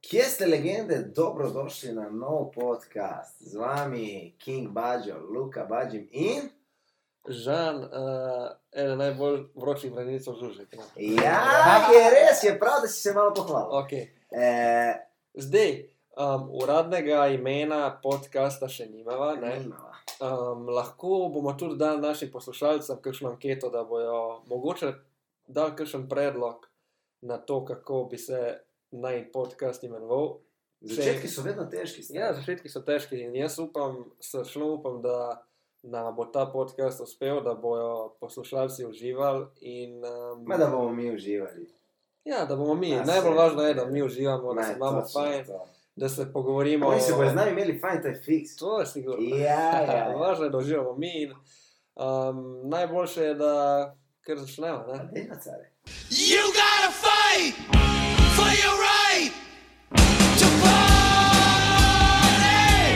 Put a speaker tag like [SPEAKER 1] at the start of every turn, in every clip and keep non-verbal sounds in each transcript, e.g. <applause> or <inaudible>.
[SPEAKER 1] Kje ste legende, dobrodošli na nov podcast. Z vami King Bajo, Luka Bažim in.
[SPEAKER 2] Žan, uh, eden najbolj vročih branilcev žužek. no.
[SPEAKER 1] Ja, je res, je prav, da si se malo pohvalil.
[SPEAKER 2] Okay.
[SPEAKER 1] Eh,
[SPEAKER 2] Zdaj, um, uradnega imena podcasta še nimava. ne.
[SPEAKER 1] nimava.
[SPEAKER 2] Um, lahko bomo tudi dali našim poslušalcem kakšno anketo, da bojo mogoče dali kakšen predlog na to, kako bi se naj podcast imenoval.
[SPEAKER 1] Začetki so vedno težki. stari.
[SPEAKER 2] Ja, začetki so težki in jaz upam, srčno upam, da nam bo ta podcast uspel, da bojo poslušalci uživali in um,
[SPEAKER 1] Ma da bomo mi uživali.
[SPEAKER 2] Ja, da bomo mi.
[SPEAKER 1] Ja,
[SPEAKER 2] Ja, Najbolj
[SPEAKER 1] se-
[SPEAKER 2] važno je, da mi uživamo, da se
[SPEAKER 1] Ne,
[SPEAKER 2] imamo
[SPEAKER 1] točno
[SPEAKER 2] fajn,
[SPEAKER 1] to.
[SPEAKER 2] da se pogovorimo.
[SPEAKER 1] Oni se bodo z nami imeli fajn, to je fiks.
[SPEAKER 2] To je sigurno. <laughs>
[SPEAKER 1] Ja, ja, ja.
[SPEAKER 2] važno je, da uživamo mi. In, um, najboljše je, da kar začnemo.
[SPEAKER 1] Pa
[SPEAKER 2] Ne?
[SPEAKER 1] dej na care.
[SPEAKER 3] You gotta fight for your right to party.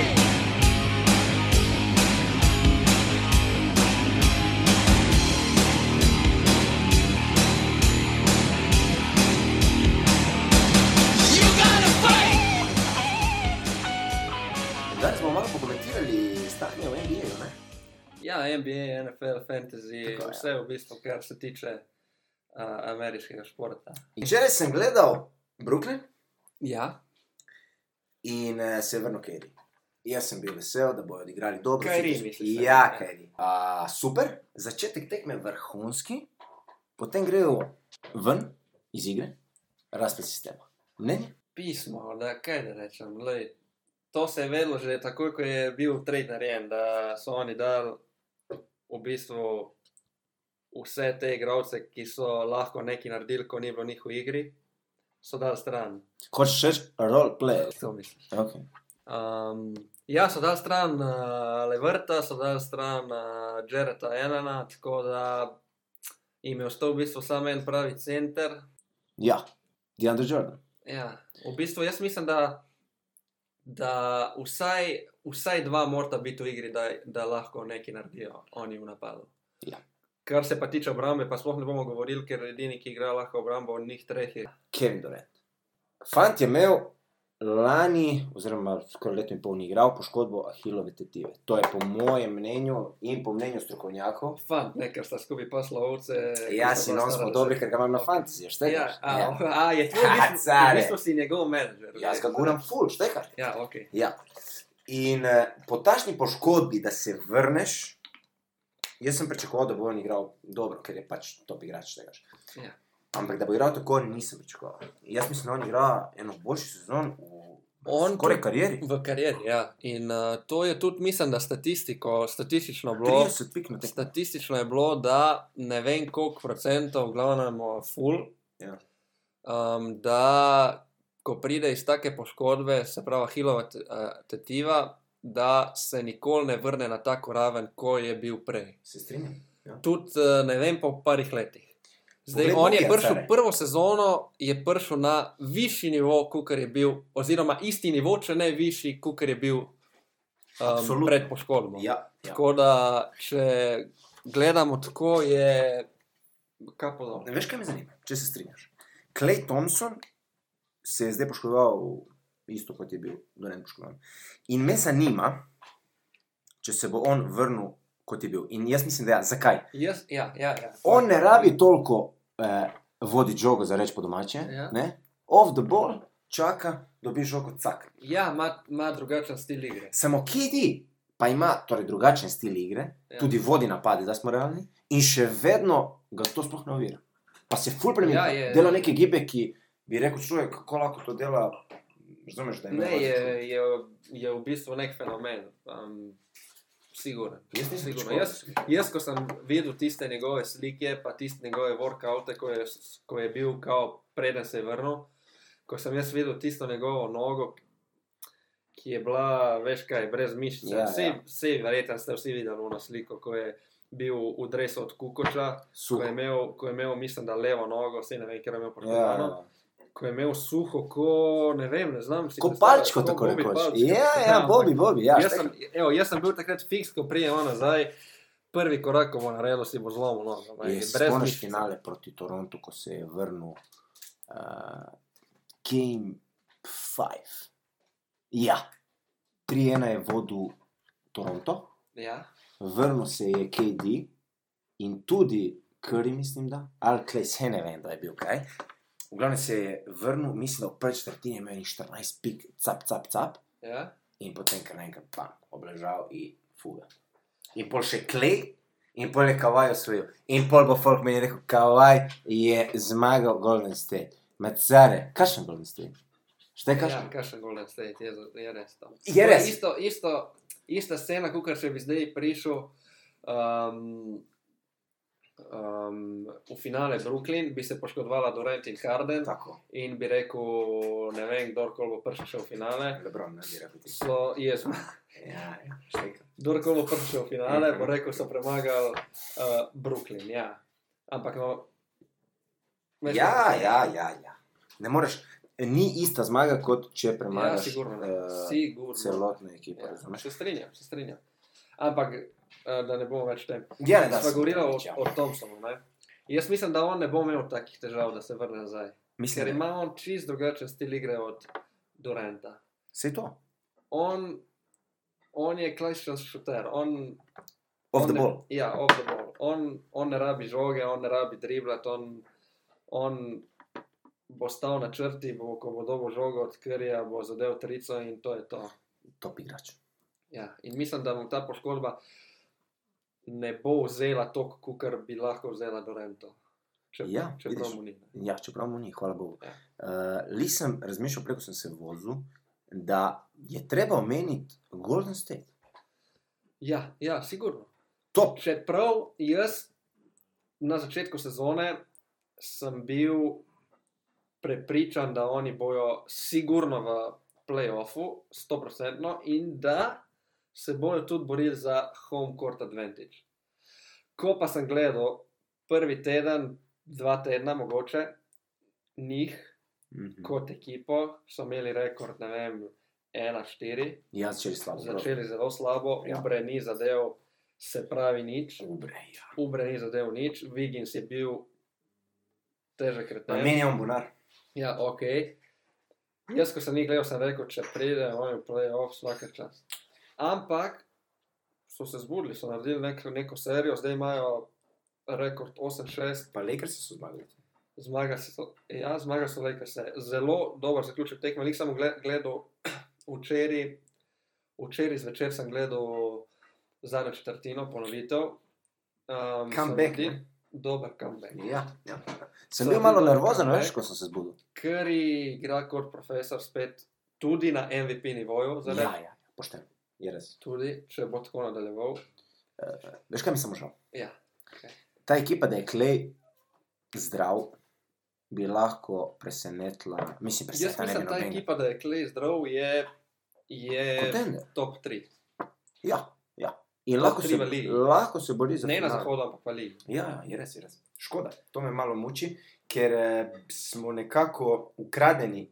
[SPEAKER 3] You gotta fight.
[SPEAKER 1] Danes bomo malo pokomentirali stanje v NBA-ju. ne?
[SPEAKER 2] Ja, NBA, NFL, fantasy,
[SPEAKER 1] Tako
[SPEAKER 2] Tako,
[SPEAKER 1] je.
[SPEAKER 2] vse v bistvu, kar se tiče uh, ameriškega športa.
[SPEAKER 1] In Včeraj sem gledal Brooklyn
[SPEAKER 2] Ja,
[SPEAKER 1] in eh, Severno Keri. Jaz sem bil vesel, da bodo igrali dobro.
[SPEAKER 2] Kyrie,
[SPEAKER 1] Sicer-
[SPEAKER 2] misliš, ne?
[SPEAKER 1] Ja, Kajri. Uh, super, začetek tekme vrhunski, potem grejo ven iz igre, razplet sistema. Mnenje?
[SPEAKER 2] pismo, da kaj da rečem. Lej, to se je vedelo že takoj, ko je bil trade narejen, da so oni dali v bistvu vse te igralce, ki so lahko nekaj naredili, ko ni bilo njih v igri, so dali stran.
[SPEAKER 1] Hočeš reči role play?
[SPEAKER 2] To mislim.
[SPEAKER 1] Okay.
[SPEAKER 2] Um, ja, so dal stran uh, Levrta, so dal stran uh, Jareta Elena, tako da jim je ostal v bistvu samo en pravi center.
[SPEAKER 1] Ja, DeAndre Jordan.
[SPEAKER 2] Ja, v bistvu jaz mislim, da, da vsaj, vsaj dva morata biti v igri, da, da lahko nekaj naredijo oni v napadu.
[SPEAKER 1] Ja.
[SPEAKER 2] Kar se pa tiče obrambe, pa sploh ne bomo govorili, ker edini, ki igra lahko obrambo, od njih treh je.
[SPEAKER 1] Kevin Durant. Fant je imel lani, oziroma skoraj leto in pol ni igral, poškodbo ahilove tetive. To je po mojem mnenju in po mnenju strokovnjakov
[SPEAKER 2] Fant, ne, ker sta skupaj poslovce.
[SPEAKER 1] Ja, si no, smo dobri, ker ga imam na fantaziji,
[SPEAKER 2] Ja,
[SPEAKER 1] štekaš.
[SPEAKER 2] a, ja. <laughs> a Ja, je to, v
[SPEAKER 1] Ha,
[SPEAKER 2] bistvu, v
[SPEAKER 1] care.
[SPEAKER 2] bistvu si njegov menedžer.
[SPEAKER 1] Ja, Jaz ga guram full, štekaš.
[SPEAKER 2] Ja, ok.
[SPEAKER 1] Ja. In eh, po tašni poškodbi, da se vrneš, jaz sem pričakoval, da bo on igral dobro, ker je pač top igrač tega.
[SPEAKER 2] Ja.
[SPEAKER 1] Ampak da bo igral tako, nisem pričakoval. Jaz mislim, da on igra eno boljših sezon v
[SPEAKER 2] On
[SPEAKER 1] skoraj
[SPEAKER 2] tudi-
[SPEAKER 1] karieri.
[SPEAKER 2] V karieri, ja. In uh, to je tudi, mislim, da statistiko, statistično bilo.
[SPEAKER 1] 30 pik na tekmo.
[SPEAKER 2] Statistično je bilo, da ne vem koliko procentov, glavno, full.
[SPEAKER 1] Ja.
[SPEAKER 2] Um, da, ko pride iz take poškodbe, se pravi, hilova eh, tetiva, da se nikoli ne vrne na tako raven, kot je bil prej.
[SPEAKER 1] Se strinjam. Ja.
[SPEAKER 2] Tudi eh, ne vem, po parih letih. Zdaj,
[SPEAKER 1] Poglej,
[SPEAKER 2] Poglej, on je
[SPEAKER 1] Bogija,
[SPEAKER 2] prišel
[SPEAKER 1] stare.
[SPEAKER 2] prvo sezono, je prišel na višji nivo, kot je bil, oziroma isti nivo, če ne višji, kot je bil um,
[SPEAKER 1] Absolutno.
[SPEAKER 2] pred poškodbo.
[SPEAKER 1] Ja, ja.
[SPEAKER 2] Tako da, če gledamo tako, je kapo dobro.
[SPEAKER 1] Ne veš, kaj me zanima, če se strinjaš. Clay Thompson se je zdaj poškodoval, isto kot je bil Donen poškodovan. In me zanima, če se bo on vrnil, kot je bil. In jaz mislim, da ja, zakaj.
[SPEAKER 2] Jaz, ja, ja, ja.
[SPEAKER 1] On ne rabi toliko eh, voditi žogo, za reč po domače.
[SPEAKER 2] Ja.
[SPEAKER 1] ne. Off the ball, čaka, dobi žogo, cak.
[SPEAKER 2] Ja, ima- ima drugačen stil igre.
[SPEAKER 1] Samo Kidi pa ima torej drugačen stil igre,
[SPEAKER 2] Ja.
[SPEAKER 1] ja. tudi vodi napade, da smo realni, in še vedno ga to sploh ne ovira. Pa se ful premika,
[SPEAKER 2] Ja,
[SPEAKER 1] ja,
[SPEAKER 2] je-
[SPEAKER 1] dela neke gibe, ki bi rekel človek, kako lahko to dela. Razumeš, da je
[SPEAKER 2] Ne,
[SPEAKER 1] najlažje človek.
[SPEAKER 2] je, je, je v bistvu nek fenomen. Um, Sigurno.
[SPEAKER 1] Jaz nisem
[SPEAKER 2] Sigurno.
[SPEAKER 1] pričakoval,
[SPEAKER 2] Jaz, jaz, ko sem videl tiste njegove slike, pa tiste njegove workoute, ko je, s- ko je bil, kao, preden se je vrnil, ko sem jaz videl tisto njegovo nogo, ki je bila, veš kaj, brez mišice.
[SPEAKER 1] Ja, ja.
[SPEAKER 2] Vsi, vsi verjetno ste vsi videli ono sliko, ko je bil v dresu od Kukoča, ko je,
[SPEAKER 1] Suho.
[SPEAKER 2] imel, ko je imel, mislim, da levo nogo, vse ne vem, ker je imel
[SPEAKER 1] Ja,
[SPEAKER 2] poškodovano
[SPEAKER 1] ja.
[SPEAKER 2] ko je imel suho, ko ne vem, ne znam si.
[SPEAKER 1] Ko
[SPEAKER 2] predstavljati,
[SPEAKER 1] palčko
[SPEAKER 2] ko
[SPEAKER 1] tako
[SPEAKER 2] Bobby
[SPEAKER 1] rekoč.
[SPEAKER 2] Palčko.
[SPEAKER 1] Ja,
[SPEAKER 2] <laughs>
[SPEAKER 1] ja,
[SPEAKER 2] ampak
[SPEAKER 1] Bobi, Bobi, ja.
[SPEAKER 2] jaz,
[SPEAKER 1] štekam.
[SPEAKER 2] sem, evo, jaz sem bil takrat fiks, ko prijemo nazaj. Prvi korak, ko bo naredil, si bo zlomil nogo. ampak
[SPEAKER 1] Je
[SPEAKER 2] je brez
[SPEAKER 1] Spomniš
[SPEAKER 2] mišic.
[SPEAKER 1] finale proti Torontu, ko se je vrnil uh, Kane, eh, five. Ja, Trijena je vodil Toronto,
[SPEAKER 2] Ja,
[SPEAKER 1] vrnil se je KD in tudi Curry, mislim, da, ali Klejs, ne vem, da je bil kaj. V glavnem se je vrnil, mislim, da v prvi četrtini je imel enih 14 pik, cap, cap, cap,
[SPEAKER 2] ja.
[SPEAKER 1] in potem kar naenkrat pam, obležal in fuga. In pol še klej, in pol je kavaj osvojil. In pol bo folk meni rekel, kavaj je zmagal Golden State. Macare, kakšen Golden State? Štekaš?
[SPEAKER 2] Ja, kakšen Golden State je, za- je res to.
[SPEAKER 1] Je res.
[SPEAKER 2] To Isto, isto, ista scena, kot če bi zdaj prišel um, um, v finale Brooklyn, bi se poškodovala Durant in Harden
[SPEAKER 1] Tako,
[SPEAKER 2] in bi rekel, ne vem, kdorkoli bo prišel še v finale.
[SPEAKER 1] Lebron, ne bi rekel ti.
[SPEAKER 2] So, jaz,
[SPEAKER 1] Ja, ja, štekam.
[SPEAKER 2] kdorkoli bo prišel v finale, bo rekel, so premagali uh, Brooklyn. Ja. Ampak no. veš,
[SPEAKER 1] Ja, ja, ja, ja. Ne moreš, ni ista zmaga, kot če
[SPEAKER 2] Ja,
[SPEAKER 1] premagaš
[SPEAKER 2] sigurno. ne.
[SPEAKER 1] eh,
[SPEAKER 2] sigurno.
[SPEAKER 1] celotno ekipo.
[SPEAKER 2] Ja,
[SPEAKER 1] razumeš?
[SPEAKER 2] se strinjam, se strinjam. Ampak eh, da ne bomo več tem.
[SPEAKER 1] Ja, ne, da.
[SPEAKER 2] Sva
[SPEAKER 1] se-
[SPEAKER 2] govorila o,
[SPEAKER 1] ja.
[SPEAKER 2] o Thompsonu. Ne? Jaz mislim, da on ne bo imel takih težav, da se vrne nazaj.
[SPEAKER 1] Mislim,
[SPEAKER 2] Ker
[SPEAKER 1] da
[SPEAKER 2] ima on čist drugačen stil igre od Dorenta.
[SPEAKER 1] Vse to.
[SPEAKER 2] On, on je klasičen šuter. On,
[SPEAKER 1] Off
[SPEAKER 2] on
[SPEAKER 1] the
[SPEAKER 2] ne-
[SPEAKER 1] ball.
[SPEAKER 2] Ja, off the ball. On, on ne rabi žoge, on ne rabi driblat, on, on bo stal na črti, bo, ko bo dobil žogo od Krija, bo zadev trico in to je to.
[SPEAKER 1] Top igrač.
[SPEAKER 2] Ja, in mislim, da mu ta poškodba ne bo vzela toliko, kar bi lahko vzela Dorento. Če,
[SPEAKER 1] Ja,
[SPEAKER 2] če
[SPEAKER 1] vidiš.
[SPEAKER 2] prav mu ni.
[SPEAKER 1] Ja, čeprav mu ni, hvala Bogu.
[SPEAKER 2] Ja.
[SPEAKER 1] Uh, Li sem razmišljal, preko sem se vozil, da je treba omeniti Golden State.
[SPEAKER 2] Ja, ja, sigurno.
[SPEAKER 1] Top.
[SPEAKER 2] Čeprav jaz na začetku sezone sem bil prepričan, da oni bojo sigurno v playoffu, 100% in da se bojo tudi borili za home court advantage. Ko pa sem gledal prvi teden, dva tedna mogoče, njih
[SPEAKER 1] Mhm.
[SPEAKER 2] kot ekipo so imeli rekord, ne vem, 1-4,
[SPEAKER 1] Ja, začeli slabo. prav.
[SPEAKER 2] začeli zelo slabo,
[SPEAKER 1] Ja.
[SPEAKER 2] ja. Ubre ni zadev, se pravi nič,
[SPEAKER 1] Dobre, ja.
[SPEAKER 2] Ubre ni zadev nič, Vigins je bil težek reten.
[SPEAKER 1] Namenjam bunar.
[SPEAKER 2] Ja, ok. Jaz, ko sem jih gledal, sem rekel, če pride, oni v playoff vsake čas. Ampak so se zbudili, so naredili neko, neko serijo, zdaj imajo rekord 8-6,
[SPEAKER 1] Pa Lakersi so zmagali.
[SPEAKER 2] Zmaga so, ja, zmaga so Lakers. Zelo dober zaključek tekme. Nik sem gle- gledal včeraj, včeraj zvečer sem gledal zadnjo četrtino, ponovitev. Um,
[SPEAKER 1] Comeback, ne?
[SPEAKER 2] Dober comeback.
[SPEAKER 1] Ja, ja. Sem
[SPEAKER 2] So
[SPEAKER 1] bil malo
[SPEAKER 2] tudi
[SPEAKER 1] nervozen,
[SPEAKER 2] dober
[SPEAKER 1] veš,
[SPEAKER 2] comeback.
[SPEAKER 1] ko sem se zbudil.
[SPEAKER 2] Curry igra kot profesor spet tudi na MVP nivoju, zelo
[SPEAKER 1] Ja, ja, pošten. Je res.
[SPEAKER 2] tudi, če bo tako nadaljeval.
[SPEAKER 1] Veš, kaj mi samo žal?
[SPEAKER 2] Ja.
[SPEAKER 1] Ta ekipa, da je Klej zdrav, bi lahko presenetila. Mislim,
[SPEAKER 2] Jaz
[SPEAKER 1] presenetila ne bi
[SPEAKER 2] mislim, ta
[SPEAKER 1] nobenega.
[SPEAKER 2] ekipa, da je Clay zdrav, je, je
[SPEAKER 1] Contender.
[SPEAKER 2] top 3.
[SPEAKER 1] Ja, ja. In
[SPEAKER 2] Top
[SPEAKER 1] lahko
[SPEAKER 2] tri
[SPEAKER 1] se,
[SPEAKER 2] v ligi.
[SPEAKER 1] lahko se bori za
[SPEAKER 2] Ne na
[SPEAKER 1] finale.
[SPEAKER 2] zahodu, ampak pa ligi.
[SPEAKER 1] Ja, je res, je res. Škoda, to me malo muči, ker eh, smo nekako ukradeni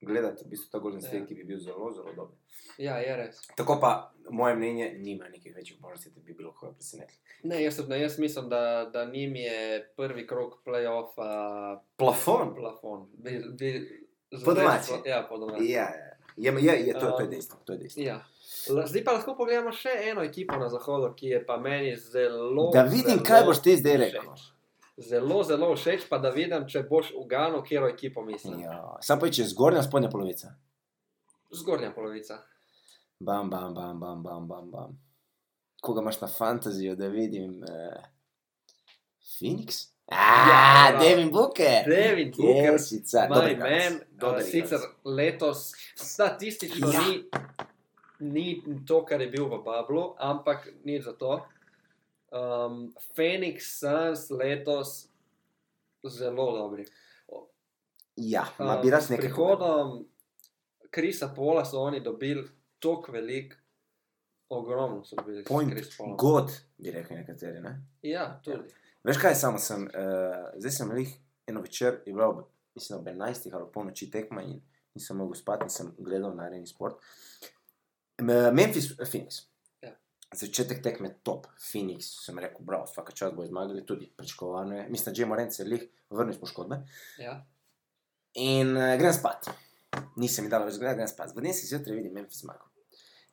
[SPEAKER 1] gledati, v bistvu ta Golden State,
[SPEAKER 2] Ja.
[SPEAKER 1] ki bi bil zelo, zelo dober.
[SPEAKER 2] Ja, je res.
[SPEAKER 1] Tako pa, moje mnenje, nima nekih večjih možnosti, da bi bilo koga presenetili.
[SPEAKER 2] Ne, jaz, tudi ne, jaz mislim, da, da njim je prvi krok playoffa
[SPEAKER 1] Plafon?
[SPEAKER 2] plafon. Bi- bi-
[SPEAKER 1] Po domače.
[SPEAKER 2] zares- Ja, po domači.
[SPEAKER 1] Ja, ja. Je, je, je, to, to je
[SPEAKER 2] Um,
[SPEAKER 1] dejstvo. To je dejstvo.
[SPEAKER 2] Ja. La- Zdaj pa lahko pogledamo še eno ekipo na zahodu, ki je pa meni zelo.
[SPEAKER 1] Da vidim,
[SPEAKER 2] zelo
[SPEAKER 1] kaj boš ti zdaj
[SPEAKER 2] všeč.
[SPEAKER 1] rekel. no.
[SPEAKER 2] Zelo, zelo všeč, pa da vidim, če boš uganil, kjer ekipo misliš. Ja.
[SPEAKER 1] Ja. Sam pa če zgornja, spodnja polovica.
[SPEAKER 2] Zgornja polovica.
[SPEAKER 1] Bam, bam, bam, bam, bam, bam, bam. Koga imaš na fantazijo, da vidim? Eh, Phoenix?
[SPEAKER 2] Ja,
[SPEAKER 1] Ah,
[SPEAKER 2] bravo.
[SPEAKER 1] Devin Booker.
[SPEAKER 2] Devin Booker,
[SPEAKER 1] Yes, sicer,
[SPEAKER 2] Maj men, eh, sicer letos statistično
[SPEAKER 1] Ja.
[SPEAKER 2] ja. ni, ni to, kar je bil v Bablu, ampak ni za to. Um, Phoenix Suns letos zelo dobri.
[SPEAKER 1] Ja, ma
[SPEAKER 2] Um,
[SPEAKER 1] bi raz
[SPEAKER 2] s
[SPEAKER 1] nekaj povedal.
[SPEAKER 2] Prihodom Krisa Pola so oni dobili toliko velik, ogromno so bili.
[SPEAKER 1] Point,
[SPEAKER 2] Go.
[SPEAKER 1] god, bi rekli nekateri. Ne?
[SPEAKER 2] Ja, tudi.
[SPEAKER 1] Veš kaj, samo sem, uh, zdaj sem lih eno večer, je bilo, ob- mislim, ob 11 ali ob polnoči tekma in nisem mogel spati, in sem gledal na areni sport. M- Memphis, eh, Phoenix.
[SPEAKER 2] Ja.
[SPEAKER 1] Začetek tekme top, Phoenix, sem rekel, bravo, vsaka čas bo zmagali, tudi pričakovano je. Mislim, da je Morence lih vrnil iz poškodbe.
[SPEAKER 2] Ja.
[SPEAKER 1] In uh, grem eh, spat. nisam mi dala več gledati, danas pa danes izjutraj vidim Memphis zmago.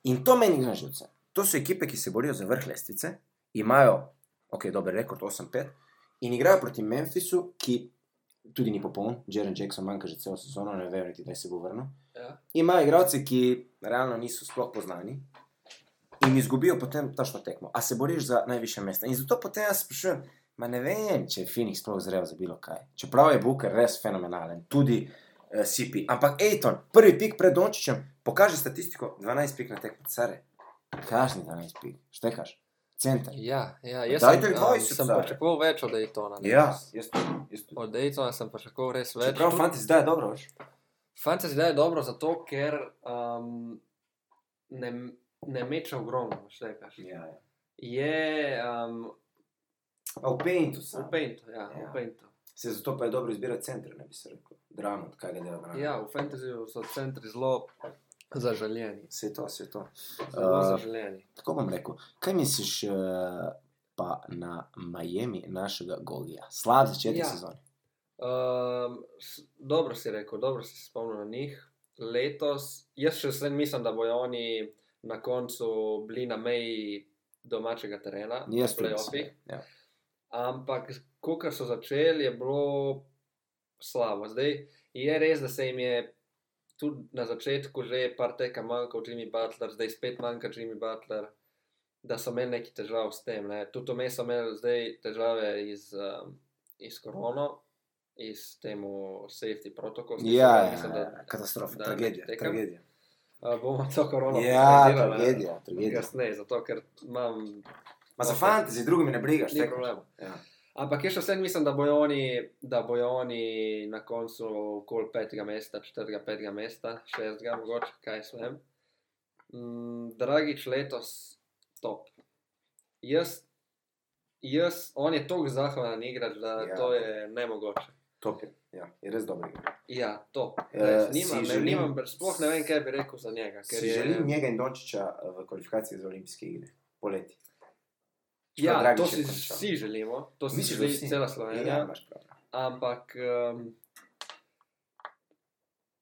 [SPEAKER 1] In to meni gna živce. To su ekipe ki se borijo za vrh lestvice, imajo, ok, dober rekord 8-5, in igrajo proti Memphisu, ki tudi ni popoln, Jaren Jackson manjka že celo sezono, ne verjeti da se bo vrnil.
[SPEAKER 2] Ja.
[SPEAKER 1] Ima igralce, ki realno niso sploh poznani in izgubijo potem tačno tekmo, a se boriš za najviše mesta. In zato potem jaz sprašujem, ma ne vem, če je Phoenix sploh zrel za bilo kaj. Čeprav je Booker res fenomenalen, tudi uh, CP. Ampak Ejton, prvi pik pred Dončićem, pokaže statistiko 12 pik na tekmo, care. Kašni 12 pik, štekaš, centar.
[SPEAKER 2] Ja, ja, jaz
[SPEAKER 1] Daj
[SPEAKER 2] sem,
[SPEAKER 1] teh
[SPEAKER 2] a,
[SPEAKER 1] 20
[SPEAKER 2] sem
[SPEAKER 1] zdaj.
[SPEAKER 2] pričakoval več od Daytona. ne.
[SPEAKER 1] Ja, jaz tudi. jaz tudi.
[SPEAKER 2] Od Daytona sem pričakoval res več.
[SPEAKER 1] Čeprav
[SPEAKER 2] Tudi-
[SPEAKER 1] fanti zdaj je dobro, veš.
[SPEAKER 2] Fantje zdaj je dobro zato, ker um, ne, ne meče ogromno, še rečeš.
[SPEAKER 1] Ja, ja.
[SPEAKER 2] Je um,
[SPEAKER 1] A v paintu
[SPEAKER 2] v
[SPEAKER 1] sem.
[SPEAKER 2] paintu, ja, v
[SPEAKER 1] Ja.
[SPEAKER 2] paintu.
[SPEAKER 1] Se zato pa je dobro izbirati centre, ne bi se rekel. Dramo, kaj ga dela dramo.
[SPEAKER 2] Ja, v fantasyju so centri zelo zaželjeni.
[SPEAKER 1] Vse to, vse to.
[SPEAKER 2] Zelo
[SPEAKER 1] Eh,
[SPEAKER 2] zaželjeni.
[SPEAKER 1] Tako bom rekel. Kaj misliš eh, pa na Miami našega Golija? Slab začetek
[SPEAKER 2] Ja.
[SPEAKER 1] ja. sezone.
[SPEAKER 2] Um, dobro si rekel, dobro si se spomnil na njih. Letos, jaz še vsem mislim, da bodo oni na koncu bili na meji domačega terena,
[SPEAKER 1] Jaz
[SPEAKER 2] v
[SPEAKER 1] tudi
[SPEAKER 2] playoffih.
[SPEAKER 1] mislim, ja.
[SPEAKER 2] Ampak, ko so začeli, je bilo slabo. Zdaj je res, da se jim je tudi na začetku že par teka manjkal Jimmy Butler, zdaj spet manjka Jimmy Butler, da so imeli neki težav s tem. ne. Tudi vmes so imeli zdaj težave iz, um, iz korona, iz temu safety protokola.
[SPEAKER 1] Ja, ja, katastrofa,
[SPEAKER 2] da
[SPEAKER 1] tragedija,
[SPEAKER 2] ne tekam.
[SPEAKER 1] tragedija.
[SPEAKER 2] Uh, bomo to korono
[SPEAKER 1] Ja,
[SPEAKER 2] komentirali
[SPEAKER 1] tragedija, tragedija.
[SPEAKER 2] Kasneje, zato ker imam
[SPEAKER 1] Ma za fantasy, drugimi ne brigaš,
[SPEAKER 2] ni
[SPEAKER 1] tekaš.
[SPEAKER 2] problema.
[SPEAKER 1] Ja.
[SPEAKER 2] Ampak jaz še vsem mislim, da bojo oni, da bojo oni na koncu okoli petega mesta, četrtega, petega mesta, šestega, mogoče kaj svem. Mm, Dragič letos top. Jaz, jaz, on je tako zahvalen igrač, da ja.
[SPEAKER 1] Ja.
[SPEAKER 2] to je nemogoče.
[SPEAKER 1] Top je, ja, je res dobro. igra.
[SPEAKER 2] Ja, top.
[SPEAKER 1] Eh,
[SPEAKER 2] Res,
[SPEAKER 1] si
[SPEAKER 2] nimam, ne,
[SPEAKER 1] želim-
[SPEAKER 2] nimam, ber- sploh ne vem, kaj bi rekel za njega. ker
[SPEAKER 1] Si
[SPEAKER 2] je-
[SPEAKER 1] želim njega in Dončića v kvalifikacijah za olimpijske igre, poleti.
[SPEAKER 2] Ja,
[SPEAKER 1] čeprav Dragič
[SPEAKER 2] to
[SPEAKER 1] je
[SPEAKER 2] si
[SPEAKER 1] končal.
[SPEAKER 2] vsi želimo, to si
[SPEAKER 1] Misliš, da
[SPEAKER 2] želi
[SPEAKER 1] vsi?
[SPEAKER 2] cela Slovenija.
[SPEAKER 1] Ja, imaš prav.
[SPEAKER 2] ampak um,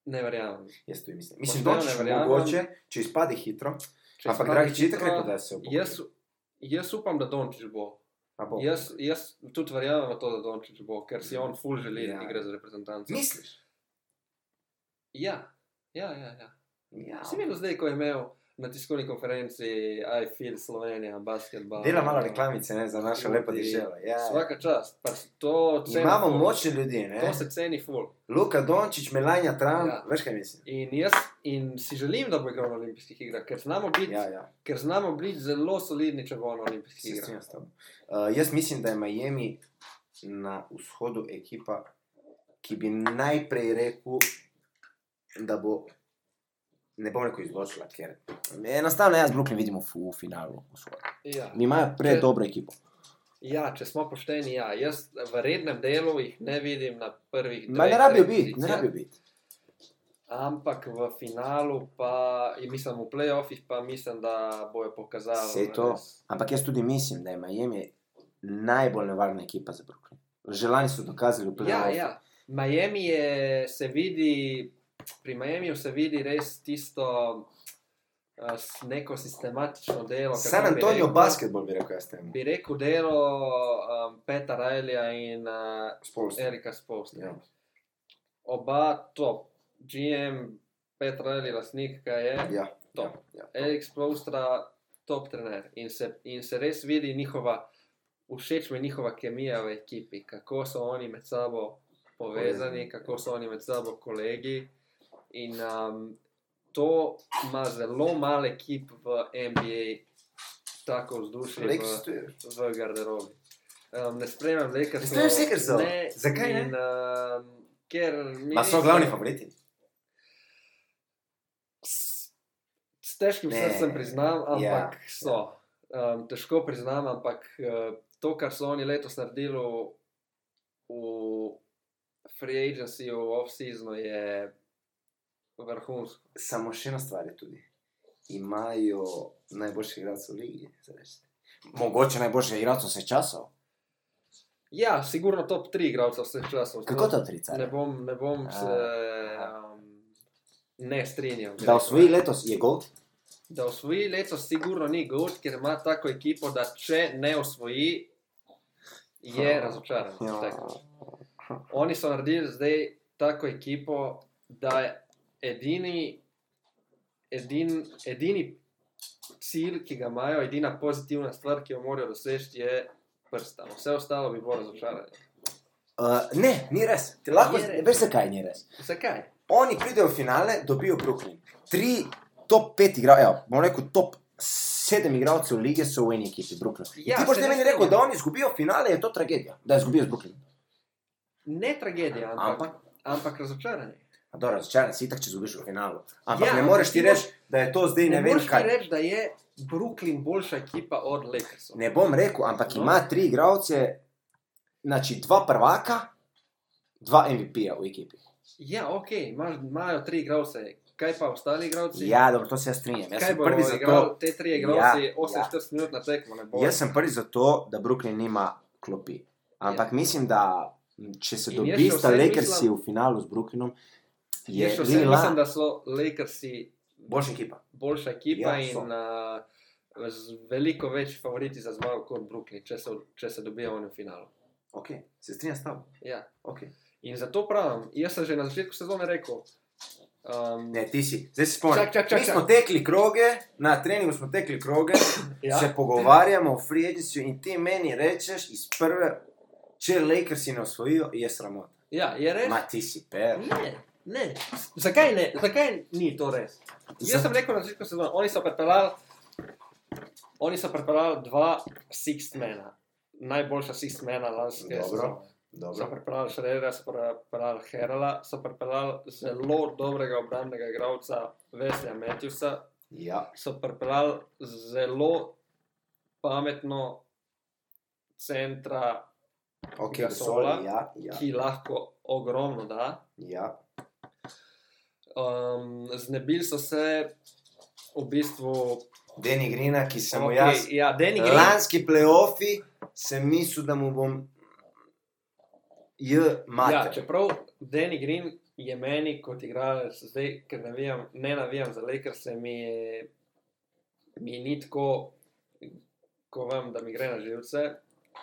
[SPEAKER 2] ne verjamem.
[SPEAKER 1] Jaz tudi mislim. Mislim,
[SPEAKER 2] Pošteno
[SPEAKER 1] Dončić
[SPEAKER 2] ne verjamem.
[SPEAKER 1] mogoče, če izpade hitro,
[SPEAKER 2] Če
[SPEAKER 1] ampak
[SPEAKER 2] izpade
[SPEAKER 1] Dragić je
[SPEAKER 2] hitro,
[SPEAKER 1] tako rekel, da se upokoj.
[SPEAKER 2] Jaz, jaz upam, da Dončić bo.
[SPEAKER 1] A bo.
[SPEAKER 2] Jaz, jaz tudi verjamem v to, da Dončić bo, ker si on ful želi, da
[SPEAKER 1] Ja.
[SPEAKER 2] igra za reprezentanco.
[SPEAKER 1] Misliš?
[SPEAKER 2] Ja, ja, ja. ja.
[SPEAKER 1] Ja.
[SPEAKER 2] Si videl zdaj, ko je imel na tiskovni konferenci I Feel Slovenija, basketball.
[SPEAKER 1] Dela malo reklamice, ne, za našo lepo
[SPEAKER 2] Ljudi.
[SPEAKER 1] deželo. Ja.
[SPEAKER 2] Svaka čast, pa to ceni.
[SPEAKER 1] Imamo
[SPEAKER 2] ful.
[SPEAKER 1] močne ljudi, ne?
[SPEAKER 2] To se ceni ful.
[SPEAKER 1] Luka Dončić, Melanja Tran,
[SPEAKER 2] Ja.
[SPEAKER 1] ja. veš kaj mislim?
[SPEAKER 2] In jaz in si želim, da bo igral na olimpijskih igrah, ker znamo biti
[SPEAKER 1] Ja, ja,
[SPEAKER 2] Ker znamo biti zelo solidni, če bomo na
[SPEAKER 1] se
[SPEAKER 2] olimpijskih
[SPEAKER 1] strinjam
[SPEAKER 2] igrah.
[SPEAKER 1] s tobom. Uh, jaz mislim, da je Miami na vzhodu ekipa, ki bi najprej rekel, da bo, ne bom rekel izločila, ker enostavno jaz Brooklyn vidim v, v finalu vzhoda.
[SPEAKER 2] Ja.
[SPEAKER 1] Imajo predobro ekipo.
[SPEAKER 2] ja, če smo pošteni, ja. jaz v rednem delu jih ne vidim na prvih
[SPEAKER 1] Ma ne
[SPEAKER 2] dveh,
[SPEAKER 1] rabijo
[SPEAKER 2] treh
[SPEAKER 1] biti, ne
[SPEAKER 2] pozicijah,
[SPEAKER 1] rabijo biti.
[SPEAKER 2] Ampak v finalu, pa, in mislim v playoffih, pa mislim, da bojo pokazali.
[SPEAKER 1] Sej to.
[SPEAKER 2] res-
[SPEAKER 1] Ampak jaz tudi mislim, da je Miami najbolj nevarna ekipa za Brooklyn. Že lani so dokazali v
[SPEAKER 2] Ja,
[SPEAKER 1] play-offu.
[SPEAKER 2] ja. Miami je, se vidi, pri Miamiju se vidi res tisto eh, s- neko sistematično delo. kako
[SPEAKER 1] San
[SPEAKER 2] bi
[SPEAKER 1] Antonijo
[SPEAKER 2] rekel.
[SPEAKER 1] basketbol bi rekel jaz temu.
[SPEAKER 2] Bi rekel delo um, Peta Rajlja in uh,
[SPEAKER 1] Spolstvo.
[SPEAKER 2] Erika Spolstra.
[SPEAKER 1] Ja.
[SPEAKER 2] Oba top, GM, Petr ali lastnik, kaj je,
[SPEAKER 1] Ja,
[SPEAKER 2] top.
[SPEAKER 1] ja.
[SPEAKER 2] Erik Spolstra, top trener. In se, in se res vidi njihova, všeč mi je njihova kemija v ekipi, kako so oni med sabo povezani,
[SPEAKER 1] Povezani, ja.
[SPEAKER 2] kako so oni med sabo kolegi. In um, to ima zelo malo ekip v NBA, tako vzdušje.
[SPEAKER 1] Lake
[SPEAKER 2] v-
[SPEAKER 1] Stewart.
[SPEAKER 2] v garderobi. Um, ne spremljam Lakersov.
[SPEAKER 1] Ne spremljaš Lakersov? Zakaj ne?
[SPEAKER 2] In, um, ker mi
[SPEAKER 1] Ma so
[SPEAKER 2] niso-
[SPEAKER 1] glavni favoriti.
[SPEAKER 2] S- S težkim
[SPEAKER 1] Ne.
[SPEAKER 2] srcem priznam, ampak
[SPEAKER 1] Ja,
[SPEAKER 2] so. Um, težko priznam, ampak uh, to, kar so oni letos naredili v- v free agency, v off-seasonu, je vrhunsko.
[SPEAKER 1] Samo še ena stvar je tudi. Imajo najboljši igralce v ligi. zdaj rečete. Mogoče najboljši igralce vseh časov.
[SPEAKER 2] Ja, sigurno top 3 igralcev vseh časov.
[SPEAKER 1] Kako to
[SPEAKER 2] Ne
[SPEAKER 1] tricate?
[SPEAKER 2] bom, ne bom
[SPEAKER 1] A,
[SPEAKER 2] se.
[SPEAKER 1] aha.
[SPEAKER 2] Um, ne strinjal. bi
[SPEAKER 1] Da
[SPEAKER 2] rekel,
[SPEAKER 1] osvoji
[SPEAKER 2] ne.
[SPEAKER 1] letos je gold.
[SPEAKER 2] Da osvoji letos sigurno ni Gold, ker ima tako ekipo, da če ne osvoji,
[SPEAKER 1] Ja.
[SPEAKER 2] je razočaran. Tako. Oni so naredili zdaj tako ekipo, da je edini, edin, edini cilj, ki ga imajo, edina pozitivna stvar, ki jo morajo doseči, je prstan. Vse ostalo bi bilo razočaranje.
[SPEAKER 1] Uh, ne, ni res. Ti lahko,
[SPEAKER 2] Ni res.
[SPEAKER 1] veš zakaj ni res.
[SPEAKER 2] Zakaj?
[SPEAKER 1] Oni pridejo v finale, dobijo Brooklyn. Tri top pet igralcev, evo, bom rekel top sedem igralcev lige so v eni ekipi, Brooklyn. Ja,
[SPEAKER 2] Ja,
[SPEAKER 1] ti boš
[SPEAKER 2] se
[SPEAKER 1] zdaj
[SPEAKER 2] ne
[SPEAKER 1] meni rekel,
[SPEAKER 2] strinjam.
[SPEAKER 1] da oni izgubijo finale, je to tragedija, da izgubijo z Brooklyn.
[SPEAKER 2] Ne tragedija, ampak,
[SPEAKER 1] Ampak,
[SPEAKER 2] ampak razočaranje.
[SPEAKER 1] a dobro, razočaran si itak, če izgubiš v finalu. Ampak
[SPEAKER 2] Ja,
[SPEAKER 1] ja, ne moreš ti
[SPEAKER 2] ampak ti
[SPEAKER 1] reči, da je to zdaj ne,
[SPEAKER 2] Ne,
[SPEAKER 1] ne
[SPEAKER 2] ne
[SPEAKER 1] vem
[SPEAKER 2] moreš ti
[SPEAKER 1] kaj.
[SPEAKER 2] reči, da je Brooklyn boljša ekipa od Lakersov.
[SPEAKER 1] Ne bom rekel, ampak
[SPEAKER 2] No.
[SPEAKER 1] no. ima tri igralce, znači dva prvaka, dva MVP-ja v ekipi.
[SPEAKER 2] Ja, ok, imaš- imajo tri igralce. Kaj pa ostali igralci?
[SPEAKER 1] Ja, dobro, to se jaz strinjam. Jaz
[SPEAKER 2] Kaj
[SPEAKER 1] sem
[SPEAKER 2] bo
[SPEAKER 1] prvi za to.
[SPEAKER 2] igral, te tri igralci,
[SPEAKER 1] Ja,
[SPEAKER 2] ja, 48 ja. minut na tekmo ne bo.
[SPEAKER 1] Jaz sem prvi za to, da Brooklyn nima klopi. Ampak ja. mislim, da m, če se
[SPEAKER 2] In jaz še
[SPEAKER 1] dobista
[SPEAKER 2] vse
[SPEAKER 1] Lakersi
[SPEAKER 2] mislim-
[SPEAKER 1] v finalu z Brooklynom,
[SPEAKER 2] je
[SPEAKER 1] je
[SPEAKER 2] še vse,
[SPEAKER 1] Lila
[SPEAKER 2] mislim, da so Lakersi
[SPEAKER 1] boljša ekipa.
[SPEAKER 2] boljša ekipa
[SPEAKER 1] Ja,
[SPEAKER 2] ja, in
[SPEAKER 1] so.
[SPEAKER 2] uh, z veliko več favoriti za zmago kot Brooklyn, če se, če se dobijo oni v finalu.
[SPEAKER 1] Ok, se strinjam s tabo.
[SPEAKER 2] Ja.
[SPEAKER 1] Okay.
[SPEAKER 2] In zato pravim, jaz sem že na začetku sezone rekel, um,
[SPEAKER 1] Ne, ti si, zdaj se spomnim.
[SPEAKER 2] Čak, čak, čak,
[SPEAKER 1] Mi smo tekli kroge, na treningu smo tekli kroge, ja.
[SPEAKER 2] Ja.
[SPEAKER 1] se pogovarjamo o free agency in ti meni rečeš iz prve, če Lakersi ne osvojijo, je sramota.
[SPEAKER 2] ja, je res.
[SPEAKER 1] Ma ti si per.
[SPEAKER 2] Ne, ne. Zakaj ne? Zakaj ni to res? Jaz sem rekel na začetku sezone, oni so pripeljali, oni so pripeljali dva sixmena, najboljša sixmena lanske
[SPEAKER 1] Dobro,
[SPEAKER 2] sezone. So pripeljali Šreda, so pripeljali Herala, so pripeljali zelo dobrega obrambnega igralca Veslja Matthewsa,
[SPEAKER 1] Ja.
[SPEAKER 2] so pripeljali zelo pametno centra,
[SPEAKER 1] Ok,
[SPEAKER 2] Gasola,
[SPEAKER 1] Gasola, ja, ja,
[SPEAKER 2] ki lahko ogromno da.
[SPEAKER 1] ja.
[SPEAKER 2] Um, znebili so se v bistvu.
[SPEAKER 1] Deni Grina, ki sem mu
[SPEAKER 2] okej,
[SPEAKER 1] okay. jaz
[SPEAKER 2] ja, Danny Green.
[SPEAKER 1] Lanski playoffi sem mislil, da mu bom j
[SPEAKER 2] Ja,
[SPEAKER 1] mater.
[SPEAKER 2] čeprav Danny Green je meni kot igralec, zdaj, ker navijam, ne navijam za Lakerse, mi, je, mi ni tako, ko vem, da mi gre na živce.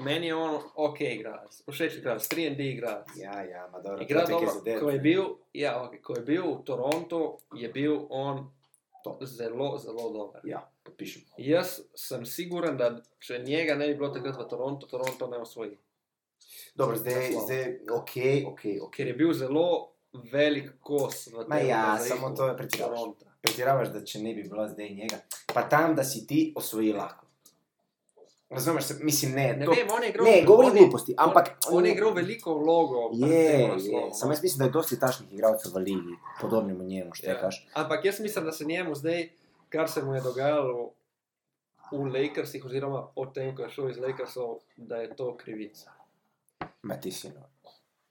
[SPEAKER 2] Meni je on ok igralec, všeč igralec, 3D igralec.
[SPEAKER 1] Ja, ja, ma dobro,
[SPEAKER 2] Igra
[SPEAKER 1] to je
[SPEAKER 2] dobro.
[SPEAKER 1] zadeva.
[SPEAKER 2] Ko je, bil, ja, okay, ko je bil v Torontu, je bil on
[SPEAKER 1] Top.
[SPEAKER 2] zelo, zelo dober.
[SPEAKER 1] Ja, podpišem.
[SPEAKER 2] Jaz sem siguren, da če njega ne bi bilo takrat v Torontu, Toronto ne osvoji.
[SPEAKER 1] Dobro, zdaj,
[SPEAKER 2] Wow.
[SPEAKER 1] zdaj, ok, ok, ok.
[SPEAKER 2] Ker je bil zelo velik kos v
[SPEAKER 1] Ma
[SPEAKER 2] tem
[SPEAKER 1] ja,
[SPEAKER 2] mozaiku
[SPEAKER 1] samo to je pretiravaš.
[SPEAKER 2] Toronta.
[SPEAKER 1] Pretiravaš, da če ne bi bilo zdaj njega, pa tam, da si ti osvoji lahko. Razumeš, se- mislim, ne,
[SPEAKER 2] Ne
[SPEAKER 1] to,
[SPEAKER 2] vem, on je igral,
[SPEAKER 1] ne govori
[SPEAKER 2] on je-
[SPEAKER 1] gluposti, ampak...
[SPEAKER 2] On, on je igral veliko vlogo. pred
[SPEAKER 1] Je,
[SPEAKER 2] tem
[SPEAKER 1] je,
[SPEAKER 2] naslovom.
[SPEAKER 1] samo jaz mislim, da je dosti tašnih igralcev v ligi, podobnemu njemu, štekaš.
[SPEAKER 2] Ja. Ampak jaz mislim, da se njemu zdaj, kar se mu je dogajalo v Lakersih, oziroma potem, ko je šel iz Lakersov, da je to krivica.
[SPEAKER 1] Ma ti si no.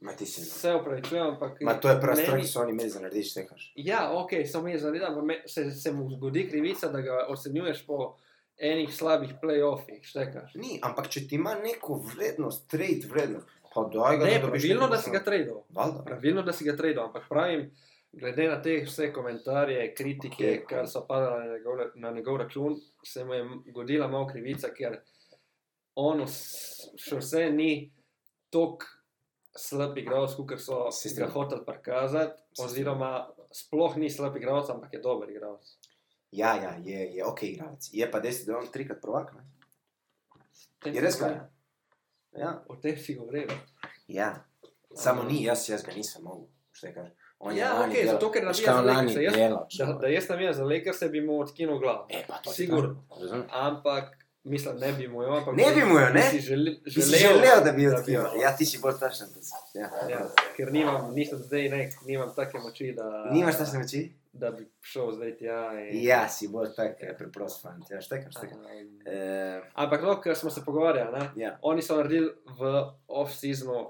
[SPEAKER 1] Ma ti si no.
[SPEAKER 2] Se upravičujem, ampak.
[SPEAKER 1] Ma to je prva stvar, ki
[SPEAKER 2] meni-
[SPEAKER 1] so oni imeli za narediti, štekaš.
[SPEAKER 2] Ja, ok, samo jaz zavedam, da me- se, se mu zgodi krivica, da ga ocenjuješ po enih slabih playoffih, štekaš.
[SPEAKER 1] Ni, ampak če ti ima neko vrednost, trade vrednost, pa daj ga,
[SPEAKER 2] Ne,
[SPEAKER 1] da dobiš
[SPEAKER 2] pravilno,
[SPEAKER 1] nekaj
[SPEAKER 2] da si ga
[SPEAKER 1] boljšega.
[SPEAKER 2] tradal.
[SPEAKER 1] Valjda.
[SPEAKER 2] Pravilno, da si ga tradal, ampak pravim, glede na te vse komentarje, kritike,
[SPEAKER 1] Okej, okej.
[SPEAKER 2] okay, kar so padale na njegov, na njegov račun, se mu je godila malo krivica, ker on vs- še vse ni tok slab igralec, kot so
[SPEAKER 1] Se
[SPEAKER 2] ga
[SPEAKER 1] strinjam.
[SPEAKER 2] hoteli prikazati,
[SPEAKER 1] Se
[SPEAKER 2] oziroma sploh ni slab igralec, ampak je dober igralec.
[SPEAKER 1] Ja, ja, je, je ok, igralec. Je pa desi, da je on trikrat prvak. Ne? Je res kaj? Ja.
[SPEAKER 2] O tem si govoril.
[SPEAKER 1] ja. Samo ni, jaz, jaz ga nisem mogel. Še kaj. On je
[SPEAKER 2] Ja,
[SPEAKER 1] lani
[SPEAKER 2] okej,
[SPEAKER 1] delal.
[SPEAKER 2] zato, ker
[SPEAKER 1] Veš,
[SPEAKER 2] navija
[SPEAKER 1] kaj on
[SPEAKER 2] za
[SPEAKER 1] lani
[SPEAKER 2] Lakers, jaz-
[SPEAKER 1] delal.
[SPEAKER 2] Da, da jaz navijam za Laker, se bi mu odkinil glavo.
[SPEAKER 1] E, pa to ti
[SPEAKER 2] Sigurno.
[SPEAKER 1] pravim, razumem.
[SPEAKER 2] Ampak, mislim, ne bi mu jo, ampak
[SPEAKER 1] Ne bi mu jo, ne?
[SPEAKER 2] bi Si želel,
[SPEAKER 1] Ti si
[SPEAKER 2] želel,
[SPEAKER 1] želel, da bi jo
[SPEAKER 2] mu
[SPEAKER 1] odkril.
[SPEAKER 2] jo.
[SPEAKER 1] Ja, ti si bolj tašen. Ja.
[SPEAKER 2] Ja, ker nimam, nisem zdaj nek, nimam take moči, da,
[SPEAKER 1] Nimaš tašne moči?
[SPEAKER 2] da bi šel zdaj tja. In,
[SPEAKER 1] Ja, si bolj tak, eh, preprost fant. Ja, štekam, štekam.
[SPEAKER 2] Um,
[SPEAKER 1] Eh,
[SPEAKER 2] ampak, no, ker smo se pogovarjali, ne?
[SPEAKER 1] ja.
[SPEAKER 2] oni so naredili v off-seasonu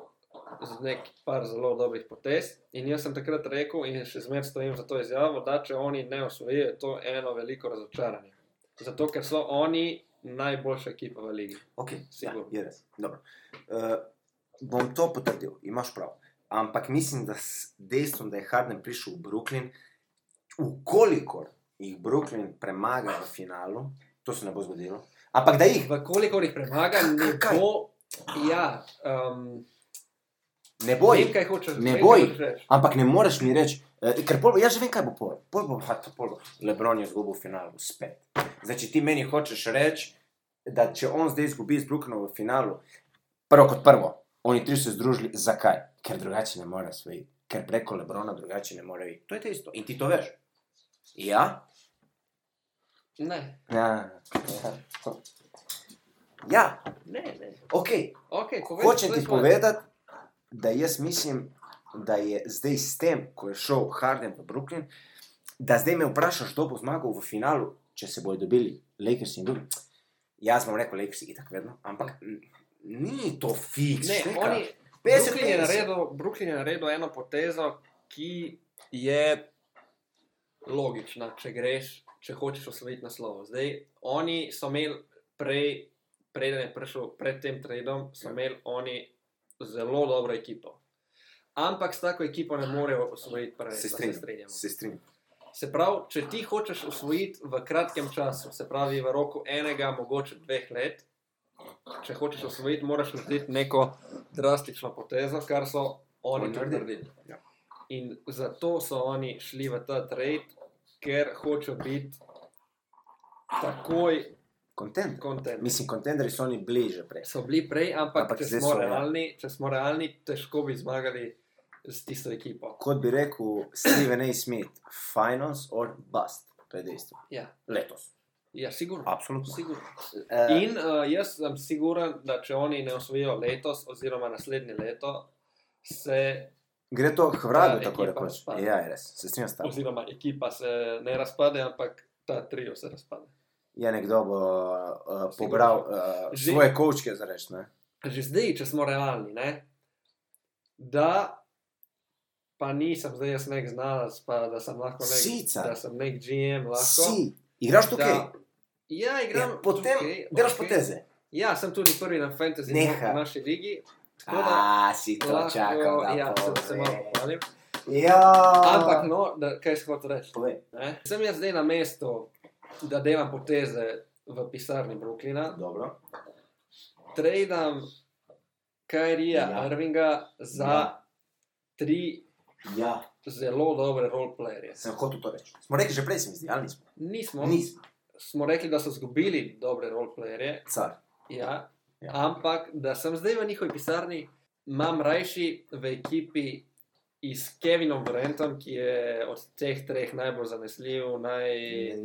[SPEAKER 2] z nek par zelo dobrih potez. In jaz sem takrat rekel, in še zmeraj stojim za to izjavo, da če oni ne osvojijo, je to eno veliko razočaranje. Zato, ker so oni najboljša ekipa v ligi.
[SPEAKER 1] Ok, ja,
[SPEAKER 2] Sigurno.
[SPEAKER 1] je res. Dobro. Uh, bom to potrdil, imaš prav. Ampak mislim, da s dejstvom, da je Harden prišel v Brooklyn, ukolikor jih Brooklyn premaga v finalu, to se ne bo zgodilo, ampak da jih
[SPEAKER 2] Vkolikor jih premaga, ne
[SPEAKER 1] Kaj?
[SPEAKER 2] bo. Ja, um,
[SPEAKER 1] ne bo
[SPEAKER 2] vem,
[SPEAKER 1] jih.
[SPEAKER 2] kaj hočeš
[SPEAKER 1] Ne
[SPEAKER 2] vem,
[SPEAKER 1] bo
[SPEAKER 2] kaj
[SPEAKER 1] jih.
[SPEAKER 2] hočeš reči.
[SPEAKER 1] Ampak ne moreš mi reči, eh, ker pol, bo- jaz že vem, kaj bo pol. Pol bo, ha, to pol bo. Lebron je izgubil v finalu, spet. Zdaj, če ti meni hočeš reči, da če on zdaj izgubi z Brooklynom v finalu, prvo kot prvo, oni tri so se združili, zakaj? Ker drugače ne more svoji, ker preko Lebrona drugače ne more iti. To je to isto in ti to veš. Ja,
[SPEAKER 2] Ne,
[SPEAKER 1] ja, ja
[SPEAKER 2] ne, ne.
[SPEAKER 1] ok.
[SPEAKER 2] Okay, povej,
[SPEAKER 1] Hočem
[SPEAKER 2] povej
[SPEAKER 1] ti
[SPEAKER 2] svoje.
[SPEAKER 1] povedati, da jaz mislim, da je zdaj s tem, ko je šel Harden v Brooklyn, da zdaj me vprašaš, kdo bo zmagal v finalu, če se bodo dobili Lakers in drugi. Jaz bom rekel, Lakers je tako vedno, ampak n- ni to fiks.
[SPEAKER 2] Ne,
[SPEAKER 1] štekam.
[SPEAKER 2] oni,
[SPEAKER 1] 50,
[SPEAKER 2] Brooklyn, je
[SPEAKER 1] 50.
[SPEAKER 2] naredil, Brooklyn je naredil eno potezo, ki je logična, če greš, če hočeš osvojiti naslov. Zdaj, oni so imeli prej, preden je prišel pred tem tradom,
[SPEAKER 1] Ja.
[SPEAKER 2] so imeli oni zelo dobro ekipo. Ampak s tako ekipo ne morejo osvojiti
[SPEAKER 1] Se
[SPEAKER 2] prvenstva, se
[SPEAKER 1] strinjam.
[SPEAKER 2] strinjamo.
[SPEAKER 1] Se strinjam.
[SPEAKER 2] Se pravi, če ti hočeš usvojiti v kratkem času, se pravi v roku enega, mogoče dveh let, če hočeš usvojiti, moraš narediti neko drastično potezo, kar so oni
[SPEAKER 1] Oni
[SPEAKER 2] tudi
[SPEAKER 1] naredili.
[SPEAKER 2] naredili.
[SPEAKER 1] Ja.
[SPEAKER 2] In zato so oni šli v ta trade, ker hočejo biti takoj
[SPEAKER 1] Content.
[SPEAKER 2] kontent.
[SPEAKER 1] Mislim, kontenderji so oni bliže prej.
[SPEAKER 2] So bili prej, ampak,
[SPEAKER 1] Ampak
[SPEAKER 2] ampak če,
[SPEAKER 1] zdaj
[SPEAKER 2] smo
[SPEAKER 1] so, ja.
[SPEAKER 2] realni, če smo realni, težko bi zmagali s tisto ekipo.
[SPEAKER 1] Kot bi rekel Steven A. Smith, finals or bust. To je dejstvo.
[SPEAKER 2] Ja,
[SPEAKER 1] Letos.
[SPEAKER 2] ja sigurno.
[SPEAKER 1] Absolutno.
[SPEAKER 2] sigurno.
[SPEAKER 1] Eh,
[SPEAKER 2] In uh, jaz sem siguren, da če oni ne osvojijo letos, oziroma naslednje leto, se,
[SPEAKER 1] Gre to k vragu,
[SPEAKER 2] Ta
[SPEAKER 1] tako
[SPEAKER 2] ekipa
[SPEAKER 1] rekoč.
[SPEAKER 2] razpada.
[SPEAKER 1] Ja, je res. Se strinjam s tabo.
[SPEAKER 2] oziroma ekipa se ne razpade, ampak ta trio se razpade.
[SPEAKER 1] Ja, nekdo bo uh,
[SPEAKER 2] Sigurno.
[SPEAKER 1] pobral uh,
[SPEAKER 2] Že-
[SPEAKER 1] svoje kočke, za reč. Ne?
[SPEAKER 2] Že zdaj, če smo realni, ne, da pa nisem zdaj jaz nek znalec, pa da sem lahko nek,
[SPEAKER 1] Sicer.
[SPEAKER 2] da sem nek GM lahko.
[SPEAKER 1] Si, igraš tukaj,
[SPEAKER 2] Da, ja, igram.
[SPEAKER 1] ja, potem
[SPEAKER 2] tukaj,
[SPEAKER 1] delaš
[SPEAKER 2] ok.
[SPEAKER 1] poteze.
[SPEAKER 2] Ja, sem tudi prvi na fantasy
[SPEAKER 1] Neha.
[SPEAKER 2] v naši ligi. Tako da
[SPEAKER 1] A, si to
[SPEAKER 2] lahko,
[SPEAKER 1] čakal, da
[SPEAKER 2] ja, se,
[SPEAKER 1] povem.
[SPEAKER 2] se malo pohvalim.
[SPEAKER 1] Ja,
[SPEAKER 2] Ampak no, da, kaj sem hotel reči.
[SPEAKER 1] Povej.
[SPEAKER 2] Ne? Sem jaz zdaj na mestu, da delam poteze v pisarni Brooklyna,
[SPEAKER 1] Dobro.
[SPEAKER 2] tradam Kajrija
[SPEAKER 1] Ja.
[SPEAKER 2] ja. Irvinga za ja.
[SPEAKER 1] Ja.
[SPEAKER 2] tri
[SPEAKER 1] Ja,
[SPEAKER 2] zelo dobre roleplayerje.
[SPEAKER 1] sem hotel to reči. Smo rekli že prej, se mi zdi, ali nismo?
[SPEAKER 2] Nismo,
[SPEAKER 1] Nismo,
[SPEAKER 2] smo rekli, da so izgubili dobre roleplayerje,
[SPEAKER 1] car.
[SPEAKER 2] ja,
[SPEAKER 1] Ja.
[SPEAKER 2] ja. ampak da sem zdaj v njihovi pisarni, imam rajši v ekipi. I s Kevinom Brentom, ki je od teh treh najbolj zanesljiv, naj,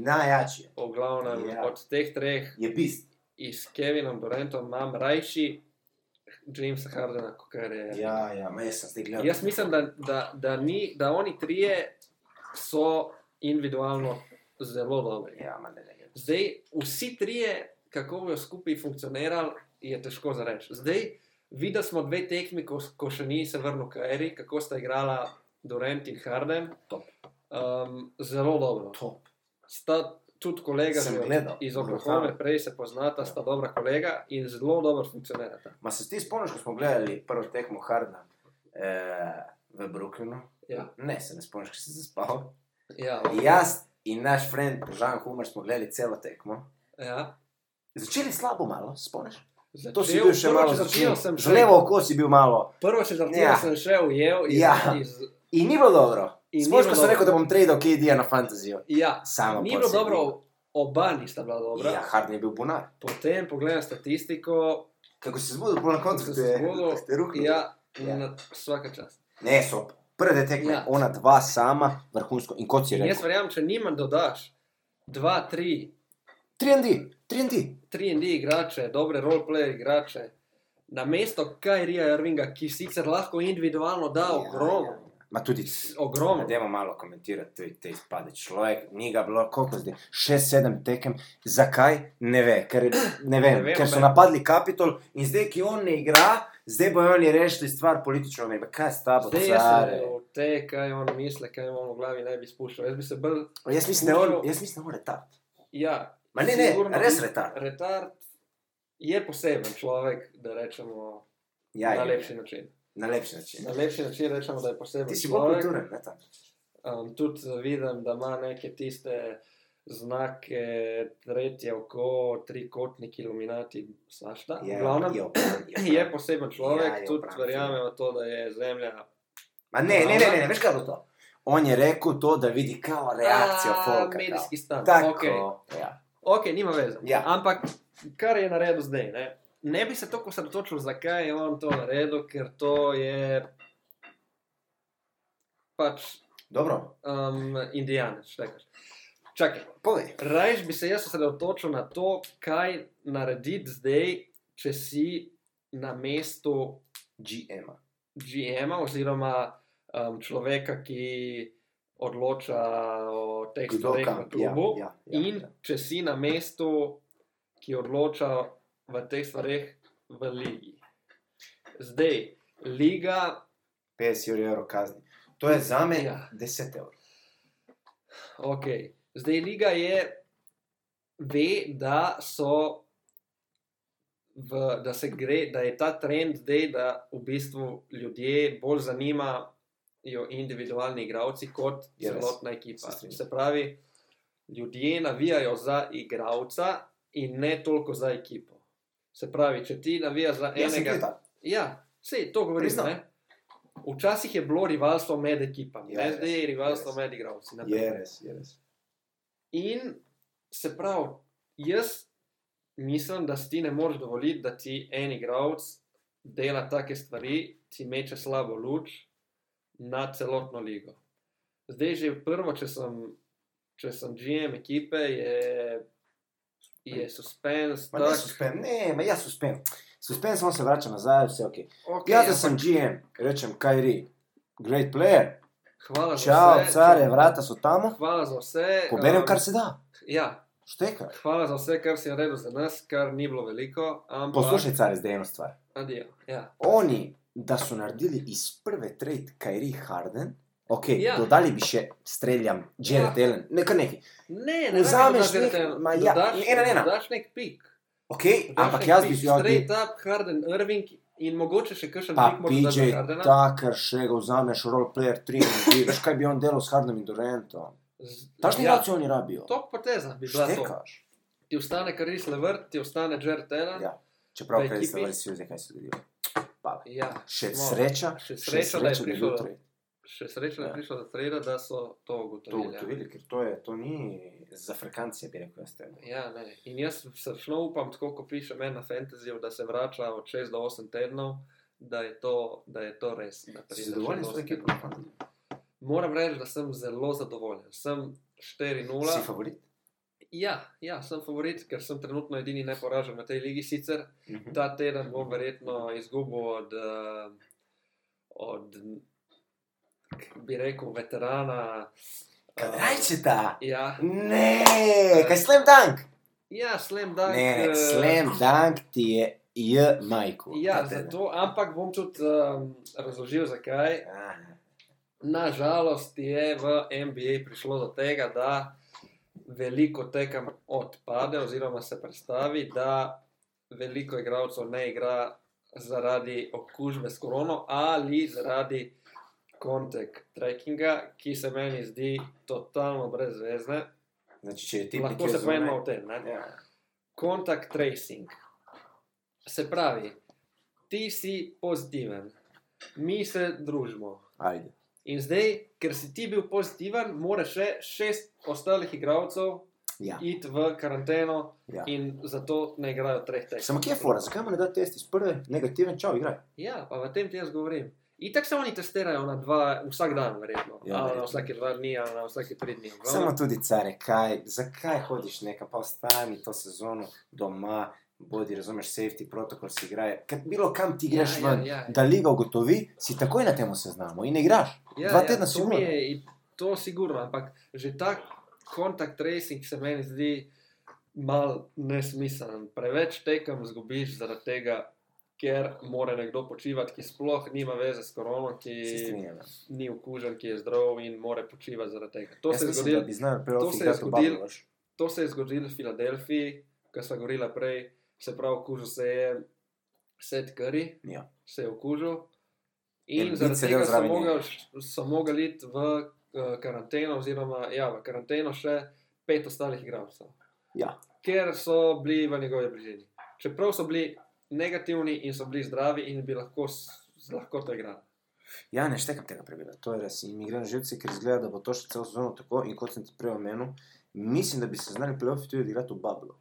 [SPEAKER 1] Najjači je.
[SPEAKER 2] v glavnem,
[SPEAKER 1] Ja.
[SPEAKER 2] yeah. od teh treh
[SPEAKER 1] Je bist.
[SPEAKER 2] i s Kevinom Durantom imam rajši Jamesa Hardena, kot je.
[SPEAKER 1] Ja, ja, ma jaz sem zdaj gledal.
[SPEAKER 2] Jaz mislim, da, da, da, ni, da oni trije so individualno zelo dobri.
[SPEAKER 1] Ja, ma ne, ne, ne.
[SPEAKER 2] Zdaj, vsi trije, kako bojo skupaj funkcionirali, je težko za reči. Zdaj, videli smo dve tekmi, ko, ko še ni se vrnil Kairi, kako sta igrala Durant in Harden.
[SPEAKER 1] Top.
[SPEAKER 2] Um, zelo dobro.
[SPEAKER 1] Top.
[SPEAKER 2] Sta tudi kolega
[SPEAKER 1] Sem
[SPEAKER 2] že
[SPEAKER 1] gledal.
[SPEAKER 2] iz Oklahome, prej se poznata, sta dobra kolega in zelo dobro funkcionirata.
[SPEAKER 1] Ma se ti spomniš, ko smo gledali prvo tekmo Hardna eh, v Brooklynu?
[SPEAKER 2] Ja.
[SPEAKER 1] Ne, se ne spomniš, ko si zaspal.
[SPEAKER 2] Ja,
[SPEAKER 1] Jaz in naš friend Žan Humar smo gledali celo tekmo.
[SPEAKER 2] ja.
[SPEAKER 1] Začeli slabo malo, se spomniš?
[SPEAKER 2] Začel,
[SPEAKER 1] To si bil še
[SPEAKER 2] prvo,
[SPEAKER 1] malo
[SPEAKER 2] če začel, sem
[SPEAKER 1] začel.
[SPEAKER 2] še,
[SPEAKER 1] Že levo oko si bil malo.
[SPEAKER 2] prvo, če začel,
[SPEAKER 1] Ja.
[SPEAKER 2] ja. sem še ujel. Iz,
[SPEAKER 1] Ja.
[SPEAKER 2] Iz,
[SPEAKER 1] In ni bilo dobro.
[SPEAKER 2] In ni
[SPEAKER 1] Spomniš, ko
[SPEAKER 2] bilo
[SPEAKER 1] sem
[SPEAKER 2] dobro.
[SPEAKER 1] rekel, da bom tradal KD-ja na fantazijo.
[SPEAKER 2] ja.
[SPEAKER 1] Samo
[SPEAKER 2] Ni
[SPEAKER 1] pol
[SPEAKER 2] bilo
[SPEAKER 1] se je
[SPEAKER 2] dobro, oba nista bila dobra.
[SPEAKER 1] Ja, Harden je bil bunar.
[SPEAKER 2] Potem pogledam statistiko.
[SPEAKER 1] Kako si se zbudil, pol na koncu,
[SPEAKER 2] ko
[SPEAKER 1] ko
[SPEAKER 2] sem
[SPEAKER 1] te,
[SPEAKER 2] zbudil,
[SPEAKER 1] ko te ruhnil.
[SPEAKER 2] Ja,
[SPEAKER 1] Ja.
[SPEAKER 2] ja. Na, vsaka čast.
[SPEAKER 1] Ne, so prve tekme, ja.
[SPEAKER 2] Ja.
[SPEAKER 1] ona dva sama, vrhunsko. In kot si
[SPEAKER 2] Jaz
[SPEAKER 1] rekel,
[SPEAKER 2] verjamem, če njima dodaš 2, 3,
[SPEAKER 1] 3 and D, 3 and D.
[SPEAKER 2] 3 in D igrače, dobre roleplay igrače. Na mesto Kajrija Irvinga, ki sicer lahko individualno da ogromno,
[SPEAKER 1] Ja, ja. Ma tudi
[SPEAKER 2] ogromno.
[SPEAKER 1] Dajmo malo komentirati tudi te izpade. Človek ni ga bilo, koliko zdaj, šest, sedem tekem, zakaj ne ve, ker, ne vem,
[SPEAKER 2] Ne
[SPEAKER 1] ne
[SPEAKER 2] vem,
[SPEAKER 1] ker so
[SPEAKER 2] ne.
[SPEAKER 1] napadli Kapitol in zdaj, ki on ne igra, zdaj bojo oni rešili stvar politično. Ne, kaj s tabo,
[SPEAKER 2] Zdaj jaz sem
[SPEAKER 1] care?
[SPEAKER 2] o te, kaj on misli, kaj imam v glavi, ne bi spuščal. Jaz bi se bolj,
[SPEAKER 1] Jaz mislim, da je on- jaz mislim, da je on retard.
[SPEAKER 2] ja.
[SPEAKER 1] Ma ne, ne,
[SPEAKER 2] sigurno
[SPEAKER 1] res
[SPEAKER 2] bi-
[SPEAKER 1] retard.
[SPEAKER 2] Retard je poseben človek, da rečemo
[SPEAKER 1] Ja,
[SPEAKER 2] na
[SPEAKER 1] je.
[SPEAKER 2] lepši način.
[SPEAKER 1] Na lepši način.
[SPEAKER 2] Na lepši način rečemo, da je poseben
[SPEAKER 1] Ti si bolj
[SPEAKER 2] človek.
[SPEAKER 1] kulturen, ne tam.
[SPEAKER 2] Um, tudi vidim, da ima neke tiste znake, tretje oko, trikotnik, iluminati, sašta.
[SPEAKER 1] Je,
[SPEAKER 2] v glavnem,
[SPEAKER 1] je opran,
[SPEAKER 2] je poseben človek,
[SPEAKER 1] Ja, je
[SPEAKER 2] tudi
[SPEAKER 1] opran.
[SPEAKER 2] verjamem v to, da je zemlja
[SPEAKER 1] Ma ne, ne, ne, ne, ne, veš kaj je bilo to? On je rekel to, da vidi kao reakcijo
[SPEAKER 2] A,
[SPEAKER 1] folka. kao.
[SPEAKER 2] Medijski stan.
[SPEAKER 1] Tako,
[SPEAKER 2] Okay.
[SPEAKER 1] ja.
[SPEAKER 2] ok, nima veze.
[SPEAKER 1] Ja.
[SPEAKER 2] Ampak kar je naredil zdaj, ne, ne bi se tako osredotočil, zakaj je on to naredil, ker to je pač
[SPEAKER 1] Dobro,
[SPEAKER 2] um, indijanec. šta kažeš. Čakaj,
[SPEAKER 1] povej.
[SPEAKER 2] rajš bi se jaz osredotočil na to, kaj narediti zdaj, če si na mestu
[SPEAKER 1] GM-a.
[SPEAKER 2] GM-a oziroma um, človeka, ki odloča o teh
[SPEAKER 1] Kdo
[SPEAKER 2] stvareh
[SPEAKER 1] kam?
[SPEAKER 2] na klubu.
[SPEAKER 1] Ja, ja, ja,
[SPEAKER 2] In
[SPEAKER 1] ja.
[SPEAKER 2] če si na mestu, ki odloča v teh stvareh v ligi. Zdaj, liga,
[SPEAKER 1] 50 evrov kazni. To je za me
[SPEAKER 2] Ja.
[SPEAKER 1] 10 evrov.
[SPEAKER 2] ok, zdaj liga je, ve, da so. V, da se gre, da je ta trend zdaj, da v bistvu ljudje bolj zanimajo individualni igravci kot
[SPEAKER 1] Je res.
[SPEAKER 2] celotna
[SPEAKER 1] Se
[SPEAKER 2] ekipa.
[SPEAKER 1] strinjam.
[SPEAKER 2] Se pravi, ljudje navijajo za igravca in ne toliko za ekipo. Se pravi, če ti navijaš za
[SPEAKER 1] Ja, sem
[SPEAKER 2] enega,
[SPEAKER 1] bil tam.
[SPEAKER 2] Ja, vse to govorim.
[SPEAKER 1] Priznam.
[SPEAKER 2] ne. Včasih je bilo rivalstvo med ekipami,
[SPEAKER 1] Je
[SPEAKER 2] ne?
[SPEAKER 1] res,
[SPEAKER 2] zdaj je rivalstvo
[SPEAKER 1] je
[SPEAKER 2] med igravci. na
[SPEAKER 1] Je
[SPEAKER 2] primer.
[SPEAKER 1] res, je res.
[SPEAKER 2] In se pravi, jaz mislim, da si ti ne moreš dovoliti, da ti en igralec dela take stvari, ti meče slabo luč na celotno ligo. Zdaj, že prvo, če sem, če sem GM ekipe, je, je suspenz.
[SPEAKER 1] Ma ne,
[SPEAKER 2] tak,
[SPEAKER 1] suspend, ne, ma ja suspend. Suspend samo se vrača nazaj, vse ok.
[SPEAKER 2] okej,
[SPEAKER 1] Jaz, da
[SPEAKER 2] ampak
[SPEAKER 1] sem GM, rečem Kajri, great player,
[SPEAKER 2] Hvala za
[SPEAKER 1] čau,
[SPEAKER 2] vse.
[SPEAKER 1] care, vrata so tamo,
[SPEAKER 2] Hvala za vse.
[SPEAKER 1] poberem
[SPEAKER 2] um,
[SPEAKER 1] kar se da,
[SPEAKER 2] Ja,
[SPEAKER 1] štekaj.
[SPEAKER 2] hvala za vse, kar si naredil za nas, kar ni bilo veliko. Ampak,
[SPEAKER 1] Poslušaj, care, zdaj eno stvar.
[SPEAKER 2] Adijo, ja.
[SPEAKER 1] Oni, da su naredili iz prve trade Kajri Harden, ok,
[SPEAKER 2] Ja.
[SPEAKER 1] dodali bi še, streljam, Jared
[SPEAKER 2] Ja.
[SPEAKER 1] Allen, nekaj neki.
[SPEAKER 2] Ne, ne,
[SPEAKER 1] Vzameš
[SPEAKER 2] ne,
[SPEAKER 1] nek- ma ja, ena, ena.
[SPEAKER 2] Daš nek pik.
[SPEAKER 1] Ok,
[SPEAKER 2] Daš
[SPEAKER 1] ampak
[SPEAKER 2] nek
[SPEAKER 1] jaz
[SPEAKER 2] pik,
[SPEAKER 1] bi si jaz bi
[SPEAKER 2] Straight up, Harden, Irving in mogoče še kakšen
[SPEAKER 1] Pa
[SPEAKER 2] pik morda
[SPEAKER 1] PJ
[SPEAKER 2] za Hardena.
[SPEAKER 1] Tucker še ga vzameš, roleplayer 3, veš kaj bi on delal s Hardenom in Durantom.
[SPEAKER 2] Z-
[SPEAKER 1] Tašni
[SPEAKER 2] ja,
[SPEAKER 1] igrači oni rabijo.
[SPEAKER 2] Top poteza bi bila to.
[SPEAKER 1] Štekaš.
[SPEAKER 2] Ti ostane Karis Levert, ti ostane Jared Allen.
[SPEAKER 1] Ja. Čeprav
[SPEAKER 2] V
[SPEAKER 1] prej
[SPEAKER 2] ekipi?
[SPEAKER 1] ste vrsi vse, kaj se zgodi. Pale.
[SPEAKER 2] ja
[SPEAKER 1] Še
[SPEAKER 2] smo-
[SPEAKER 1] sreča, še
[SPEAKER 2] še sreča, da
[SPEAKER 1] sreča, da
[SPEAKER 2] je
[SPEAKER 1] je
[SPEAKER 2] prišlo
[SPEAKER 1] bilo
[SPEAKER 2] do-
[SPEAKER 1] trade.
[SPEAKER 2] Še srečo, da je
[SPEAKER 1] Ja.
[SPEAKER 2] prišlo do treda, da so to
[SPEAKER 1] To
[SPEAKER 2] ugotovili. ja.
[SPEAKER 1] ugotovili, ker to, je, to ni za frekvencije, bi rekel jaz tebe.
[SPEAKER 2] Ja, ne. In jaz srčno upam, tako kot piše meni na fantasyju, da se vrača od 6 do 8 tednov, da je to, da je to res. da pride
[SPEAKER 1] Si zadovoljen
[SPEAKER 2] še
[SPEAKER 1] s
[SPEAKER 2] do
[SPEAKER 1] to
[SPEAKER 2] osem
[SPEAKER 1] ekipo?
[SPEAKER 2] tednov. Moram reči, da sem zelo zadovoljen. Sem
[SPEAKER 1] Si
[SPEAKER 2] 4-0.
[SPEAKER 1] favorit?
[SPEAKER 2] Ja, ja, sem favorit, ker sem trenutno edini neporažen v tej ligi. Sicer
[SPEAKER 1] Mhm.
[SPEAKER 2] ta teden bom verjetno izgubil od, eh, od k- bi rekel, veterana. eh,
[SPEAKER 1] Krajčita!
[SPEAKER 2] Ja,
[SPEAKER 1] Ne,
[SPEAKER 2] ehm,
[SPEAKER 1] kaj slam dunk?
[SPEAKER 2] ja slem da.
[SPEAKER 1] Ne, slam dunk ti je j majku.
[SPEAKER 2] Ja, zato, ampak bom tudi um, razložil, zakaj.
[SPEAKER 1] Ja,
[SPEAKER 2] Nažalost je v NBA prišlo do tega, da veliko tekem odpade, oziroma se predstavi, da veliko igralcev ne igra zaradi okužbe s korono ali zaradi kontakt trackinga, ki se meni zdi totalno brezvezne.
[SPEAKER 1] Znači, če je ti
[SPEAKER 2] Lahko se poenimo o tem. Ne?
[SPEAKER 1] Ja.
[SPEAKER 2] Contact tracing. Se pravi, ti si pozitiven, mi se družimo.
[SPEAKER 1] Ajde.
[SPEAKER 2] In zdaj, ker si ti bil pozitiven, mora še šest ostalih igralcev
[SPEAKER 1] Ja,
[SPEAKER 2] iti v karanteno
[SPEAKER 1] ja.
[SPEAKER 2] in zato ne igrajo treh tekem.
[SPEAKER 1] Samo kje je fora, zakaj mu ne da test iz prve, negativen, čau, igraj.
[SPEAKER 2] Ja, pa v tem ti jaz govorim. Itak se oni testirajo na dva, vsak dan, verjetno.
[SPEAKER 1] Ja,
[SPEAKER 2] Ja, ali
[SPEAKER 1] verjetno.
[SPEAKER 2] na vsake dva dni, ali na vsake tri dni. V
[SPEAKER 1] Samo
[SPEAKER 2] glavnem,
[SPEAKER 1] tudi care, kaj, zakaj hodiš nekam, pa ostani to sezono doma, bodi, razumeš, safety protokol si igraj. Kad bilo kam ti greš
[SPEAKER 2] Ja, ja,
[SPEAKER 1] ven,
[SPEAKER 2] ja, ja.
[SPEAKER 1] da liga ugotovi, si takoj na temo seznamu in ne igraš.
[SPEAKER 2] Ja,
[SPEAKER 1] Dva
[SPEAKER 2] ja,
[SPEAKER 1] tedna si
[SPEAKER 2] to mi
[SPEAKER 1] umor.
[SPEAKER 2] je in to sigurno, ampak že ta kontakt tracing se meni zdi mal nesmiseln. Preveč tekem zgubiš zaradi tega, ker mora nekdo počivati, ki sploh nima veze s korono,
[SPEAKER 1] Se
[SPEAKER 2] ki
[SPEAKER 1] strinjam. ja.
[SPEAKER 2] ni okužen, ki je zdrav in mora počivati zaradi tega. To
[SPEAKER 1] Jaz
[SPEAKER 2] se je
[SPEAKER 1] mislim,
[SPEAKER 2] zgodilo
[SPEAKER 1] da bi znali prej
[SPEAKER 2] to
[SPEAKER 1] off
[SPEAKER 2] se je
[SPEAKER 1] igrati v
[SPEAKER 2] zgodilo-
[SPEAKER 1] Bablu, veš.
[SPEAKER 2] to se je zgodilo v Filadelfiji, ki smo govorili prej, se pravi, okužil se je Seth Curry,
[SPEAKER 1] Ja.
[SPEAKER 2] se je okužil
[SPEAKER 1] In
[SPEAKER 2] in
[SPEAKER 1] Embiid
[SPEAKER 2] zaradi
[SPEAKER 1] se je del
[SPEAKER 2] tega so
[SPEAKER 1] zraven ja.
[SPEAKER 2] mogli,
[SPEAKER 1] njega.
[SPEAKER 2] so mogli iti v eh, karanteno, oziroma ja, v karanteno še pet ostalih igralcev,
[SPEAKER 1] Ja.
[SPEAKER 2] ker so bili v njegovi bližini. Čeprav so bili negativni in so bili zdravi in bi lahko s z lahkoto igrali.
[SPEAKER 1] ja, ne štekam tega pregleda, to je res. In mi gre na živce, ker izgleda, da bo to še celo sezono tako. In kot sem ti prej omenil, mislim, da bi se znali play-offi tudi odigrati v Bablu.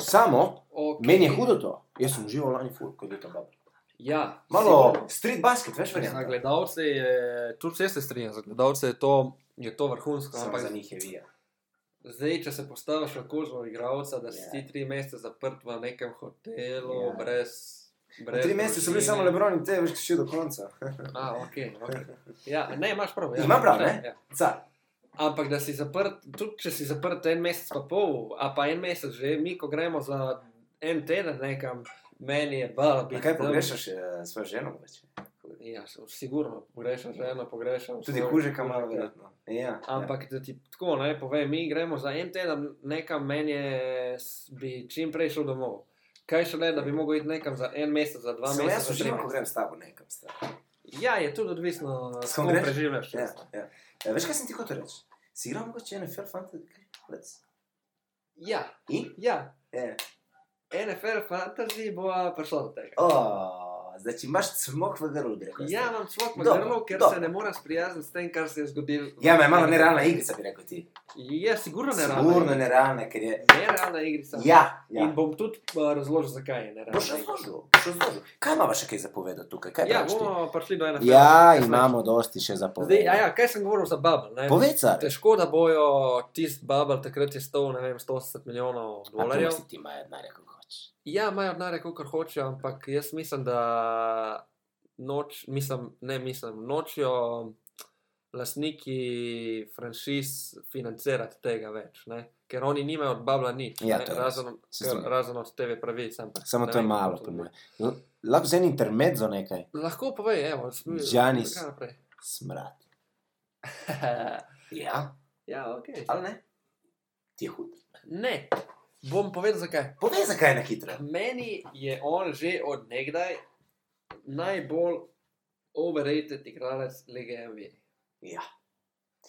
[SPEAKER 1] Samo,
[SPEAKER 2] Okay.
[SPEAKER 1] meni je hudo to. Jaz sem živel lani ful, ko je bil to Bablo.
[SPEAKER 2] Ja,
[SPEAKER 1] Malo street basket, veš,
[SPEAKER 2] Za
[SPEAKER 1] verjamem.
[SPEAKER 2] gledalce je, tudi vse se strinjam, za gledalce je to, je to vrhunsko.
[SPEAKER 1] Samo
[SPEAKER 2] Ampak
[SPEAKER 1] za njih je vija.
[SPEAKER 2] zdaj, če se postaviš na kožo igralca, da si
[SPEAKER 1] Ja.
[SPEAKER 2] yeah. ti tri mesece zaprt v nekem hotelu,
[SPEAKER 1] Ja.
[SPEAKER 2] yeah. brez. brez
[SPEAKER 1] Tri mesece so bili
[SPEAKER 2] družine.
[SPEAKER 1] samo Lebron in te, veš, še do konca. <laughs>
[SPEAKER 2] A, okay, okay. Ja, ne, imaš prav. Ja,
[SPEAKER 1] Imam prav,
[SPEAKER 2] ja,
[SPEAKER 1] ne?
[SPEAKER 2] Ja.
[SPEAKER 1] Car.
[SPEAKER 2] Ampak da si zaprt, tudi če si zaprt en mesec, pa pol, a pa en mesec že, mi ko gremo za en teden nekam, meni je bala
[SPEAKER 1] Na
[SPEAKER 2] biti.
[SPEAKER 1] kaj
[SPEAKER 2] tam.
[SPEAKER 1] pogrešaš eh, svojo ženo? mogoče?
[SPEAKER 2] Ja, sigurno, pogrešam ženo, pogrešam.
[SPEAKER 1] Tudi
[SPEAKER 2] svojo-
[SPEAKER 1] kužeka malo, verjetno. Ja,
[SPEAKER 2] Ampak da ti tako ne povem, mi gremo za en teden, nekam meni je, s- bi čim prej šel domov. Kaj še le, da bi mogel iti nekam za en mesec, za dva
[SPEAKER 1] ja. Samo
[SPEAKER 2] meseca.
[SPEAKER 1] jaz
[SPEAKER 2] za tri
[SPEAKER 1] uživim, ko
[SPEAKER 2] mesece.
[SPEAKER 1] grem s tabo nekam. stari.
[SPEAKER 2] Ja, je tudi odvisno,
[SPEAKER 1] S kom
[SPEAKER 2] kako
[SPEAKER 1] greš?
[SPEAKER 2] preživljaš.
[SPEAKER 1] Ja, ja. E, Veš, kaj sem ti hotel reči? Si igral mogoče NFL fantasy? kaj? Let's.
[SPEAKER 2] ja,
[SPEAKER 1] In?
[SPEAKER 2] ja.
[SPEAKER 1] Ja.
[SPEAKER 2] NFL fantasy bo prišlo do tega.
[SPEAKER 1] O, Zdaj, če imaš smog v grlu, bi rekel.
[SPEAKER 2] Ja, imam svoj
[SPEAKER 1] Dobro,
[SPEAKER 2] model, ker
[SPEAKER 1] dobro.
[SPEAKER 2] se ne morem sprijazniti s tem, kar se je zgodilo.
[SPEAKER 1] Ja, me je malo nerealna igrica, bi rekel ti.
[SPEAKER 2] Ja, sigurno nerealna.
[SPEAKER 1] Sigurno nerealna, ker je...
[SPEAKER 2] Nerealna igrica.
[SPEAKER 1] Ja, ja.
[SPEAKER 2] In bom tudi uh, razložil, zakaj je nerealna.
[SPEAKER 1] Boš
[SPEAKER 2] igrica.
[SPEAKER 1] razložil, boš razložil. Kaj imamo še kaj zapovedati tukaj? Kaj
[SPEAKER 2] Ja,
[SPEAKER 1] praviš ti?
[SPEAKER 2] bomo prišli do ene.
[SPEAKER 1] Ja, imamo dosti še
[SPEAKER 2] Zdaj, a ja,
[SPEAKER 1] zapovedati.
[SPEAKER 2] kaj sem govoril za Bubble?
[SPEAKER 1] no.
[SPEAKER 2] ne?
[SPEAKER 1] Povej, car.
[SPEAKER 2] Težko, da bojo tisti Bubble takrat je stal, ne vem, 180 milijonov
[SPEAKER 1] A to
[SPEAKER 2] dolarjev.
[SPEAKER 1] si ti maja denarja, kako hočeš.
[SPEAKER 2] Ja, imajo denar, koliko hočejo, ampak jaz mislim, da noč, mislim, ne mislim, nočjo lastniki franšiz financirati tega več, ne? ker oni nimajo od Bubla nič,
[SPEAKER 1] Ja,
[SPEAKER 2] ne?
[SPEAKER 1] to je res.
[SPEAKER 2] razen,
[SPEAKER 1] Se strinjam.
[SPEAKER 2] ker- razen od TV pravic. Ampak,
[SPEAKER 1] Samo
[SPEAKER 2] ne
[SPEAKER 1] to je
[SPEAKER 2] vem,
[SPEAKER 1] malo, po
[SPEAKER 2] kako ja, to bo.
[SPEAKER 1] mojem. L- Lahko z enim intermezzo nekaj,
[SPEAKER 2] Lahko povej, evo, smi-
[SPEAKER 1] Giannis.
[SPEAKER 2] kar naprej. <laughs>
[SPEAKER 1] smrad. Ja,
[SPEAKER 2] ja, ok.
[SPEAKER 1] ali ne? Ti je hud.
[SPEAKER 2] Ne, bom povedal zakaj.
[SPEAKER 1] Povej, zakaj je na hitro.
[SPEAKER 2] Meni je on že odnegdaj najbolj overrated igralec lige NBA.
[SPEAKER 1] Ja.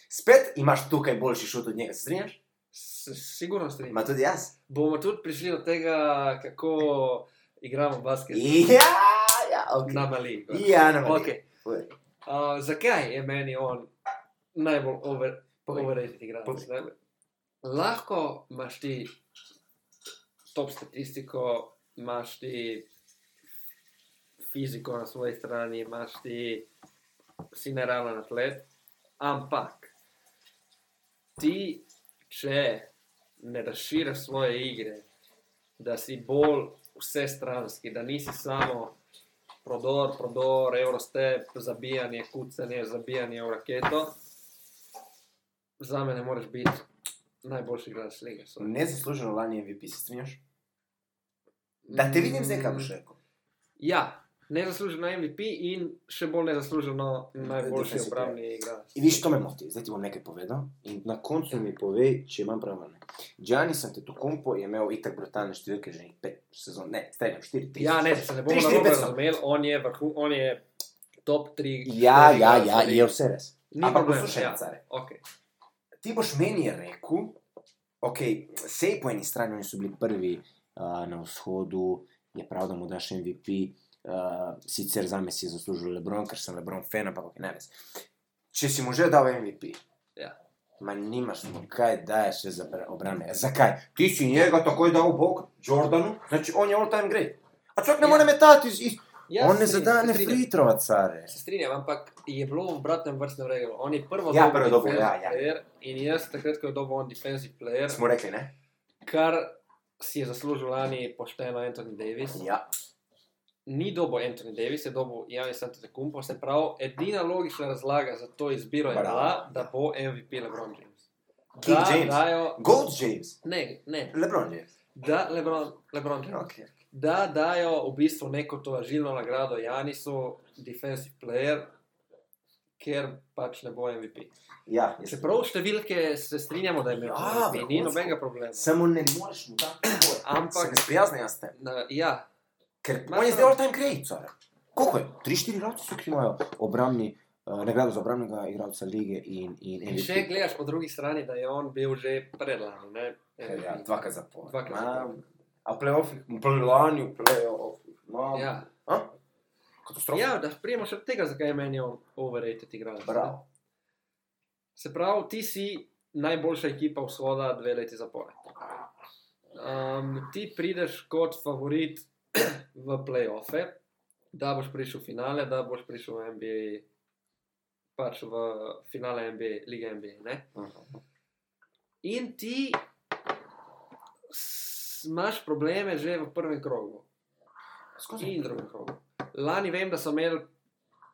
[SPEAKER 1] Spet imaš tukaj boljši šut od njega, se strinjaš?
[SPEAKER 2] S- Sigurno strinjam.
[SPEAKER 1] Ma tudi jaz.
[SPEAKER 2] Bomo tudi prišli do tega, kako igramo basket
[SPEAKER 1] Ja, ja, ok.
[SPEAKER 2] na mali.
[SPEAKER 1] Ja, na mali.
[SPEAKER 2] Okay.
[SPEAKER 1] Povej.
[SPEAKER 2] Uh, zakaj je meni on najbolj over,
[SPEAKER 1] Povej.
[SPEAKER 2] overrated igralec?
[SPEAKER 1] Povej.
[SPEAKER 2] ne? Lahko imaš ti top statistiko, imaš ti fiziko na svoji strani, imaš ti si naravni atlet, ampak ti, če ne razširiš svoje igre, da si bolj vsestranski, da nisi samo prodor, prodor, eurostep, zabijanje, kucanje, zabijanje v raketo, za me ne moreš biti najboljši igralec lige. sorry.
[SPEAKER 1] Nezasluženo lani MVP, se strinjaš? Da te vidim zdaj, kaj boš rekel.
[SPEAKER 2] Ja, nezasluženo MVP in še bolj nezasluženo najboljši
[SPEAKER 1] Defensive
[SPEAKER 2] obrambni igralec.
[SPEAKER 1] In viš, to me moti, zdaj ti bom nekaj povedal. In na koncu mi povej, če imam prav. ali ne. Gianni Santetukumpo je imel itak brutalne številke že nekaj pet sezon, ne, strenjam, štiri, tri.
[SPEAKER 2] Ja, ne, da se ne bomo
[SPEAKER 1] Tri, štiri,
[SPEAKER 2] narobe
[SPEAKER 1] petsto.
[SPEAKER 2] razumeli, on je, vrhu, on je top 3.
[SPEAKER 1] Ja, ja, ja, je vse res.
[SPEAKER 2] Ni
[SPEAKER 1] Ampak
[SPEAKER 2] problema,
[SPEAKER 1] poslušaj,
[SPEAKER 2] ja.
[SPEAKER 1] ja. care.
[SPEAKER 2] Okay.
[SPEAKER 1] Ti boš meni rekel, ok, sej po eni strani oni so bili prvi uh, na vzhodu, je prav, da mu daš MVP, uh, sicer za me si je zaslužil Lebron, ker sem Lebron fan, ampak ok, ne res. Če si mu že dal MVP,
[SPEAKER 2] Ja.
[SPEAKER 1] ma nimaš mu kaj daješ še za bra- obrambe. Zakaj? Ti si njega takoj dal v bok Jordanu, znači on je all time great. A človek ne
[SPEAKER 2] Ja.
[SPEAKER 1] more metati iz... iz...
[SPEAKER 2] Ja,
[SPEAKER 1] on ne
[SPEAKER 2] se
[SPEAKER 1] zada
[SPEAKER 2] strinjam,
[SPEAKER 1] ne
[SPEAKER 2] se strinjam.
[SPEAKER 1] fritrova care.
[SPEAKER 2] Se strinjam, ampak je bilo v obratnem vrstnem redu. On je prvo
[SPEAKER 1] Ja,
[SPEAKER 2] dobil
[SPEAKER 1] prvo dobil,
[SPEAKER 2] defensive
[SPEAKER 1] ja, ja.
[SPEAKER 2] player in jaz takrat, ko je dobil on defensive player,
[SPEAKER 1] Smo rekli, ne?
[SPEAKER 2] kar si je zaslužil lani pošteno Anthony Davis.
[SPEAKER 1] Ja.
[SPEAKER 2] Ni dobo Anthony Davis, je dobo Janis Antetokounmpo, se pravi, edina logična razlaga za to izbiro je
[SPEAKER 1] Bravo,
[SPEAKER 2] bila,
[SPEAKER 1] ja.
[SPEAKER 2] da bo MVP LeBron James.
[SPEAKER 1] King
[SPEAKER 2] da
[SPEAKER 1] James.
[SPEAKER 2] dajo,
[SPEAKER 1] Gold James.
[SPEAKER 2] ne, ne,
[SPEAKER 1] Lebron James.
[SPEAKER 2] da LeBron, LeBron James.
[SPEAKER 1] Okay.
[SPEAKER 2] da dajo v bistvu neko tožilno nagrado Janisu, defensive player, ker pač ne bo MVP.
[SPEAKER 1] Ja, jaz-
[SPEAKER 2] Čeprav številke se strinjamo, da je imel
[SPEAKER 1] Ja,
[SPEAKER 2] MVP, ni
[SPEAKER 1] vrhunsko.
[SPEAKER 2] nobenega problema.
[SPEAKER 1] Samo ne moreš mu dati tvoje.
[SPEAKER 2] Ampak-
[SPEAKER 1] se ne sprijaznijo s tem.
[SPEAKER 2] Na, ja,
[SPEAKER 1] Ker
[SPEAKER 2] Ma
[SPEAKER 1] on je
[SPEAKER 2] prav.
[SPEAKER 1] zdaj all time great, car. Koliko je? 3-4 roki so, ki imajo obrambni eh, nagrado za obrambnega igralca lige in, in
[SPEAKER 2] In še gledaš po drugi strani, da je on bil že predlani. ne?
[SPEAKER 1] Ja, dvakrat zapored.
[SPEAKER 2] Dvakrat zapored.
[SPEAKER 1] A v playoffih, v lani, v playoffih. No.
[SPEAKER 2] Ja.
[SPEAKER 1] A? Katastrofa.
[SPEAKER 2] ja, da prijemo še od tega, zakaj je meni on overrated igralec. ne?
[SPEAKER 1] Bravo.
[SPEAKER 2] Se pravi, ti si najboljša ekipa vzhoda dve leti zapored. Um, ti prideš kot favorit <clears throat> v playoffe, da boš prišel v finale, da boš prišel v NBA, pač v finale NBA, lige NBA. Ne?
[SPEAKER 1] Mhm.
[SPEAKER 2] In ti s- imaš probleme že v prvem krogu
[SPEAKER 1] Skozi.
[SPEAKER 2] in drugem krogu. Lani vem, da so imeli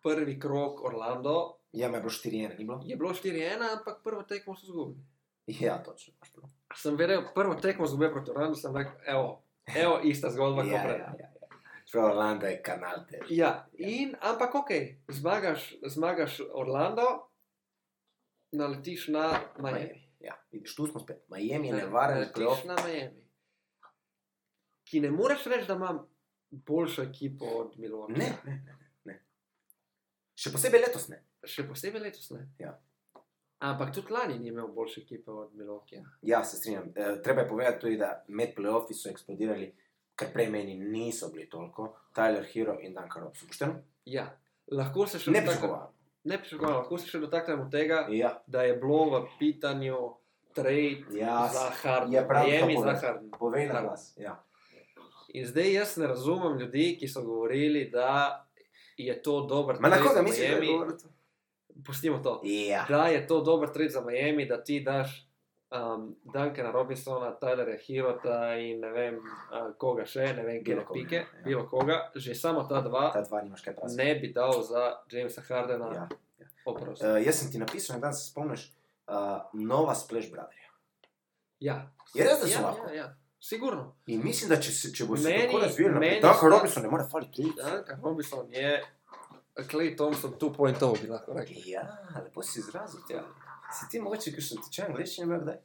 [SPEAKER 2] prvi krog Orlando,
[SPEAKER 1] Ja, me je bilo 4-1, ni bilo?
[SPEAKER 2] je bilo 4-1, ampak prvo tekmo so izgubili.
[SPEAKER 1] Ja, točno. imaš prav.
[SPEAKER 2] sem vedel, prvo tekmo zgubil proti Orlando, sem rekel, evo, evo ista zgodba kot
[SPEAKER 1] Ja,
[SPEAKER 2] prej.
[SPEAKER 1] ja, ja. ja. Čeprav Orlando je kanal te.
[SPEAKER 2] Ja, in ampak ok, zmagaš, zmagaš Orlando, naletiš na Miami. Ja.
[SPEAKER 1] Miami. Ja, vidiš, tu smo spet. Miami je
[SPEAKER 2] Ne,
[SPEAKER 1] nevaren,
[SPEAKER 2] naletiš
[SPEAKER 1] playoff.
[SPEAKER 2] na Miami. Ki ne moreš reči, da imam boljšo ekipo od Milwaukee.
[SPEAKER 1] Ne, ne, ne, ne. Še posebej letos ne.
[SPEAKER 2] Še posebej letos ne.
[SPEAKER 1] Ja.
[SPEAKER 2] Ampak tudi lani ni imel boljše ekipe od Milwaukee.
[SPEAKER 1] Ja, se strinjam. E, treba je povedati tudi, da med playoffi so eksplodirali, ker prej meni niso bili toliko, Tyler Hero in Duncan Robson. Pošteno?
[SPEAKER 2] Ja, lahko se še
[SPEAKER 1] Ne
[SPEAKER 2] dotaknemo-
[SPEAKER 1] pričakovano.
[SPEAKER 2] Ne pričakovano, lahko se še dotaknemo tega,
[SPEAKER 1] Ja,
[SPEAKER 2] da je bilo v pitanju trade
[SPEAKER 1] Ja,
[SPEAKER 2] za Harden,
[SPEAKER 1] je prav
[SPEAKER 2] Miami
[SPEAKER 1] tako,
[SPEAKER 2] za
[SPEAKER 1] ne.
[SPEAKER 2] Harden.
[SPEAKER 1] povej na
[SPEAKER 2] Prav.
[SPEAKER 1] glas. Ja.
[SPEAKER 2] In zdaj jaz ne razumem ljudi, ki so govorili, da je to dober
[SPEAKER 1] Ma na
[SPEAKER 2] trade
[SPEAKER 1] koga
[SPEAKER 2] za
[SPEAKER 1] misliš, da je
[SPEAKER 2] Miami.
[SPEAKER 1] govoril to?
[SPEAKER 2] Pustimo to.
[SPEAKER 1] Ja.
[SPEAKER 2] Da je to dober trade za Miami, da ti daš um, Duncana Robinsona, Tylerja Hirota in ne vem uh, koga še, ne vem, kje
[SPEAKER 1] Bilo
[SPEAKER 2] je
[SPEAKER 1] koga,
[SPEAKER 2] pike,
[SPEAKER 1] ja.
[SPEAKER 2] bilo koga, že samo ta dva.
[SPEAKER 1] Ta dva nimaš kaj prasiti.
[SPEAKER 2] Ne bi dal za Jamesa Hardena, ja.
[SPEAKER 1] Ja.
[SPEAKER 2] oprosti.
[SPEAKER 1] Uh, jaz sem ti napisal, da se spomniš, uh, nova Splash Brotherja.
[SPEAKER 2] Ja.
[SPEAKER 1] Je res, da so
[SPEAKER 2] ja,
[SPEAKER 1] lahko?
[SPEAKER 2] Ja, ja. Sigurno.
[SPEAKER 1] In mislim, da če, se, če bo se
[SPEAKER 2] Meni-
[SPEAKER 1] tako razvijalo,
[SPEAKER 2] meni
[SPEAKER 1] da
[SPEAKER 2] sta-
[SPEAKER 1] Duncan Robinson ne more faliti tri.
[SPEAKER 2] Duncan Robinson je eh, Clay Thompson 2.0, bi lahko rekel.
[SPEAKER 1] Ja, lepo si izrazil. Ja. Si ti mogoče, ker sem tečen angliščine, bil kdaj?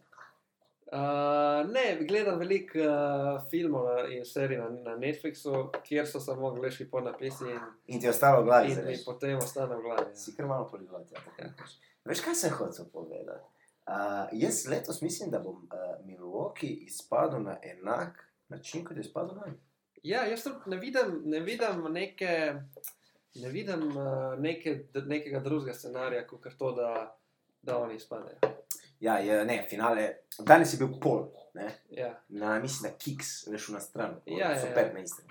[SPEAKER 2] Uh, ne, gledam veliko uh, filmov na- in serij na, na Netflixu, kjer so samo angliški podnapisi in,
[SPEAKER 1] In ti je ostalo v glavi.
[SPEAKER 2] in
[SPEAKER 1] zdaj
[SPEAKER 2] mi
[SPEAKER 1] veš.
[SPEAKER 2] potem ostane v glavi.
[SPEAKER 1] Si kar malo poligot. Ja, tako rečeš. Veš, kaj sem hotel povedati? Uh, jaz letos mislim, da bom uh, Milwaukee izpadel na enak način, kot je izpadel lani.
[SPEAKER 2] Ja, jaz tudi ne vidim, ne vidim neke. Ne vidim uh, neke, d- nekega drugega scenarija, kot je to, da, da oni izpadejo.
[SPEAKER 1] Ja, je, ne, finale. Danes je bil pol, ne?
[SPEAKER 2] Ja.
[SPEAKER 1] na, mislim, na Kiks, veš, na stran,
[SPEAKER 2] Ja, ja,
[SPEAKER 1] so
[SPEAKER 2] ja.
[SPEAKER 1] pet na istem.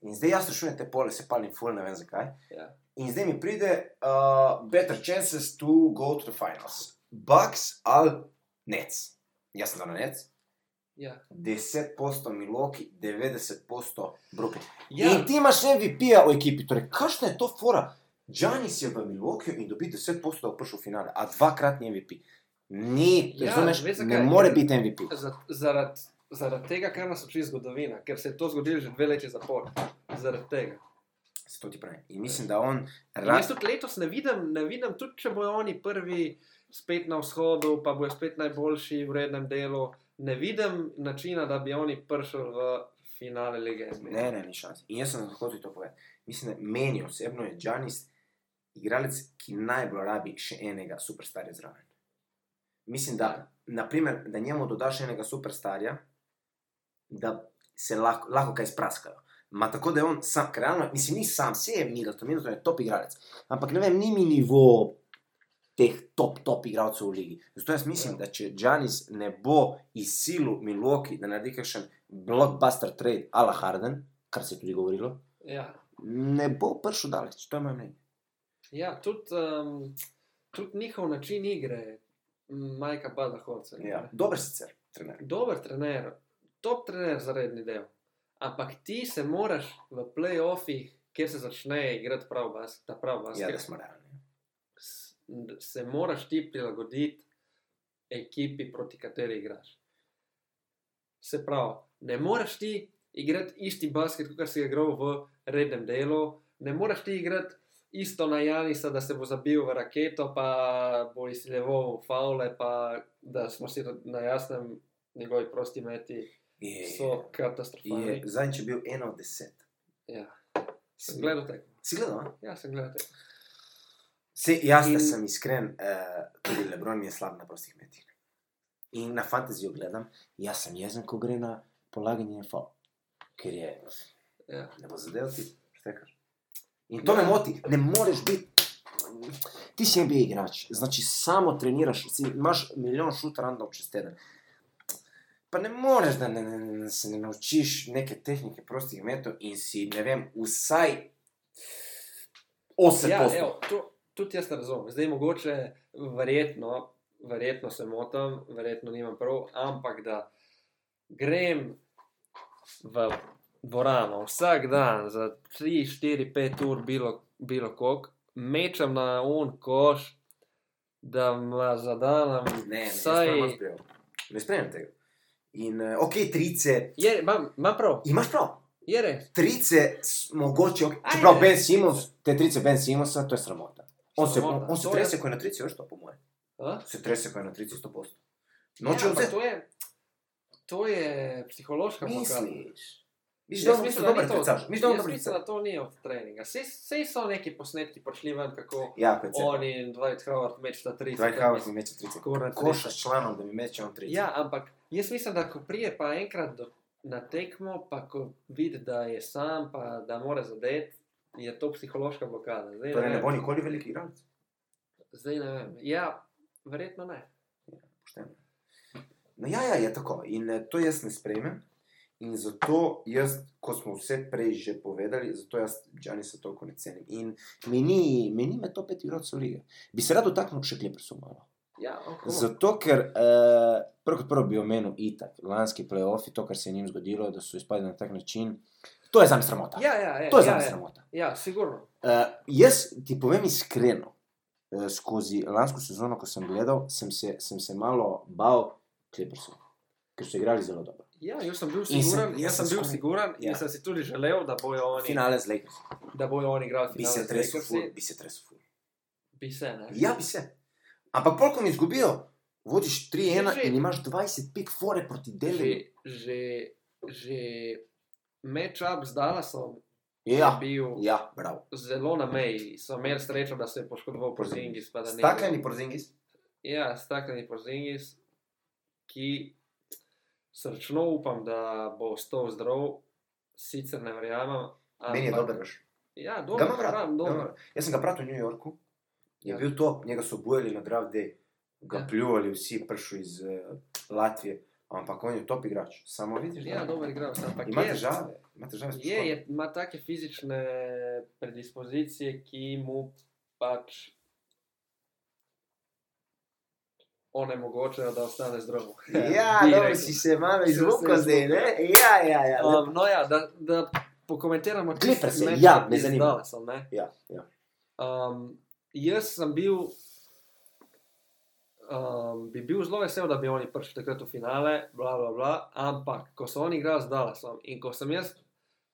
[SPEAKER 1] In zdaj jaz rešujem te pole, se palim ful, ne vem zakaj.
[SPEAKER 2] Ja.
[SPEAKER 1] In zdaj mi pride uh, better chances to go to the finals. Bucks ali Nets. Jaz sem dal na Nets.
[SPEAKER 2] Ja.
[SPEAKER 1] 10% Milwaukee, 90% Brooklyn. Ja.
[SPEAKER 2] Ja,
[SPEAKER 1] In ti imaš MVP-ja v ekipi, torej kakšna je to fora? Džanis je v Milwaukeeju in dobi 10% da bo prišel v finale, a dvakratni MVP. Ni, ja,
[SPEAKER 2] Ja,
[SPEAKER 1] razumeš,
[SPEAKER 2] veš, zakaj?
[SPEAKER 1] ne more biti MVP.
[SPEAKER 2] Za- Zaradi zarad tega, kar nas uči zgodovina, ker se je to zgodilo že dve leti zapored. Zaradi tega.
[SPEAKER 1] Se to ti pravi. In mislim, da on
[SPEAKER 2] In
[SPEAKER 1] raz...
[SPEAKER 2] Jaz tudi letos ne vidim, ne vidim, tudi če bojo oni prvi spet na vzhodu, pa bojo spet najboljši v rednem delu. Ne vidim načina, da bi oni prišli v finale lige. NBA.
[SPEAKER 1] Ne, ne, ni šans. In jaz sem hotel to povedati. Mislim, da meni osebno je Džanis igralec, ki najbolj rabi še enega superstarja zraven. Mislim, da, naprimer, da njemu dodaš enega superstarja, da se lahko, lahko kaj spraskajo. Ma tako da je on sam, ker realno, mislim, ni sam, vse je Middleton, Middleton je top igralec. Ampak ne vem, ni mi nivo teh top, top igralcev v ligi. Zato jaz mislim, da če Džanis ne bo izsilil Milwaukee, da naredi kakšen blockbuster trade a la Harden, kar se je tudi govorilo,
[SPEAKER 2] Ja,
[SPEAKER 1] ne bo prišel daleč, to je moje mnenje.
[SPEAKER 2] ja tudi, um, tudi njihov način igre, majka Bada Horca.
[SPEAKER 1] Dober sicer, trener.
[SPEAKER 2] dober trener, top trener za redni del. Ampak ti se moraš v playoffih, kjer se začne igrati prav basket, ta prav
[SPEAKER 1] Ja,
[SPEAKER 2] basket,
[SPEAKER 1] da smo realni.
[SPEAKER 2] s- se moraš ti prilagoditi ekipi, proti kateri igraš. Se pravi, ne moreš ti igrati isti basket, kot si ga igral v rednem delu, ne moreš ti igrati isto na Janisa, da se bo zabil v raketo, pa bo izleval faule, pa da smo si na jasnem njegovi prosti meti,
[SPEAKER 1] Je,
[SPEAKER 2] so
[SPEAKER 1] je,
[SPEAKER 2] katastrofalni.
[SPEAKER 1] zadnjič je bil eno od deset.
[SPEAKER 2] Ja,
[SPEAKER 1] Si
[SPEAKER 2] sem gledal tekmo.
[SPEAKER 1] Si gledal? a?
[SPEAKER 2] Ja, sem gledal tekmo.
[SPEAKER 1] Se, jaz, da
[SPEAKER 2] In-
[SPEAKER 1] sem iskren, uh, tudi Lebron mi je slab na prostih metih. In na fantazijo gledam, jaz sem jezen, ko gre na polaganje FO, ker je
[SPEAKER 2] Ja.
[SPEAKER 1] ne bo zadev ti, štekaš. In to me moti, ne moreš biti. Ti si NBA igrač, znači samo treniraš, si, imaš milijon šut random čez teden. Pa ne moreš, da ne, ne, ne, ne, se ne naučiš neke tehnike prostih metov in si, ne vem, vsaj 8
[SPEAKER 2] Ja,
[SPEAKER 1] posto.
[SPEAKER 2] evo, to, tudi jaz ne razumem. Zdaj, mogoče, verjetno, verjetno se motim, verjetno nimam prav, ampak da grem v dvorano vsak dan za 3, 4, 5 ur, bilo, bilo koliko, mečem na un koš, da ma zadanam.
[SPEAKER 1] Ne, ne,
[SPEAKER 2] vsaj-
[SPEAKER 1] Saj... ne spremljam tega. In uh, ok, trice,
[SPEAKER 2] Je, imam, imam prav,
[SPEAKER 1] imaš prav.
[SPEAKER 2] je res.
[SPEAKER 1] Trice, s- mogoče, okay.
[SPEAKER 2] Ajde.
[SPEAKER 1] čeprav Ben Simons, te trice Ben Simonsa, to je sramota. On se, on,
[SPEAKER 2] Sramota.
[SPEAKER 1] on se
[SPEAKER 2] To je-
[SPEAKER 1] trese, ko je na trici, veš to, po mojem.
[SPEAKER 2] A?
[SPEAKER 1] Se trese, ko je na trici, 100%.
[SPEAKER 2] Ja,
[SPEAKER 1] Noče ja,
[SPEAKER 2] ampak
[SPEAKER 1] vzeti.
[SPEAKER 2] to je, to je psihološka blokada.
[SPEAKER 1] Misliš? Misliš, da
[SPEAKER 2] Jaz
[SPEAKER 1] on misli
[SPEAKER 2] mislim, da
[SPEAKER 1] dobro
[SPEAKER 2] ni to-
[SPEAKER 1] tricaš. Misliš, da on
[SPEAKER 2] jaz
[SPEAKER 1] dobro
[SPEAKER 2] mislim,
[SPEAKER 1] tricaš.
[SPEAKER 2] da to ni od treninga. Sej, sej so neki posnetki prišli ven, kako
[SPEAKER 1] Ja, kot se.
[SPEAKER 2] oni in Dwight Howard mečta tri.
[SPEAKER 1] Dvaj Havas mi meče trice.
[SPEAKER 2] Skoraj na
[SPEAKER 1] Koša
[SPEAKER 2] trice.
[SPEAKER 1] s članom, da mi meče on trice.
[SPEAKER 2] Ja, ampak jaz mislim, da ko prije pa enkrat do, na tekmo, pa ko vidi, da je sam, pa da mora zadeti, je to psihološka blokada. Zdaj,
[SPEAKER 1] Torej
[SPEAKER 2] ne,
[SPEAKER 1] ne bo
[SPEAKER 2] vem.
[SPEAKER 1] nikoli veliki igralec.
[SPEAKER 2] Zdaj ne vem. Ja, verjetno ne.
[SPEAKER 1] Pošteno. No, ja, ja, je tako. In eh, to jaz ne sprejmem. In zato jaz, kot smo vse prej že povedali, zato jaz Džanisa toliko ne cenim. In meni, meni me to pet igralcev lige. Bi se rad dotaknil še klepersu malo.
[SPEAKER 2] Ja, ok.
[SPEAKER 1] Zato, ker eh, prvo kot prvo bi omenil itak, lanski playoffi, to, kar se je njim zgodilo, da so izpadli na tak način, to je za me sramota.
[SPEAKER 2] ja, ja, ja,
[SPEAKER 1] to je za
[SPEAKER 2] ja,
[SPEAKER 1] me
[SPEAKER 2] ja,
[SPEAKER 1] sramota.
[SPEAKER 2] ja, sigurno.
[SPEAKER 1] Uh, jaz ti povem iskreno, uh, skozi lansko sezono, ko sem gledal, sem se, sem se malo bal Clippersov, ker so igrali zelo dobro.
[SPEAKER 2] Ja, jaz sem bil
[SPEAKER 1] In sem-
[SPEAKER 2] siguren, jaz
[SPEAKER 1] jaz
[SPEAKER 2] sem
[SPEAKER 1] sem
[SPEAKER 2] bil
[SPEAKER 1] skoraj-
[SPEAKER 2] siguren
[SPEAKER 1] ja.
[SPEAKER 2] in sem si tudi želel, da bojo oni,
[SPEAKER 1] Finale z Lakersi,
[SPEAKER 2] da bojo oni igrali
[SPEAKER 1] bi
[SPEAKER 2] finale
[SPEAKER 1] se
[SPEAKER 2] z
[SPEAKER 1] tresel,
[SPEAKER 2] Lakersi.
[SPEAKER 1] ful, bi se tresel. ful.
[SPEAKER 2] Bi se, ne?
[SPEAKER 1] Ja, bi se. Ampak polko mi izgubijo, vodiš 3-1
[SPEAKER 2] Že-
[SPEAKER 1] in imaš 25 fore proti delu.
[SPEAKER 2] Že, že, že matchup z Dallasom
[SPEAKER 1] Ja,
[SPEAKER 2] je bil
[SPEAKER 1] ja, bravo.
[SPEAKER 2] zelo na meji. So imeli srečo, da se je poškodoval Porzingis. pa da ni
[SPEAKER 1] Stakleni
[SPEAKER 2] igral.
[SPEAKER 1] porzingis.
[SPEAKER 2] Ja, stakleni Porzingis, ki srčno upam, da bo ostal zdrav, sicer ne verjamem.
[SPEAKER 1] Meni je
[SPEAKER 2] ampak-
[SPEAKER 1] dobro, veš.
[SPEAKER 2] Ja,
[SPEAKER 1] Ga
[SPEAKER 2] dobro,
[SPEAKER 1] imam rad,
[SPEAKER 2] pravim,
[SPEAKER 1] ga imam
[SPEAKER 2] dobro.
[SPEAKER 1] rad. Jaz sem ga pratil v New Yorku, je
[SPEAKER 2] Ja.
[SPEAKER 1] bil to, njega so bojali na draft day, ga
[SPEAKER 2] Ja.
[SPEAKER 1] pljuvali vsi, prišli iz eh, Latvije, ampak on je top igrač, samo vidiš,
[SPEAKER 2] Ja, dober igralec, ampak
[SPEAKER 1] ima
[SPEAKER 2] je-
[SPEAKER 1] težave, ima težave s
[SPEAKER 2] Je,
[SPEAKER 1] poškodbami.
[SPEAKER 2] je, ima take fizične predispozicije, ki mu pač onemogočajo, da ostane zdrav.
[SPEAKER 1] Ja,
[SPEAKER 2] <laughs> Bi
[SPEAKER 1] dobro,
[SPEAKER 2] rekel.
[SPEAKER 1] si se malo
[SPEAKER 2] Sem se
[SPEAKER 1] izvukal zdaj,
[SPEAKER 2] izvukal.
[SPEAKER 1] ne? Ja, ja, ja. lepo.
[SPEAKER 2] Um, no, ja, da, da pokomentiramo tisti
[SPEAKER 1] Clipperse,
[SPEAKER 2] match
[SPEAKER 1] ja, me
[SPEAKER 2] iz
[SPEAKER 1] zanima.
[SPEAKER 2] Dallasom, ne?
[SPEAKER 1] Ja, ja.
[SPEAKER 2] Um, jaz sem bil, um, bi bil zelo vesel, da bi oni prišli takrat v finale, bla, bla, bla, ampak ko so oni igrali z Dallasom in ko sem jaz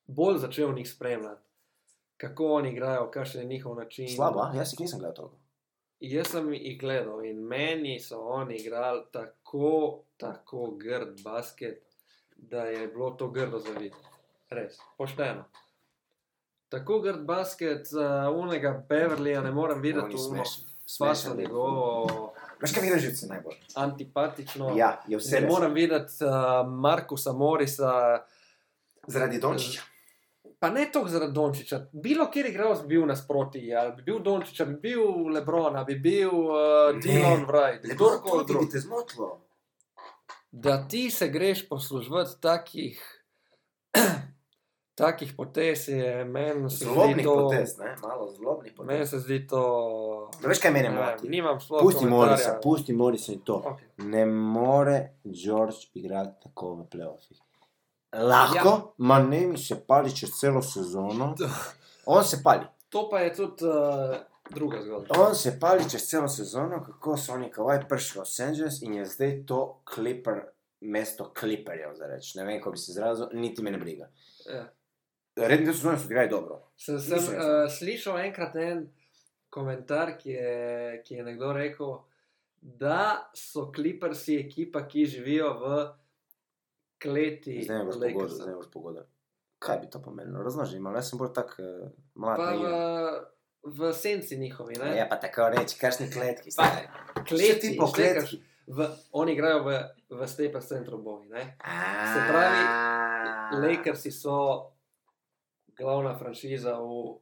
[SPEAKER 2] bolj začel njih spremljati, kako oni igrajo, kakšen je njihov način.
[SPEAKER 1] Slabo, a? jaz jih nisem gledal toliko.
[SPEAKER 2] Jaz sem jih gledal in meni so oni igrali tako, tako grd basket, da je bilo to grdo za videti. Res, pošteno. Tako grd basket za unega Beverlyja ne morem videti,
[SPEAKER 1] Oni
[SPEAKER 2] uno
[SPEAKER 1] smešni,
[SPEAKER 2] spasno
[SPEAKER 1] smešni.
[SPEAKER 2] no. njegovo
[SPEAKER 1] Veš, kaj mi gre živce najbolj?
[SPEAKER 2] antipatično.
[SPEAKER 1] Ja, je vse
[SPEAKER 2] Ne
[SPEAKER 1] res.
[SPEAKER 2] morem videti uh, Markusa Morisa,
[SPEAKER 1] Zaradi Dončića.
[SPEAKER 2] pa ne toliko zaradi Dončiča. Bilo kjer igralec bi bil nasproti, ali bi bil Dončič, ali bi bil Lebron, ali bi bil uh,
[SPEAKER 1] Ne,
[SPEAKER 2] Dylan Wright,
[SPEAKER 1] Lepo,
[SPEAKER 2] kdorkoli
[SPEAKER 1] to
[SPEAKER 2] drug.
[SPEAKER 1] bi te zmotilo.
[SPEAKER 2] da ti se greš posluževati takih, <clears throat> takih potez, je meni se zdi
[SPEAKER 1] Zlobnih
[SPEAKER 2] to.
[SPEAKER 1] potez, ne? Malo zlobnih
[SPEAKER 2] Meni
[SPEAKER 1] potez.
[SPEAKER 2] se zdi to.
[SPEAKER 1] No, Veš, kaj mene
[SPEAKER 2] ne vem,
[SPEAKER 1] moti?
[SPEAKER 2] Nimam slova.
[SPEAKER 1] Pusti Morisa, pusti Morisa in to.
[SPEAKER 2] Okay.
[SPEAKER 1] Ne more George igrati tako v playoffih. Lahko, ja. ma ne mi se pali čez celo sezono.
[SPEAKER 2] Da.
[SPEAKER 1] On se pali.
[SPEAKER 2] To pa je tudi uh, druga zgodba.
[SPEAKER 1] On se pali čez celo sezono, kako so oni kavaj prišli v Los Angeles in je zdaj to kliper, mesto kliperjev, za reči. Ne vem, kako bi se izrazil, niti me ne briga.
[SPEAKER 2] Ja.
[SPEAKER 1] Redni del sezone so igrali dobro.
[SPEAKER 2] Sem, sem
[SPEAKER 1] Mislim,
[SPEAKER 2] uh, slišal enkrat en komentar, ki je, ki je nekdo rekel, da so kliprsi ekipa, ki živijo v kleti.
[SPEAKER 1] Zdaj ne boš
[SPEAKER 2] Lakersa.
[SPEAKER 1] pogodil, zdaj ne boš pogodil. Kaj bi to pomenilo? Razloži, malo jaz sem bolj tak uh, mlad.
[SPEAKER 2] Pa,
[SPEAKER 1] naiven.
[SPEAKER 2] uh, v senci njihovi. Ne?
[SPEAKER 1] Ja, pa tako reči, kašni kletki.
[SPEAKER 2] Pa,
[SPEAKER 1] stari. Vse ti po
[SPEAKER 2] štekaš
[SPEAKER 1] kletki.
[SPEAKER 2] V, oni igrajo v, v Staples Centru boji. Ne?
[SPEAKER 1] Se
[SPEAKER 2] Se pravi,
[SPEAKER 1] Ah.
[SPEAKER 2] Lakersi so glavna franšiza v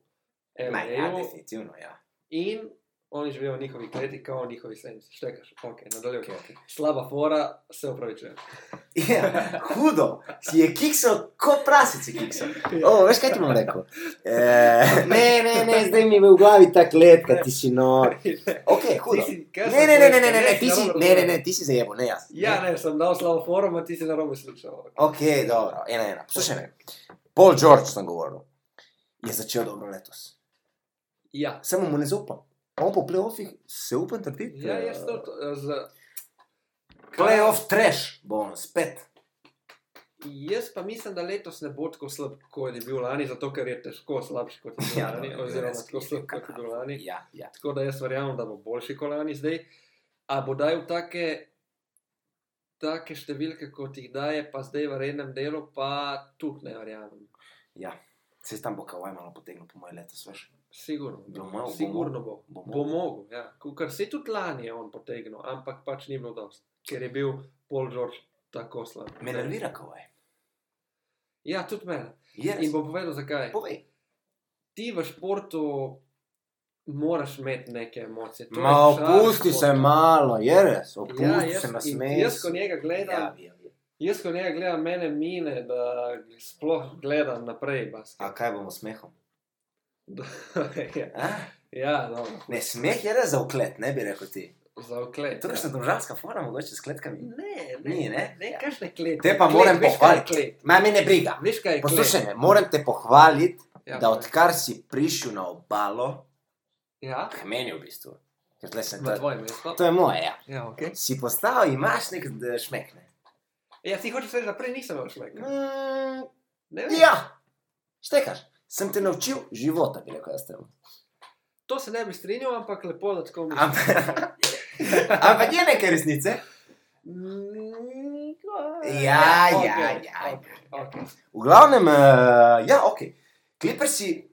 [SPEAKER 1] Ma, ja,
[SPEAKER 2] LA-ju
[SPEAKER 1] definitivno, ja.
[SPEAKER 2] in oni živijo v njihovi kleti, kao v njihovi senci. Štekaš, ok, nadaljuj. Okay, okay. Slaba fora, se upravičujem.
[SPEAKER 1] Ja, hudo, si je kiksal, kot prasici kiksal. O, veš kaj ti bom <laughs> rekel? E, ne, ne, ne, zdaj mi je v glavi ta kletka, ti si nor. Ok, hudo. Ne, ne, ne, ne, ne, ne, ne, ti si, ne, ne, ne, ti si zajebo, ne jaz.
[SPEAKER 2] Ja, ne, sem dal slabo forum, a ti si na robu slišal.
[SPEAKER 1] Ok, dobro, ena, ena. Poslušaj me, Paul George sem govoril, je začel dobro letos.
[SPEAKER 2] Ja,
[SPEAKER 1] Samo mu ne zaupam. On po playoffih se upam trditi.
[SPEAKER 2] ja jaz to eh, z...
[SPEAKER 1] Playoff trash bo on spet.
[SPEAKER 2] Jaz pa mislim, da letos ne bo tako slab, kot je bil lani, zato ker je težko slabši kot je bil
[SPEAKER 1] Ja,
[SPEAKER 2] lani,
[SPEAKER 1] dobro,
[SPEAKER 2] oziroma
[SPEAKER 1] res,
[SPEAKER 2] tako slab kot je bil lani.
[SPEAKER 1] Ja, ja.
[SPEAKER 2] Tako da jaz verjamem, da bo boljši kot lani zdaj. A bo dajal take, take številke, kot jih daje, pa zdaj v rednem delu, pa tudi ne verjamem.
[SPEAKER 1] ja. Se tam bo kavaj malo potegnil po moje letos, veš.
[SPEAKER 2] Sigurno,
[SPEAKER 1] Bo
[SPEAKER 2] bo,
[SPEAKER 1] mogel, bo
[SPEAKER 2] sigurno bo.
[SPEAKER 1] bo
[SPEAKER 2] Bo,
[SPEAKER 1] mogel.
[SPEAKER 2] bo mogel, ja. Kar se tudi lani je on potegnil, ampak pač ni bilo dosti, ker je bil Paul George tako slab.
[SPEAKER 1] Me nervira kavaj.
[SPEAKER 2] Ja, tudi mene.
[SPEAKER 1] Yes.
[SPEAKER 2] In bom povedal, zakaj.
[SPEAKER 1] Povej.
[SPEAKER 2] Ti v športu moraš imeti neke emocije. To je
[SPEAKER 1] Ma
[SPEAKER 2] šar
[SPEAKER 1] opusti se
[SPEAKER 2] športa.
[SPEAKER 1] malo, je res, opusti
[SPEAKER 2] Ja,
[SPEAKER 1] ja,
[SPEAKER 2] jaz,
[SPEAKER 1] se na
[SPEAKER 2] in
[SPEAKER 1] smeh.
[SPEAKER 2] jaz, ko njega gledam, ja. Jaz, ko nekaj gledam, mene mine, da sploh gledam naprej. basket. <laughs>
[SPEAKER 1] A kaj bomo smehom?
[SPEAKER 2] ja,
[SPEAKER 1] A?
[SPEAKER 2] ja dobro,
[SPEAKER 1] Ne, smeh je res za uklet, ne bi rekel ti.
[SPEAKER 2] za oklet. ja.
[SPEAKER 1] To je kakšna domžalska forma, mogoče s kletkami.
[SPEAKER 2] Ne, ne,
[SPEAKER 1] Ni,
[SPEAKER 2] ne,
[SPEAKER 1] ne?
[SPEAKER 2] ne, ne kakšne klete.
[SPEAKER 1] Te pa
[SPEAKER 2] Klet,
[SPEAKER 1] moram
[SPEAKER 2] veš, kaj je
[SPEAKER 1] pohvaliti.
[SPEAKER 2] klet?
[SPEAKER 1] Ma me ne briga.
[SPEAKER 2] Veš kaj je klet?
[SPEAKER 1] Poslušaj me, moram te pohvaliti,
[SPEAKER 2] ja,
[SPEAKER 1] da odkar si prišel na obalo,
[SPEAKER 2] Ja,
[SPEAKER 1] k meni v bistvu, ker tle sem
[SPEAKER 2] na
[SPEAKER 1] to,
[SPEAKER 2] tvojem mestu.
[SPEAKER 1] to je moje, ja.
[SPEAKER 2] Ja, okay.
[SPEAKER 1] Si postal, imaš nek eh, šmeh, ne?
[SPEAKER 2] ja, ti hočeš reči, da prej nisem imel šmeka.
[SPEAKER 1] Mm,
[SPEAKER 2] Ne vem.
[SPEAKER 1] ja, štekaš. Sem te naučil života, bi rekel jaz temu.
[SPEAKER 2] To se ne bi strinjal, ampak lepo, da tako misliš.
[SPEAKER 1] Ampak <laughs> ampak je nekaj resnice.
[SPEAKER 2] Mm,
[SPEAKER 1] Ja, ja,
[SPEAKER 2] okej,
[SPEAKER 1] ja,
[SPEAKER 2] okej, okej.
[SPEAKER 1] V glavnem, uh, ja, ok. Klipersi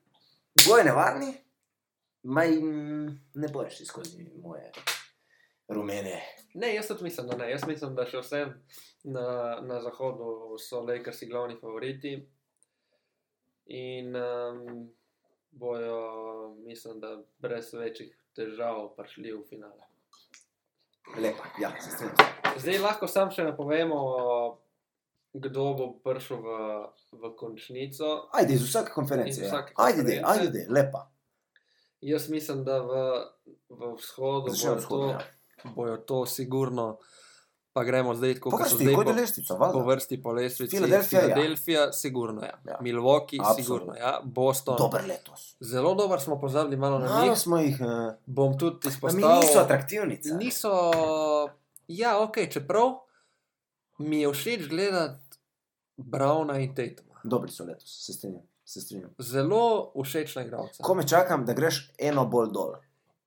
[SPEAKER 1] bojo nevarni, maj ne boš šli skozi moje rumene.
[SPEAKER 2] Ne, jaz tudi mislim, da ne. Jaz mislim, da še vsem na, na zahodu so Lakersi glavni favoriti. In um, bojo, mislim, da brez večjih težav prišli v finale.
[SPEAKER 1] Lepa, ja, se strinjam. s tem.
[SPEAKER 2] Zdaj lahko sam še napovemo, kdo bo prišel v, v končnico.
[SPEAKER 1] Ajde, iz vsake konference.
[SPEAKER 2] Iz vsake
[SPEAKER 1] ja. Ajde, dej,
[SPEAKER 2] konference.
[SPEAKER 1] ajde, dej, lepa.
[SPEAKER 2] Jaz mislim, da v, v vzhodu
[SPEAKER 1] Začnemo
[SPEAKER 2] bojo
[SPEAKER 1] s
[SPEAKER 2] to,
[SPEAKER 1] hodom.
[SPEAKER 2] bojo to sigurno. Pa gremo zdaj tako, kot so
[SPEAKER 1] Pokrsti,
[SPEAKER 2] zdaj.
[SPEAKER 1] kot je
[SPEAKER 2] po-
[SPEAKER 1] lestvica,
[SPEAKER 2] po
[SPEAKER 1] valjda.
[SPEAKER 2] vrsti po lestvici.
[SPEAKER 1] Filadelfija, ja.
[SPEAKER 2] Filadelfija ja. sigurno je. Ja.
[SPEAKER 1] Ja.
[SPEAKER 2] Ja. Milwaukee,
[SPEAKER 1] Absolutno.
[SPEAKER 2] Absolutno. sigurno je. Ja. Boston.
[SPEAKER 1] Dober letos.
[SPEAKER 2] Zelo dobro smo pozabili malo na
[SPEAKER 1] Malo
[SPEAKER 2] njih.
[SPEAKER 1] smo jih, uh,
[SPEAKER 2] Bom tudi
[SPEAKER 1] mi
[SPEAKER 2] izpostavil.
[SPEAKER 1] niso atraktivni. car.
[SPEAKER 2] Niso, ja, ok, čeprav mi je všeč gledati Browna in Tatuma.
[SPEAKER 1] Dobri so letos, se strinjam. Se strinjam.
[SPEAKER 2] Zelo všeč na igralca.
[SPEAKER 1] Kome čakam, da greš eno bolj dol.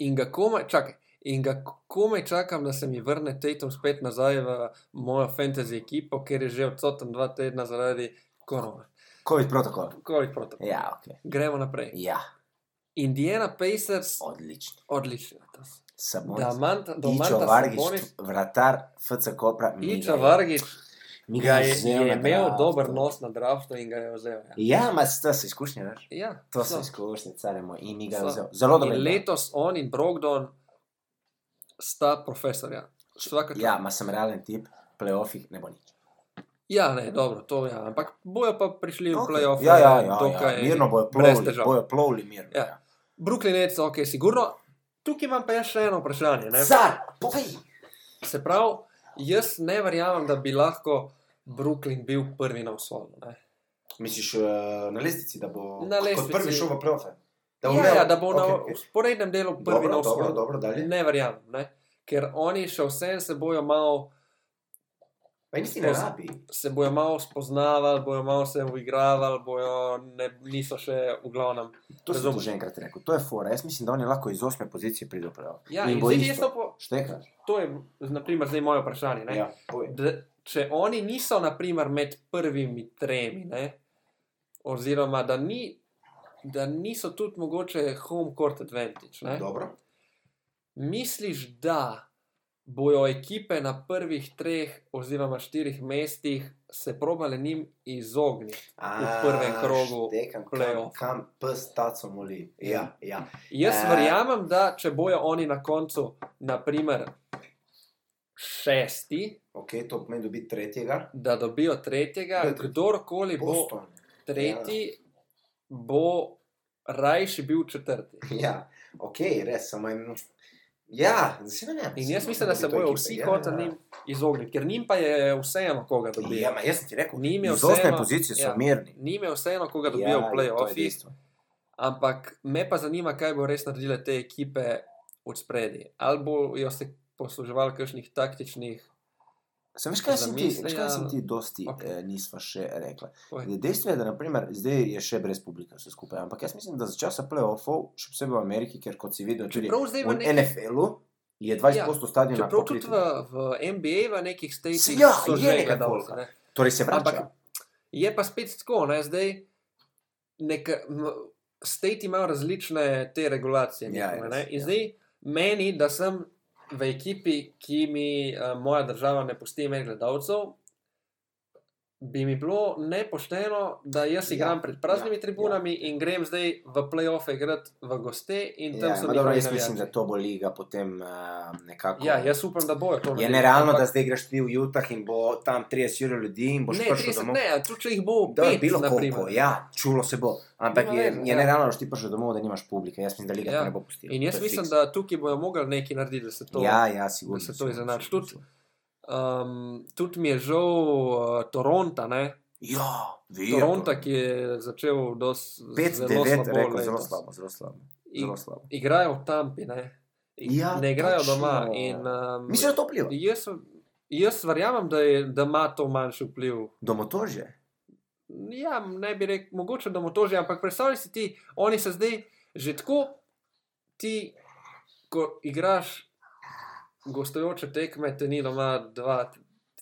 [SPEAKER 2] In ga komaj, čakaj, in ga komaj čakam, da se mi vrne Tatum spet nazaj v mojo fantasy ekipo, ker je že odsoten dva tedna zaradi korona.
[SPEAKER 1] Covid protokol.
[SPEAKER 2] Covid protokol.
[SPEAKER 1] Ja, ok.
[SPEAKER 2] Gremo naprej.
[SPEAKER 1] Ja,
[SPEAKER 2] Indiana Pacers,
[SPEAKER 1] odlično.
[SPEAKER 2] odlično. letos.
[SPEAKER 1] Samo
[SPEAKER 2] Da manta, do
[SPEAKER 1] Ičo
[SPEAKER 2] manta
[SPEAKER 1] Vargič,
[SPEAKER 2] Sabonis,
[SPEAKER 1] vratar FC Kopra. mi ga
[SPEAKER 2] Iča
[SPEAKER 1] je-
[SPEAKER 2] Vargič,
[SPEAKER 1] mi
[SPEAKER 2] ga je,
[SPEAKER 1] vzel
[SPEAKER 2] je
[SPEAKER 1] na
[SPEAKER 2] imel
[SPEAKER 1] draftu.
[SPEAKER 2] dober nos na draftu in ga je vzel. Ja,
[SPEAKER 1] Ja, ma s- to so izkušnje, veš.
[SPEAKER 2] ja
[SPEAKER 1] To so
[SPEAKER 2] so.
[SPEAKER 1] izkušnje, caremo. In mi ga je
[SPEAKER 2] So.
[SPEAKER 1] vzel. Zelo dobro. je
[SPEAKER 2] In
[SPEAKER 1] igral.
[SPEAKER 2] letos on in Brogdon sta profesorja.
[SPEAKER 1] Ja, ma sem realen tip, playoffih ne bo nič.
[SPEAKER 2] Ja, ne, dobro, to ja, ampak bojo pa prišli v
[SPEAKER 1] Okej.
[SPEAKER 2] okay. playoff. eh,
[SPEAKER 1] ja, ja, ja,
[SPEAKER 2] dokaj
[SPEAKER 1] ja, mirno bojo
[SPEAKER 2] brez
[SPEAKER 1] plovili,
[SPEAKER 2] težav.
[SPEAKER 1] bojo plovili mirno.
[SPEAKER 2] Ja.
[SPEAKER 1] Ja.
[SPEAKER 2] Brooklyn Nets, ok, sigurno. Tukaj imam pa jaz še eno vprašanje. Ne?
[SPEAKER 1] ja. Car, povej!
[SPEAKER 2] Se pravi, jaz ne verjamem, da bi lahko Brooklyn bil prvi na vzhodu. ne.
[SPEAKER 1] Misliš eh, na lestvici, da bo
[SPEAKER 2] Na lestvici.
[SPEAKER 1] plofe?
[SPEAKER 2] Ja, ja, da bo okay, na usporednem delu prvi na vzhodu.
[SPEAKER 1] dobro,
[SPEAKER 2] Ne verjamem, ne? ker oni še vsem se bojo malo,
[SPEAKER 1] Pa nisi
[SPEAKER 2] Skozi. se bojo malo spoznavali, bojo malo se uigravali, bojo ne, niso še v glavnem.
[SPEAKER 1] To sem
[SPEAKER 2] Razumem.
[SPEAKER 1] ti že enkrat rekel, to je fora. Jaz mislim, da oni lahko iz osme pozicije pridejo prav.
[SPEAKER 2] Ja,
[SPEAKER 1] in
[SPEAKER 2] in
[SPEAKER 1] bo
[SPEAKER 2] zdaj jaz
[SPEAKER 1] isto.
[SPEAKER 2] to po,
[SPEAKER 1] Štekar.
[SPEAKER 2] to je naprimer, zdaj moje vprašanje. Ne?
[SPEAKER 1] Ja, povej.
[SPEAKER 2] da, če oni niso, naprimer, med prvimi tremi, ne? oziroma da ni da niso tudi mogoče home court advantage. Ne?
[SPEAKER 1] Dobro.
[SPEAKER 2] Misliš, da bojo ekipe na prvih treh oziroma štirih mestih se probale njim izogniti?
[SPEAKER 1] A,
[SPEAKER 2] prvem krogu
[SPEAKER 1] štekam, kam,
[SPEAKER 2] play-off.
[SPEAKER 1] kam pes taco moli. Ja, ja.
[SPEAKER 2] Jaz
[SPEAKER 1] Eh.
[SPEAKER 2] verjamem, da če bojo oni na koncu, naprimer, šesti,
[SPEAKER 1] Ok, to pomeni dobiti tretjega.
[SPEAKER 2] da dobijo tretjega,
[SPEAKER 1] Da je tretji.
[SPEAKER 2] kdorkoli bo
[SPEAKER 1] Boston. Ja.
[SPEAKER 2] tretji, bo rajši bil četrti.
[SPEAKER 1] Ja, ok, res samo en. Ja, zdaj ne.
[SPEAKER 2] In jaz mislim, da se bojo
[SPEAKER 1] ja.
[SPEAKER 2] vsi hoteli njim izogniti, ker njim pa je vseeno, koga
[SPEAKER 1] dobili.
[SPEAKER 2] dobijo.
[SPEAKER 1] Ja, ma jaz sem ti rekel,
[SPEAKER 2] Njim je
[SPEAKER 1] iz osme
[SPEAKER 2] vseeno-
[SPEAKER 1] pozicije so
[SPEAKER 2] ja.
[SPEAKER 1] mirni.
[SPEAKER 2] Njim je vseeno, koga dobijo
[SPEAKER 1] Ja,
[SPEAKER 2] v
[SPEAKER 1] to je
[SPEAKER 2] play-offih,
[SPEAKER 1] dejstvo.
[SPEAKER 2] ampak me pa zanima, kaj bo res naredile te ekipe od spredi. Ali bojo se posluževali kakšnih taktičnih.
[SPEAKER 1] Sem veš, kaj sem ti,
[SPEAKER 2] Zamisli,
[SPEAKER 1] veš, kaj
[SPEAKER 2] ja.
[SPEAKER 1] sem ti dosti
[SPEAKER 2] Okej.
[SPEAKER 1] okay. eh, nisva še rekla.
[SPEAKER 2] Povej.
[SPEAKER 1] Zdaj, Dejstvo je, da naprimer, zdaj je še brez publika vse skupaj, ampak jaz mislim, da za časa playoffov, še posebej v Ameriki, ker kot si videl tudi
[SPEAKER 2] Čeprav zdaj v
[SPEAKER 1] v
[SPEAKER 2] neki-
[SPEAKER 1] NFL-u, je 20% ja, stadiona
[SPEAKER 2] Čeprav tudi
[SPEAKER 1] pokritih.
[SPEAKER 2] v, v NBA, v nekih statih,
[SPEAKER 1] Ja,
[SPEAKER 2] so
[SPEAKER 1] je
[SPEAKER 2] že
[SPEAKER 1] neka
[SPEAKER 2] gledalci.
[SPEAKER 1] folka.
[SPEAKER 2] Ne?
[SPEAKER 1] Torej se vrača.
[SPEAKER 2] Ampak je pa spet tako, ne? zdaj neka, m, state imajo različne te regulacije.
[SPEAKER 1] Ja,
[SPEAKER 2] njihove,
[SPEAKER 1] res,
[SPEAKER 2] ne? In
[SPEAKER 1] ja.
[SPEAKER 2] zdaj meni, da sem v ekipi, ki mi uh, moja država ne pusti imeti gledalcev. Bi mi bilo nepošteno, da jaz
[SPEAKER 1] Ja,
[SPEAKER 2] igram pred praznimi
[SPEAKER 1] ja,
[SPEAKER 2] tribunami in grem zdaj v play-offe igrati v goste, in tam
[SPEAKER 1] Ja,
[SPEAKER 2] so
[SPEAKER 1] ma
[SPEAKER 2] njihovi
[SPEAKER 1] dobro, jaz
[SPEAKER 2] navijači.
[SPEAKER 1] mislim, da to bo liga potem uh, nekako.
[SPEAKER 2] Ja, jaz upam, da bojo to
[SPEAKER 1] je
[SPEAKER 2] naredili,
[SPEAKER 1] nerealno,
[SPEAKER 2] ampak-
[SPEAKER 1] da zdaj greš ti v Utah in bo tam 30 ljudi in boš
[SPEAKER 2] ne,
[SPEAKER 1] prišel
[SPEAKER 2] 30
[SPEAKER 1] domov.
[SPEAKER 2] ne, a tudi če jih bo
[SPEAKER 1] Da,
[SPEAKER 2] pet,
[SPEAKER 1] bilo koliko,
[SPEAKER 2] naprimer.
[SPEAKER 1] ja, čulo se bo. Ampak
[SPEAKER 2] Nima
[SPEAKER 1] je,
[SPEAKER 2] veze,
[SPEAKER 1] je
[SPEAKER 2] ja.
[SPEAKER 1] nerealno, da boš ti prišel domov, da nimaš publike. Jaz mislim, da liga
[SPEAKER 2] Ja.
[SPEAKER 1] ja. to ne bo pustila.
[SPEAKER 2] In
[SPEAKER 1] To
[SPEAKER 2] jaz
[SPEAKER 1] je
[SPEAKER 2] mislim,
[SPEAKER 1] fiks.
[SPEAKER 2] da tukaj bojo mogli nekaj narediti, da se to.
[SPEAKER 1] Ja, ja, sigurno.
[SPEAKER 2] da se to
[SPEAKER 1] sigurno,
[SPEAKER 2] izenači.
[SPEAKER 1] sigurno,
[SPEAKER 2] Tudi-
[SPEAKER 1] sigurno.
[SPEAKER 2] Um, tudi mi je žal uh, Toronta, ne?
[SPEAKER 1] Ja, vidiš.
[SPEAKER 2] Toronta, ki je začel dos,
[SPEAKER 1] 5-9, rekel,
[SPEAKER 2] letos.
[SPEAKER 1] zelo slabo, zelo slabo.
[SPEAKER 2] In,
[SPEAKER 1] Zelo slabo.
[SPEAKER 2] igrajo v Tampi, ne? In
[SPEAKER 1] Ja,
[SPEAKER 2] ne igrajo
[SPEAKER 1] točno.
[SPEAKER 2] doma. In, um,
[SPEAKER 1] Mislim, da to vpliva.
[SPEAKER 2] jaz, jaz verjamem, da, je, da ima to manjši vpliv
[SPEAKER 1] Domotožje.
[SPEAKER 2] Ja, ne bi rekel, mogoče da mu to že, ampak predstavljaj si ti, oni se zdaj že tako, ti, ko igraš gostujoče tekme, te ni doma dva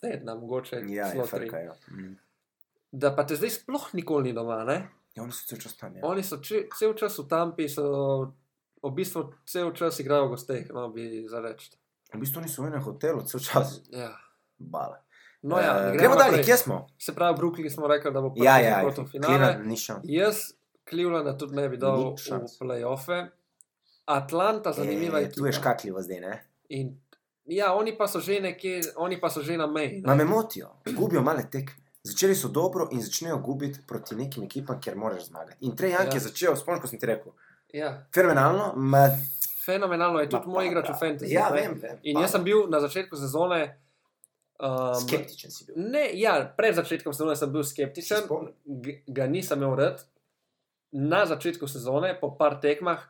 [SPEAKER 2] tedna, mogoče
[SPEAKER 1] Ja, je
[SPEAKER 2] celo tri.
[SPEAKER 1] frka, ja. Mm.
[SPEAKER 2] Da pa te zdaj sploh nikoli ni doma, ne?
[SPEAKER 1] Ja, oni so čez tam, ja.
[SPEAKER 2] Oni so če, cel čas v Tampi, so v bistvu cel čas igrajo v gosteh, no bi zareč.
[SPEAKER 1] V bistvu niso v enem hotelu, cel čas
[SPEAKER 2] Ja.
[SPEAKER 1] bala.
[SPEAKER 2] No ja,
[SPEAKER 1] Eh,
[SPEAKER 2] ne
[SPEAKER 1] gremo dalje,
[SPEAKER 2] naprej.
[SPEAKER 1] kje smo?
[SPEAKER 2] Se pravi, Brooklyn smo rekli, da bo prišel
[SPEAKER 1] Ja, ja,
[SPEAKER 2] kot v finale. Ja,
[SPEAKER 1] Cleveland ni šel.
[SPEAKER 2] Jaz Clevelanda tudi ne bi dal
[SPEAKER 1] Ni
[SPEAKER 2] v
[SPEAKER 1] šans.
[SPEAKER 2] play-offe. Atlanta, zanimiva
[SPEAKER 1] Eh,
[SPEAKER 2] je.
[SPEAKER 1] Tu je škakljivo zdaj, ne?
[SPEAKER 2] In, ja, oni pa so že nekje, oni pa so že na meji.
[SPEAKER 1] Ma
[SPEAKER 2] ne.
[SPEAKER 1] me motijo, gubijo male tekme. Začeli so dobro in začnejo gubiti proti nekim ekipam, kjer moraš zmagati. In Trey Young
[SPEAKER 2] Ja.
[SPEAKER 1] je začel, spomniš, ko sem ti rekel,
[SPEAKER 2] Ja.
[SPEAKER 1] fenomenalno, ma...
[SPEAKER 2] Fenomenalno je tudi
[SPEAKER 1] ma
[SPEAKER 2] moj
[SPEAKER 1] pa
[SPEAKER 2] igrač
[SPEAKER 1] da.
[SPEAKER 2] v fantasy.
[SPEAKER 1] Ja,
[SPEAKER 2] ne.
[SPEAKER 1] vem, vem.
[SPEAKER 2] In
[SPEAKER 1] pa
[SPEAKER 2] jaz sem bil na začetku sezone. Um,
[SPEAKER 1] Skeptičen si bil.
[SPEAKER 2] Ne, ja, pred začetkom sezone sem bil
[SPEAKER 1] Se
[SPEAKER 2] skeptičen,
[SPEAKER 1] spomnim.
[SPEAKER 2] g- ga nisem imel rad. Na začetku sezone, po par tekmah,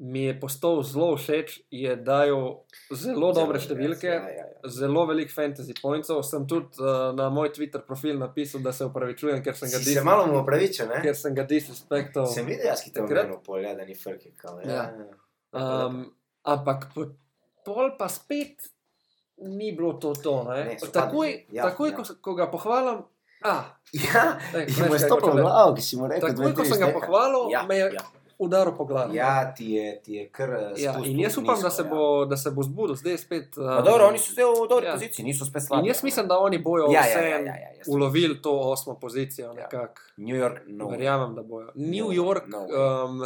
[SPEAKER 2] mi je postal zelo všeč, je dajal zelo dobre številke,
[SPEAKER 1] Ja, ja, ja.
[SPEAKER 2] zelo veliko fantasy pointov. Sem tudi uh, na moj Twitter profil napisal, da se upravičujem, ker sem ga
[SPEAKER 1] Si se
[SPEAKER 2] disrespektal.
[SPEAKER 1] malo mu opravičil, ne?
[SPEAKER 2] Ker sem ga disrespektal.
[SPEAKER 1] Sem videl, jaz ki te
[SPEAKER 2] Takrat.
[SPEAKER 1] omenil polja, da ni frke. Kao, ja.
[SPEAKER 2] Ja. Um, ampak po, pol pa spet ni bilo to. to ne?
[SPEAKER 1] Ne, so
[SPEAKER 2] takoj,
[SPEAKER 1] padli,
[SPEAKER 2] ja,
[SPEAKER 1] ja,
[SPEAKER 2] takoj ja.
[SPEAKER 1] ja.
[SPEAKER 2] Ko, se- ko ga pohvalim, a,
[SPEAKER 1] ja.
[SPEAKER 2] ne,
[SPEAKER 1] In mu je stopil v glavo, ki si mu rekel,
[SPEAKER 2] Takoj, ko sem ga pohvalil,
[SPEAKER 1] ja,
[SPEAKER 2] me je
[SPEAKER 1] ja.
[SPEAKER 2] udaril po glavi.
[SPEAKER 1] Ja, ti je, ti je kar. eh,
[SPEAKER 2] Ja,
[SPEAKER 1] spustil
[SPEAKER 2] in jaz upam, da se,
[SPEAKER 1] nizko,
[SPEAKER 2] bo, da se bo zbudil, zdaj je spet.
[SPEAKER 1] Ja.
[SPEAKER 2] Um,
[SPEAKER 1] Ma dobro, oni so zdaj v dobri
[SPEAKER 2] ja.
[SPEAKER 1] ja. poziciji, niso spet
[SPEAKER 2] In
[SPEAKER 1] slabi.
[SPEAKER 2] jaz mislim, da oni bojo
[SPEAKER 1] Ja, ja,
[SPEAKER 2] vse
[SPEAKER 1] ja, ja, ja, jaz Ja. tudi
[SPEAKER 2] ulovili to osmo pozicijo. Nekako.
[SPEAKER 1] New York, no.
[SPEAKER 2] Verjamem, da bojo. New
[SPEAKER 1] No,
[SPEAKER 2] York
[SPEAKER 1] no.
[SPEAKER 2] um,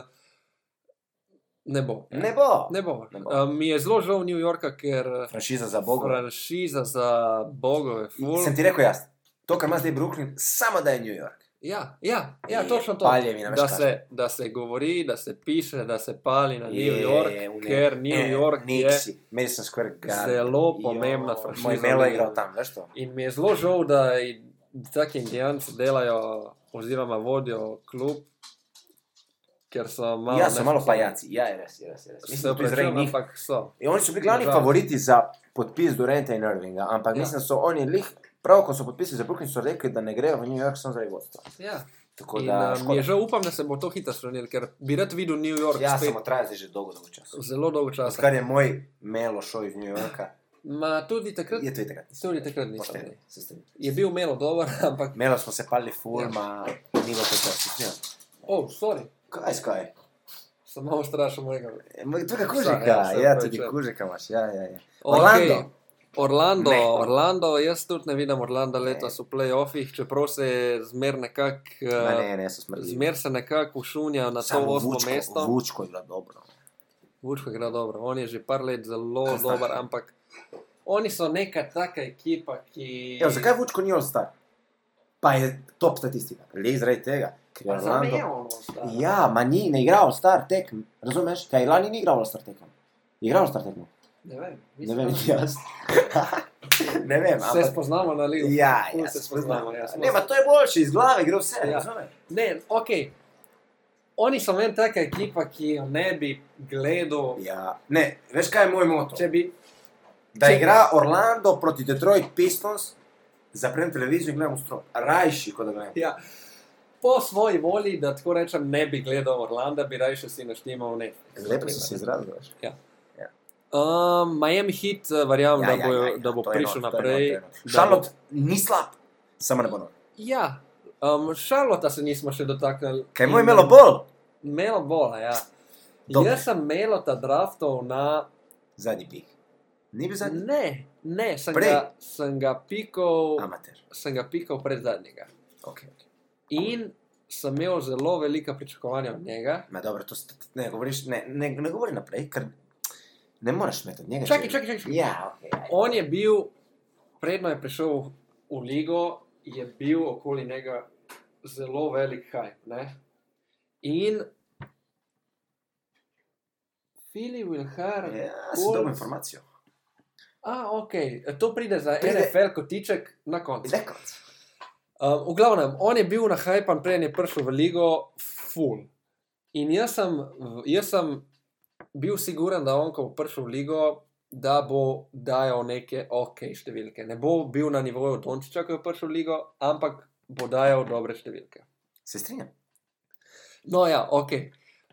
[SPEAKER 2] ne bo. ja.
[SPEAKER 1] Ne bo.
[SPEAKER 2] Ne bo.
[SPEAKER 1] Ne bo.
[SPEAKER 2] Um, mi je zelo žal New Yorka, ker
[SPEAKER 1] Franšiza za Boga.
[SPEAKER 2] franšiza za bogove. Ful.
[SPEAKER 1] Sem ti rekel jaz. To, kar ima zdaj Brooklyn, samo da je New York.
[SPEAKER 2] Ja, ja, ja,
[SPEAKER 1] Je,
[SPEAKER 2] točno to.
[SPEAKER 1] paljevi, ne veš
[SPEAKER 2] Da
[SPEAKER 1] kaj.
[SPEAKER 2] se, da se govori, da se piše, da se pali na
[SPEAKER 1] Je,
[SPEAKER 2] New York,
[SPEAKER 1] v ne-
[SPEAKER 2] ker New York
[SPEAKER 1] ne,
[SPEAKER 2] je.
[SPEAKER 1] Nixi, Madison Square Garden.
[SPEAKER 2] zelo pomembna
[SPEAKER 1] Jo,
[SPEAKER 2] franšiza.
[SPEAKER 1] Moj Melo je igral tam, veš to?
[SPEAKER 2] In mi je zelo žal, da i- taki indijanci delajo, oziroma vodijo klub, ker so malo.
[SPEAKER 1] ja, so malo
[SPEAKER 2] nesposobni.
[SPEAKER 1] pajaci, ja, je res, je res. Je res.
[SPEAKER 2] Se
[SPEAKER 1] Mislim, da je
[SPEAKER 2] opravičujem,
[SPEAKER 1] zraven njih.
[SPEAKER 2] ampak so.
[SPEAKER 1] In oni so bili glavni
[SPEAKER 2] Nažalost.
[SPEAKER 1] favoriti za podpis Durenta in Irvinga, ampak
[SPEAKER 2] Ja.
[SPEAKER 1] ja. mislim, da so oni lih, prav ko so podpisali za Brooklyn, so rekli, da ne grejo v New York samo zaradi vodstva.
[SPEAKER 2] Ja.
[SPEAKER 1] Tako
[SPEAKER 2] In,
[SPEAKER 1] da,
[SPEAKER 2] um, je že upam, da se bo to hitro spremenilo, ker bi rad videl New York
[SPEAKER 1] ja,
[SPEAKER 2] spet
[SPEAKER 1] samo traja zdaj že dolgo, dolgo časa.
[SPEAKER 2] zelo dolgo časa.
[SPEAKER 1] Odkar je moj Melo šel iz New Yorka,
[SPEAKER 2] Ma tudi takrat,
[SPEAKER 1] je to itak.
[SPEAKER 2] tudi takrat nisem.
[SPEAKER 1] Pošteno,
[SPEAKER 2] bil.
[SPEAKER 1] se strinjam.
[SPEAKER 2] Je bil melo dober, <laughs> ampak.
[SPEAKER 1] Melo smo se palili ful,
[SPEAKER 2] Ja.
[SPEAKER 1] ma ni bilo to časa.
[SPEAKER 2] Oh, sorry.
[SPEAKER 1] Kaj, skaj?
[SPEAKER 2] Samo ustrašil mojega.
[SPEAKER 1] To je
[SPEAKER 2] Saj,
[SPEAKER 1] kužika,
[SPEAKER 2] ja,
[SPEAKER 1] ja,
[SPEAKER 2] saj
[SPEAKER 1] ja,
[SPEAKER 2] pravi
[SPEAKER 1] tudi
[SPEAKER 2] človek.
[SPEAKER 1] kužika imaš, ja, ja. ja. Orlando.
[SPEAKER 2] Okej, Orlando,
[SPEAKER 1] Ne.
[SPEAKER 2] Orlando, jaz tudi ne vidim Orlanda
[SPEAKER 1] Ne.
[SPEAKER 2] letos v playoffih, čeprav se je zmer nekako.
[SPEAKER 1] Ma
[SPEAKER 2] eh,
[SPEAKER 1] Ne, ne, so smrdljivi.
[SPEAKER 2] Zmer se nekako ušunja na to
[SPEAKER 1] Samo
[SPEAKER 2] osmo
[SPEAKER 1] Vučko-
[SPEAKER 2] mesto.
[SPEAKER 1] Vučko je bilo dobro.
[SPEAKER 2] Vučko igra dobro, on je že par let zelo
[SPEAKER 1] Kaj znaš?
[SPEAKER 2] dober, ampak oni so neka taka ekipa, ki.
[SPEAKER 1] Evo, Ja, zakaj Vučko ni ostar? Pa je top statistika. Le zaradi tega, ker je
[SPEAKER 2] Pa za me
[SPEAKER 1] Ja, Orlando.
[SPEAKER 2] je on ostal?
[SPEAKER 1] Ja, ma ni, ne igra ostar tekem. Razumeš? Kaj lani ni igral ostar tekem. Je Igral ostar tekem.
[SPEAKER 2] Ne vem,
[SPEAKER 1] Ne
[SPEAKER 2] mislim,
[SPEAKER 1] vem,
[SPEAKER 2] da-
[SPEAKER 1] jaz. <laughs> ne vem,
[SPEAKER 2] Se
[SPEAKER 1] ampak.
[SPEAKER 2] spoznamo na ligu.
[SPEAKER 1] Ja,
[SPEAKER 2] Ful
[SPEAKER 1] ja,
[SPEAKER 2] se
[SPEAKER 1] se
[SPEAKER 2] spoznamo.
[SPEAKER 1] spoznamo.
[SPEAKER 2] Ja, smo
[SPEAKER 1] Ne, ma to je boljše, iz glave gre vse.
[SPEAKER 2] Ja.
[SPEAKER 1] razumeš?
[SPEAKER 2] Ne, ok. Oni so meni taka ekipa, ki jo ne bi gledal,
[SPEAKER 1] Ja, ne, veš kaj je moj moto?
[SPEAKER 2] če bi.
[SPEAKER 1] Da
[SPEAKER 2] Če-
[SPEAKER 1] igra Orlando proti Detroit Pistons, zaprem televizijo in gledam strop. Rajši, kot da gledam.
[SPEAKER 2] Ja. Po svoji volji, da tako rečem, ne bi gledal Orlanda, bi raje še si naštimal nekaj.
[SPEAKER 1] Lepo si se izrazil. veš.
[SPEAKER 2] Um, Miami Heat, eh, verjamem,
[SPEAKER 1] Ja,
[SPEAKER 2] ja,
[SPEAKER 1] ja,
[SPEAKER 2] da bo, ja,
[SPEAKER 1] ja,
[SPEAKER 2] ja,
[SPEAKER 1] ja,
[SPEAKER 2] da bo
[SPEAKER 1] to je
[SPEAKER 2] prišel
[SPEAKER 1] not, to je
[SPEAKER 2] naprej.
[SPEAKER 1] not, to je not.
[SPEAKER 2] da
[SPEAKER 1] Charlotte ni slab, samo ne bo noč.
[SPEAKER 2] Bo, ja, um, Šarlota se nismo še dotaknili.
[SPEAKER 1] Kaj mu je
[SPEAKER 2] In-
[SPEAKER 1] imelo bolj?
[SPEAKER 2] Melo bola, ja.
[SPEAKER 1] Dobro.
[SPEAKER 2] Jaz sem melo ta draftov na.
[SPEAKER 1] Zadnji pik. Ni bil zadnji?
[SPEAKER 2] Ne, ne, sem
[SPEAKER 1] Prej.
[SPEAKER 2] ga, sem ga pikal,
[SPEAKER 1] Amater.
[SPEAKER 2] sem ga pikal pred zadnjega.
[SPEAKER 1] Okay. ok.
[SPEAKER 2] In sem imel zelo velika pričakovanja od njega.
[SPEAKER 1] Ma dobro, to st- ne govoriš, ne, ne, ne govori naprej, ker ne moreš metati njega.
[SPEAKER 2] Čakaj,
[SPEAKER 1] če-
[SPEAKER 2] čakaj, čakaj, čakaj.
[SPEAKER 1] Ja, ok. ajde.
[SPEAKER 2] On je bil, predno je prišel v ligo, je bil okoli njega zelo velik hype. Ne? In Fili Wilhar,
[SPEAKER 1] Ja, sem dobil
[SPEAKER 2] Colts.
[SPEAKER 1] informacijo.
[SPEAKER 2] a ok, to pride za
[SPEAKER 1] Pride.
[SPEAKER 2] NFL kotiček na koncu.
[SPEAKER 1] Zdaj kot.
[SPEAKER 2] Um, v glavnem, on je bil na hajpan, preden je prišel v ligo, full. In jaz sem, v- jaz sem bil siguren, da on, ko bo prišel v ligo, da bo dajal neke ok številke. Ne bo bil na nivoju Dončiča, ko je prišel v ligo, ampak bo dajal dobre številke.
[SPEAKER 1] Se strinjam.
[SPEAKER 2] No ja, ok.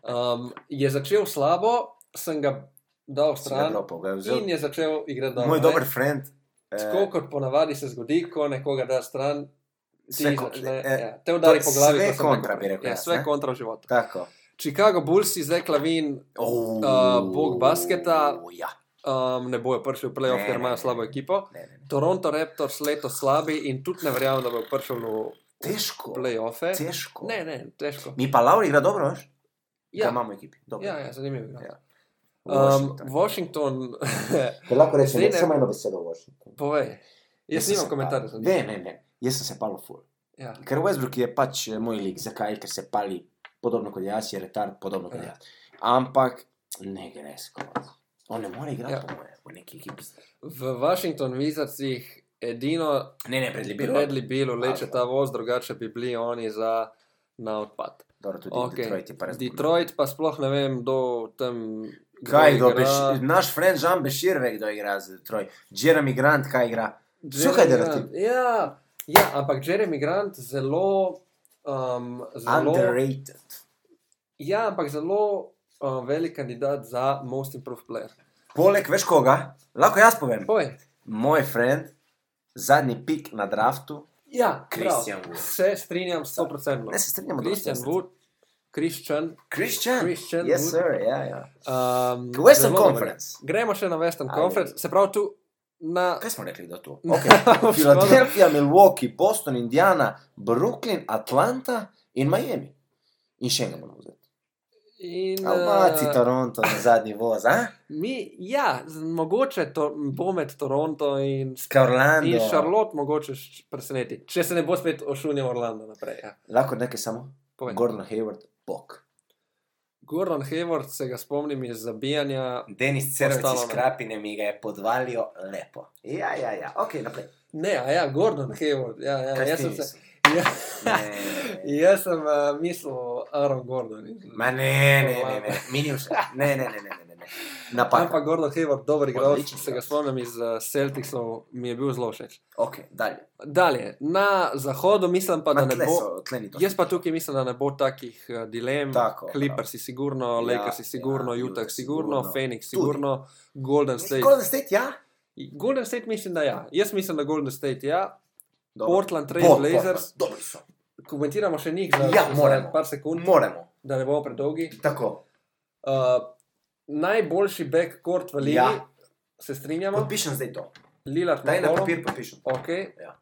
[SPEAKER 2] Um, je začel slabo, sem ga dal
[SPEAKER 1] Sem ga
[SPEAKER 2] stran
[SPEAKER 1] dropal, ga je vzel.
[SPEAKER 2] in je začel igrati dobro.
[SPEAKER 1] Moj
[SPEAKER 2] ne.
[SPEAKER 1] dober friend. eh,
[SPEAKER 2] Tako kot ponavadi se zgodi, ko nekoga da stran, Ti
[SPEAKER 1] sve ko-
[SPEAKER 2] začne,
[SPEAKER 1] eh,
[SPEAKER 2] ja, te udari
[SPEAKER 1] to
[SPEAKER 2] po glavi.
[SPEAKER 1] sve
[SPEAKER 2] ko sem
[SPEAKER 1] kontra,
[SPEAKER 2] rekel
[SPEAKER 1] bi
[SPEAKER 2] prej.
[SPEAKER 1] rekel
[SPEAKER 2] Ja,
[SPEAKER 1] jaz,
[SPEAKER 2] sve
[SPEAKER 1] ne?
[SPEAKER 2] kontra v životu.
[SPEAKER 1] Tako.
[SPEAKER 2] Chicago Bulls je zdaj klavin,
[SPEAKER 1] Oh,
[SPEAKER 2] Uh, bog basketa.
[SPEAKER 1] Ja.
[SPEAKER 2] um, ne bojo prišli v playoff,
[SPEAKER 1] Ne,
[SPEAKER 2] ker
[SPEAKER 1] ne,
[SPEAKER 2] imajo
[SPEAKER 1] ne.
[SPEAKER 2] slabo ekipo.
[SPEAKER 1] Ne, ne, ne.
[SPEAKER 2] Toronto Raptors leto slabi in tudi ne verjamem, da bo prišel v
[SPEAKER 1] Težko.
[SPEAKER 2] playoffe.
[SPEAKER 1] Težko.
[SPEAKER 2] Ne, ne, težko.
[SPEAKER 1] Mi pa Lauri igra dobro, veš? Ja. Ga
[SPEAKER 2] Ja,
[SPEAKER 1] imamo v ekipi. Dobro.
[SPEAKER 2] ja, ja zanimivo.
[SPEAKER 1] Ja.
[SPEAKER 2] Ja. Um, Washington, <laughs>
[SPEAKER 1] Ker lahko
[SPEAKER 2] rečem, Zdaj ne- samo
[SPEAKER 1] eno besedo o Washingtonu.
[SPEAKER 2] povej. Jaz nimam komentarjev za
[SPEAKER 1] Ne, ne, ne. Jaz sem se palo ful.
[SPEAKER 2] Ja.
[SPEAKER 1] Ker Westbrook je pač eh, moj lik. Zakaj? Ker se pali podobno kot jaz, je retard podobno kot
[SPEAKER 2] Ja.
[SPEAKER 1] jaz. Ampak ne gre skoro. On ne more igrati,
[SPEAKER 2] Ja.
[SPEAKER 1] ja. po moje, v neki ekipi.
[SPEAKER 2] V Washington Wizardsih edino
[SPEAKER 1] Ne, ne, Bradley Beal.
[SPEAKER 2] Bradley Beal leče
[SPEAKER 1] Važno.
[SPEAKER 2] ta voz, drugače bi bili oni za na odpad.
[SPEAKER 1] Dobro, tudi okay.
[SPEAKER 2] Okej.
[SPEAKER 1] Detroit je pa res.
[SPEAKER 2] Detroit pa sploh ne vem, do tam. kdo
[SPEAKER 1] Kaj,
[SPEAKER 2] igra.
[SPEAKER 1] kdo Beš- naš friend Jean Bešir ve, kdo igra za Detroit. Jeremy Grant, kaj igra?
[SPEAKER 2] Jeremy
[SPEAKER 1] Suhaj dela
[SPEAKER 2] Grant. Ja, ja, ampak Jeremy Grant zelo. Um, zelo
[SPEAKER 1] Underrated.
[SPEAKER 2] ja, ampak zelo um, velik kandidat za most improved player.
[SPEAKER 1] Poleg, veš koga? Lahko jaz povem.
[SPEAKER 2] Povej.
[SPEAKER 1] Moj friend, zadnji pik na draftu,
[SPEAKER 2] Ja,
[SPEAKER 1] Christian
[SPEAKER 2] prav.
[SPEAKER 1] Wood.
[SPEAKER 2] Se strinjam 100%.
[SPEAKER 1] ne se strinjamo,
[SPEAKER 2] Christian Wood, Christian.
[SPEAKER 1] Christian.
[SPEAKER 2] Christian
[SPEAKER 1] yes,
[SPEAKER 2] Wood.
[SPEAKER 1] sir, ja, ja.
[SPEAKER 2] Um,
[SPEAKER 1] Western
[SPEAKER 2] zelo dober.
[SPEAKER 1] Conference.
[SPEAKER 2] Gremo še na Western
[SPEAKER 1] Ajde.
[SPEAKER 2] Conference, se pravi tu na.
[SPEAKER 1] Kaj smo rekli, da je to?
[SPEAKER 2] <laughs> Na-
[SPEAKER 1] Okay.
[SPEAKER 2] v
[SPEAKER 1] Filadelfija, Milwaukee, Boston, Indiana, Brooklyn, Atlanta in Miami. In še eno moramo vzeti.
[SPEAKER 2] In,
[SPEAKER 1] Almaci,
[SPEAKER 2] eh,
[SPEAKER 1] Toronto, na zadnji voz, a?
[SPEAKER 2] mi, ja, z- mogoče to, bo med Toronto in
[SPEAKER 1] Kaj Orlando.
[SPEAKER 2] In Charlotte mogoče š- preseneti, če se ne bo spet ošunil Orlando naprej. Ja.
[SPEAKER 1] Lahko nekaj samo.
[SPEAKER 2] Povej.
[SPEAKER 1] Gordon Hayward, bog.
[SPEAKER 2] Gordon Hayward se ga spomnim iz zabijanja.
[SPEAKER 1] Denis
[SPEAKER 2] Cerovic Ostalo iz ne.
[SPEAKER 1] Krapine mi ga je podvalil lepo. Ja, ja, ja, ok, naprej.
[SPEAKER 2] Ne, a ja, Gordon Hayward. Ja, ja, jaz sem se. Ja,
[SPEAKER 1] Ne.
[SPEAKER 2] jaz sem uh, mislil Aaron Gordon.
[SPEAKER 1] Ma ne, ne, ne, ne, minil še. Ne, ne, ne, ne, ne, ne, ne.
[SPEAKER 2] Pa
[SPEAKER 1] Napak.
[SPEAKER 2] Gordon Hayward, dober igralec,
[SPEAKER 1] Odličen
[SPEAKER 2] se ga
[SPEAKER 1] igralec.
[SPEAKER 2] spomnim iz uh, Celticsov, mi je bil zelo všeč.
[SPEAKER 1] Ok, dalje.
[SPEAKER 2] Dalje, na zahodu mislim pa, da
[SPEAKER 1] Ma
[SPEAKER 2] ne
[SPEAKER 1] tle
[SPEAKER 2] bo.
[SPEAKER 1] so, tle ni to.
[SPEAKER 2] Jaz pa tukaj mislim, da ne bo takih eh, dilem.
[SPEAKER 1] Tako,
[SPEAKER 2] Clippers si sigurno,
[SPEAKER 1] Ja,
[SPEAKER 2] Lakers si sigurno,
[SPEAKER 1] ja,
[SPEAKER 2] Utah
[SPEAKER 1] Utah sigurno.
[SPEAKER 2] sigurno, Phoenix
[SPEAKER 1] Tudi.
[SPEAKER 2] sigurno, Golden State.
[SPEAKER 1] Golden State, ja.
[SPEAKER 2] Golden State mislim, da ja. Jaz mislim, da Golden State ja.
[SPEAKER 1] Dobro.
[SPEAKER 2] Portland Trail
[SPEAKER 1] Bo-
[SPEAKER 2] Blazers.
[SPEAKER 1] Portland, Dobri so.
[SPEAKER 2] komentiramo še njih za,
[SPEAKER 1] Ja,
[SPEAKER 2] za
[SPEAKER 1] moramo.
[SPEAKER 2] par sekund,
[SPEAKER 1] Moramo.
[SPEAKER 2] da ne bomo predolgi.
[SPEAKER 1] Tako,
[SPEAKER 2] Uh, najboljši backcourt v ligi,
[SPEAKER 1] Ja.
[SPEAKER 2] ja. se strinjamo,
[SPEAKER 1] podpišem zdaj to.
[SPEAKER 2] Lilard
[SPEAKER 1] Daj
[SPEAKER 2] ima
[SPEAKER 1] na
[SPEAKER 2] golo.
[SPEAKER 1] papir, podpišem.
[SPEAKER 2] Okay.
[SPEAKER 1] Ja.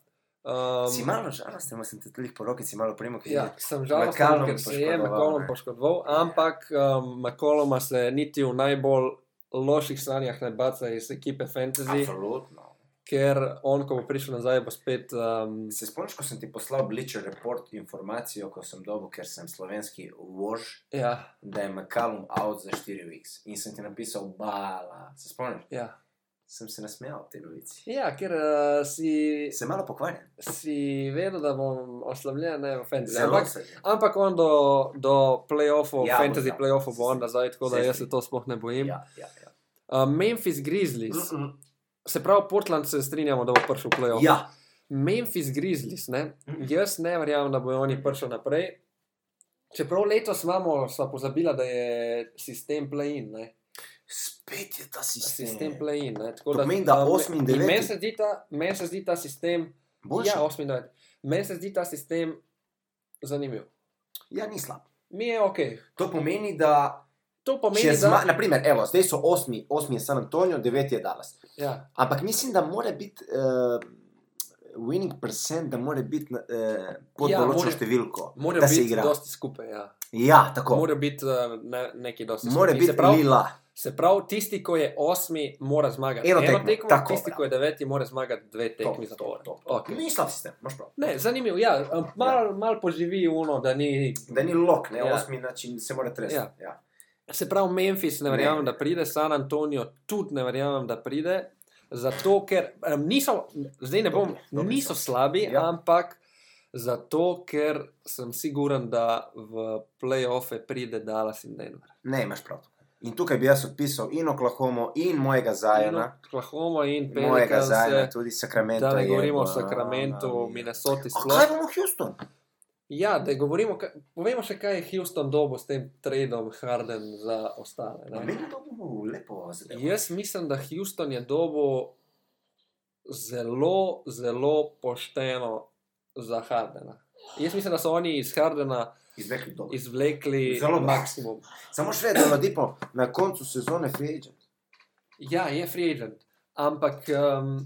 [SPEAKER 1] Si
[SPEAKER 2] Um,
[SPEAKER 1] malo žalosten, sem te tudi po roki, si malo primo, ki
[SPEAKER 2] ja, sem
[SPEAKER 1] McCallum
[SPEAKER 2] žalosten, ker se je
[SPEAKER 1] poškodoval,
[SPEAKER 2] McCollum
[SPEAKER 1] ne.
[SPEAKER 2] poškodoval, ampak um, McColluma se niti v najbolj loših sanjah ne baca iz ekipe Fantasy,
[SPEAKER 1] Absolutno.
[SPEAKER 2] ker on, ko bo prišel nazaj, bo spet. Um,
[SPEAKER 1] Se spomniš, ko sem ti poslal Bleacher Report informacijo, ko sem dobil, ker sem slovenski vož,
[SPEAKER 2] ja,
[SPEAKER 1] da je McCallum out za 4 weeks. In sem ti napisal, bala. Se spomniš?
[SPEAKER 2] ja.
[SPEAKER 1] Sem se nasmejal ob tej novici.
[SPEAKER 2] ja, ker uh, si,
[SPEAKER 1] Se malo pokvarjam.
[SPEAKER 2] si vedel, da bom oslabljen ne, v Fantasy.
[SPEAKER 1] Zelo
[SPEAKER 2] Ampak
[SPEAKER 1] se.
[SPEAKER 2] Ampak on do, do playoffov,
[SPEAKER 1] Ja,
[SPEAKER 2] ja, fantasy
[SPEAKER 1] bo, ja.
[SPEAKER 2] playoffov bo on nazaj, tako da
[SPEAKER 1] Se
[SPEAKER 2] jaz se
[SPEAKER 1] strinjam.
[SPEAKER 2] to sploh ne bojim. Ja.
[SPEAKER 1] Ja, ja, ja.
[SPEAKER 2] Uh, Memphis Grizzlies,
[SPEAKER 1] Mm,
[SPEAKER 2] se pravi Portland, se strinjamo, da bo prišel v playoff.
[SPEAKER 1] ja.
[SPEAKER 2] Memphis Grizzlies, ne?
[SPEAKER 1] Mhm.
[SPEAKER 2] jaz ne verjamem, da bojo oni prišli naprej. Čeprav letos imamo, sva pozabila, da je sistem play-in. ne.
[SPEAKER 1] Spet je ta sistem. ja.
[SPEAKER 2] Sistem play-in. ne. Tako
[SPEAKER 1] To pomeni, da
[SPEAKER 2] um,
[SPEAKER 1] osmi in deveti.
[SPEAKER 2] Meni se zdi ta- meni se zdi ta sistem,
[SPEAKER 1] Boljši?
[SPEAKER 2] ja, 8 in 9. Meni se zdi ta sistem zanimiv.
[SPEAKER 1] ja, ni slab.
[SPEAKER 2] Mi je ok.
[SPEAKER 1] To pomeni, da
[SPEAKER 2] To
[SPEAKER 1] Če
[SPEAKER 2] pomeni,
[SPEAKER 1] zma,
[SPEAKER 2] da.
[SPEAKER 1] naprimer, evo, zdaj so osmi, osmi je San Antonijo, deveti je Dallas.
[SPEAKER 2] Ja.
[SPEAKER 1] Ampak mislim, da mora biti uh, winning percent, da mora biti uh, pod
[SPEAKER 2] Ja,
[SPEAKER 1] ja, določeno
[SPEAKER 2] mora-
[SPEAKER 1] številko,
[SPEAKER 2] Morajo
[SPEAKER 1] da se
[SPEAKER 2] biti
[SPEAKER 1] igra.
[SPEAKER 2] dosti skupaj. Ja.
[SPEAKER 1] Ja, tako.
[SPEAKER 2] Morajo biti uh, ne, neki dosti
[SPEAKER 1] Mora
[SPEAKER 2] skupaj.
[SPEAKER 1] biti
[SPEAKER 2] Se pravi,
[SPEAKER 1] lila.
[SPEAKER 2] se pravi, tisti, ko je osmi, mora zmagati
[SPEAKER 1] Eno
[SPEAKER 2] eno,
[SPEAKER 1] tekmo,
[SPEAKER 2] eno tekmo,
[SPEAKER 1] tako,
[SPEAKER 2] tako, tisti,
[SPEAKER 1] ja.
[SPEAKER 2] ko je deveti, mora zmagati dve
[SPEAKER 1] To,
[SPEAKER 2] tekmi za
[SPEAKER 1] to,
[SPEAKER 2] to.
[SPEAKER 1] to.
[SPEAKER 2] Okay.
[SPEAKER 1] Ni slab sistem, imaš prav.
[SPEAKER 2] Ne, zanimivo, ja, malo mal poživi uno, da ni.
[SPEAKER 1] Da ni lok, ne,
[SPEAKER 2] Ja.
[SPEAKER 1] ja. osmi način se mora tresti.
[SPEAKER 2] Ja.
[SPEAKER 1] Ja. Ja.
[SPEAKER 2] Se pravi, Memphis ne
[SPEAKER 1] Ne.
[SPEAKER 2] verjamem, da pride, San Antonijo tudi ne verjamem, da pride. Zato, ker um, niso, zdaj ne bom,
[SPEAKER 1] Dobri, dobri so.
[SPEAKER 2] niso slabi,
[SPEAKER 1] Ja.
[SPEAKER 2] ja. ampak zato, ker sem siguren, da v play-offe pride Dallas in Denver.
[SPEAKER 1] Ne, imaš prav. In tukaj bi jaz odpisal in Oklahomo, in mojega
[SPEAKER 2] In
[SPEAKER 1] Zajana,
[SPEAKER 2] Oklahoma in
[SPEAKER 1] in mojega Zajana,
[SPEAKER 2] Pelicans. eh,
[SPEAKER 1] tudi Sacramento.
[SPEAKER 2] Da ne govorimo o Sacramentu, Minnesoti
[SPEAKER 1] Kaj
[SPEAKER 2] sploh.
[SPEAKER 1] bomo Houston?
[SPEAKER 2] Ja, da govorimo, ka- povemo še kaj je Houston dobo s tem tradom Harden za ostale.
[SPEAKER 1] Ja.
[SPEAKER 2] Ne?
[SPEAKER 1] Meni to bo lepo zadevo.
[SPEAKER 2] Jaz mislim, da Houston je dobo zelo, zelo pošteno za Hardena. Jaz mislim, da so oni iz Hardena
[SPEAKER 1] Izvekli dobro.
[SPEAKER 2] izvlekli
[SPEAKER 1] Zelo dobro.
[SPEAKER 2] maksimum.
[SPEAKER 1] Samo še vedno ladipo na koncu sezone free agent.
[SPEAKER 2] Ja, je free agent, ampak um,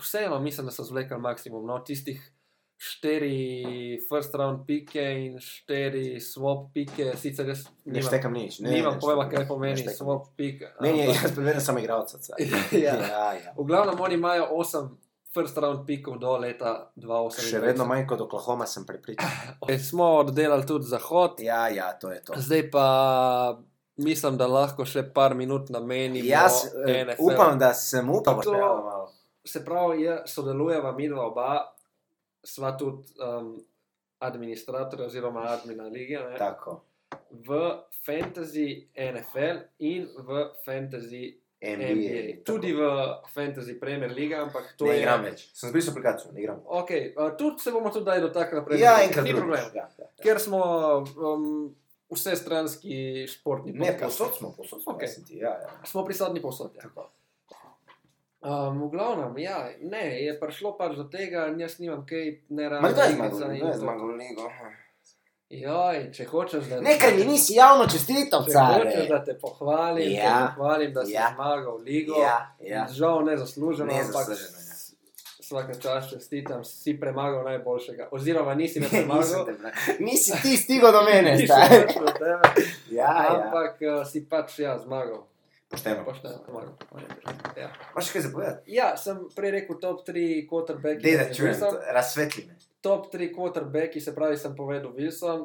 [SPEAKER 2] vseeno mislim, da so zvlekli maksimum. No, tistih štiri first round pike in štiri swap pike, sicer jaz
[SPEAKER 1] Ne
[SPEAKER 2] nimam,
[SPEAKER 1] štekam nič. Ne,
[SPEAKER 2] nimam
[SPEAKER 1] ne
[SPEAKER 2] pojma,
[SPEAKER 1] štekam
[SPEAKER 2] kaj
[SPEAKER 1] nič,
[SPEAKER 2] pomeni
[SPEAKER 1] ne štekam nič.
[SPEAKER 2] swap pik.
[SPEAKER 1] Meni je,
[SPEAKER 2] ampak-
[SPEAKER 1] jaz preverjam samo igralca.
[SPEAKER 2] <laughs> ja.
[SPEAKER 1] ja, ja.
[SPEAKER 2] V glavnem oni imajo osem first round pikov do leta 2008.
[SPEAKER 1] Še vedno manj kot Oklahoma sem prepričan.
[SPEAKER 2] Smo oddelali tudi zahod,
[SPEAKER 1] Ja, ja, to je to.
[SPEAKER 2] zdaj pa mislim, da lahko še par minut namenimo.
[SPEAKER 1] Jaz eh,
[SPEAKER 2] NFL.
[SPEAKER 1] upam, da sem upal.
[SPEAKER 2] To- se pravi, je, sodelujeva midva oba, sva tudi um, administratorja oziroma admina lige ne,
[SPEAKER 1] Tako.
[SPEAKER 2] v fantasy NFL in v fantasy NBA.
[SPEAKER 1] NBA.
[SPEAKER 2] Tudi v fantasy Premier League, ampak to
[SPEAKER 1] to ne
[SPEAKER 2] je
[SPEAKER 1] igram več. Sem zbrisal aplikacijo, ne igram.
[SPEAKER 2] Ok, uh, tudi se bomo tudi daj dotaknili Premier
[SPEAKER 1] Ja,
[SPEAKER 2] League,
[SPEAKER 1] enkrat
[SPEAKER 2] ni
[SPEAKER 1] drugič.
[SPEAKER 2] problem.
[SPEAKER 1] Ja, ja, ja.
[SPEAKER 2] Ker smo um, vse stranski športni
[SPEAKER 1] Ne,
[SPEAKER 2] podcast.
[SPEAKER 1] posod smo, posod smo.
[SPEAKER 2] Ok.
[SPEAKER 1] jaz sem ti, Ja, ja.
[SPEAKER 2] Smo prisotni posod. Ja.
[SPEAKER 1] Tako.
[SPEAKER 2] Um, v glavnem, ja, ne, je prišlo pač do tega, in jaz nimam kaj, ne
[SPEAKER 1] Ma
[SPEAKER 2] rabim.
[SPEAKER 1] kdo je zmagal? Kdo je zmagal ligo?
[SPEAKER 2] Joj, če hočeš, da
[SPEAKER 1] Nekaj mi nisi javno čestital,
[SPEAKER 2] če hočeš,
[SPEAKER 1] car.
[SPEAKER 2] da te pohvalim, ja.
[SPEAKER 1] Ja.
[SPEAKER 2] te pohvalim da si
[SPEAKER 1] Ja.
[SPEAKER 2] ja. zmagal ligo.
[SPEAKER 1] Ja, ja.
[SPEAKER 2] Žal ne zasluženo, ampak
[SPEAKER 1] Nezasluženo, ja.
[SPEAKER 2] vsaka čast čestitam, si premagal najboljšega. Oziroma, nisi
[SPEAKER 1] <laughs>
[SPEAKER 2] me
[SPEAKER 1] Nisem
[SPEAKER 2] premagal,
[SPEAKER 1] te bra- Nisi ti stigel do
[SPEAKER 2] <laughs>
[SPEAKER 1] mene,
[SPEAKER 2] nisi
[SPEAKER 1] stari.
[SPEAKER 2] prišel do tebe,
[SPEAKER 1] <laughs> Ja, ja.
[SPEAKER 2] ampak eh, si pač ja, zmagal.
[SPEAKER 1] Pošteno.
[SPEAKER 2] Pošteno, zmagal. Ja.
[SPEAKER 1] Imaš še kaj zapovedati?
[SPEAKER 2] ja, sem prej rekel top 3 quarterback.
[SPEAKER 1] Dej, da čujem, to- razsvetli me.
[SPEAKER 2] Top 3 quarterbacki, se pravi, sem povedal Wilson,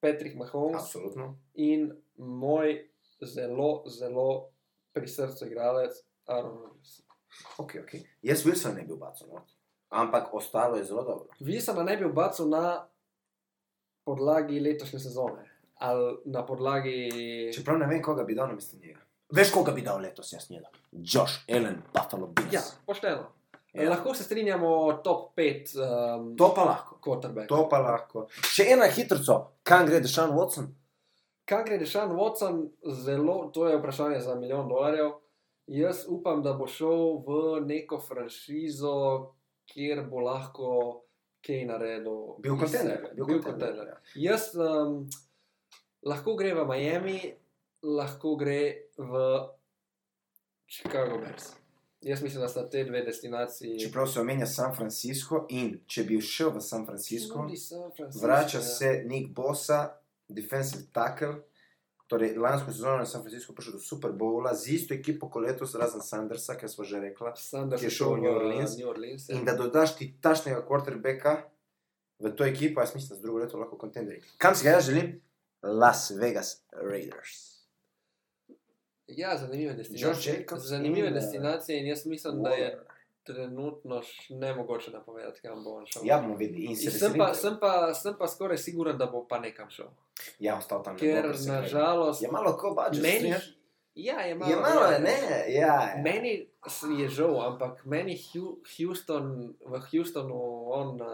[SPEAKER 2] Patrick Mahomes,
[SPEAKER 1] Absolutno.
[SPEAKER 2] in moj zelo, zelo pri srcu igralec, Aaron Rodgers.
[SPEAKER 1] Ok, ok. Jaz Wilson ne bi obacal, no. ampak ostalo je zelo dobro.
[SPEAKER 2] Visama ne bi obacal na podlagi letošnje sezone ali na podlagi.
[SPEAKER 1] Čeprav ne vem, koga bi dal na mesto njega. Veš, koga bi dal letos, jaz njega. Josh Allen, Buffalo Bills.
[SPEAKER 2] Ja, pošteno.
[SPEAKER 1] Ja.
[SPEAKER 2] Ja. Lahko se strinjamo o top 5 um,
[SPEAKER 1] To pa lahko.
[SPEAKER 2] quarterback.
[SPEAKER 1] To pa lahko. Še ena hitrico, kam gre Dešan Watson?
[SPEAKER 2] Kaj gre Dešan Watson, zelo, to je vprašanje za milijon dolarjev. Jaz upam, da bo šel v neko franšizo, kjer bo lahko kaj naredil.
[SPEAKER 1] Bil
[SPEAKER 2] iz
[SPEAKER 1] kontender,
[SPEAKER 2] sebe.
[SPEAKER 1] bil
[SPEAKER 2] Bil
[SPEAKER 1] kontender,
[SPEAKER 2] kontender. Jaz um, lahko gre v Miami, lahko gre v Chicago Bears. Jaz mislim, da sta te dve destinaciji.
[SPEAKER 1] Čeprav se omenja San Francisco in če bi šel v San Francisco,
[SPEAKER 2] Tudi San Francisco,
[SPEAKER 1] vrača
[SPEAKER 2] ja.
[SPEAKER 1] se Nick Bosa, defensive tackle. Torej, lansko sezono je San Francisco prišel do Super Bowla z isto ekipo kot letos, razen Sandersa, ki smo že rekla.
[SPEAKER 2] Sanders
[SPEAKER 1] ki je šel v New Orleans.
[SPEAKER 2] New Orleans ja.
[SPEAKER 1] In da dodaš ti tašnega quarterbacka v to ekipo, jaz mislim, da z drugo leto lahko kontenderi. Kam si ga jaz želim? Las Vegas Raiders.
[SPEAKER 2] ja, zanimive
[SPEAKER 1] Josh
[SPEAKER 2] destinacije.
[SPEAKER 1] Jacobs
[SPEAKER 2] Zanimive
[SPEAKER 1] in, eh,
[SPEAKER 2] destinacije in jaz mislim, da je trenutno še nemogoče napovedati, kam bo on šel.
[SPEAKER 1] Ja, bomo videli. In se
[SPEAKER 2] In Sem pa,
[SPEAKER 1] veselim.
[SPEAKER 2] sem, pa, sem pa skoraj siguren, da bo pa nekam šel.
[SPEAKER 1] Ja, ostal tam. ne bo,
[SPEAKER 2] Ker
[SPEAKER 1] ker se gleda.
[SPEAKER 2] nažalost,
[SPEAKER 1] Je malo ko bač.
[SPEAKER 2] meni, ja, je malo,
[SPEAKER 1] Je malo,
[SPEAKER 2] ja,
[SPEAKER 1] ne, ja. ja.
[SPEAKER 2] Meni s- je žal, ampak meni Hu- Houston, v Houstonu on uh,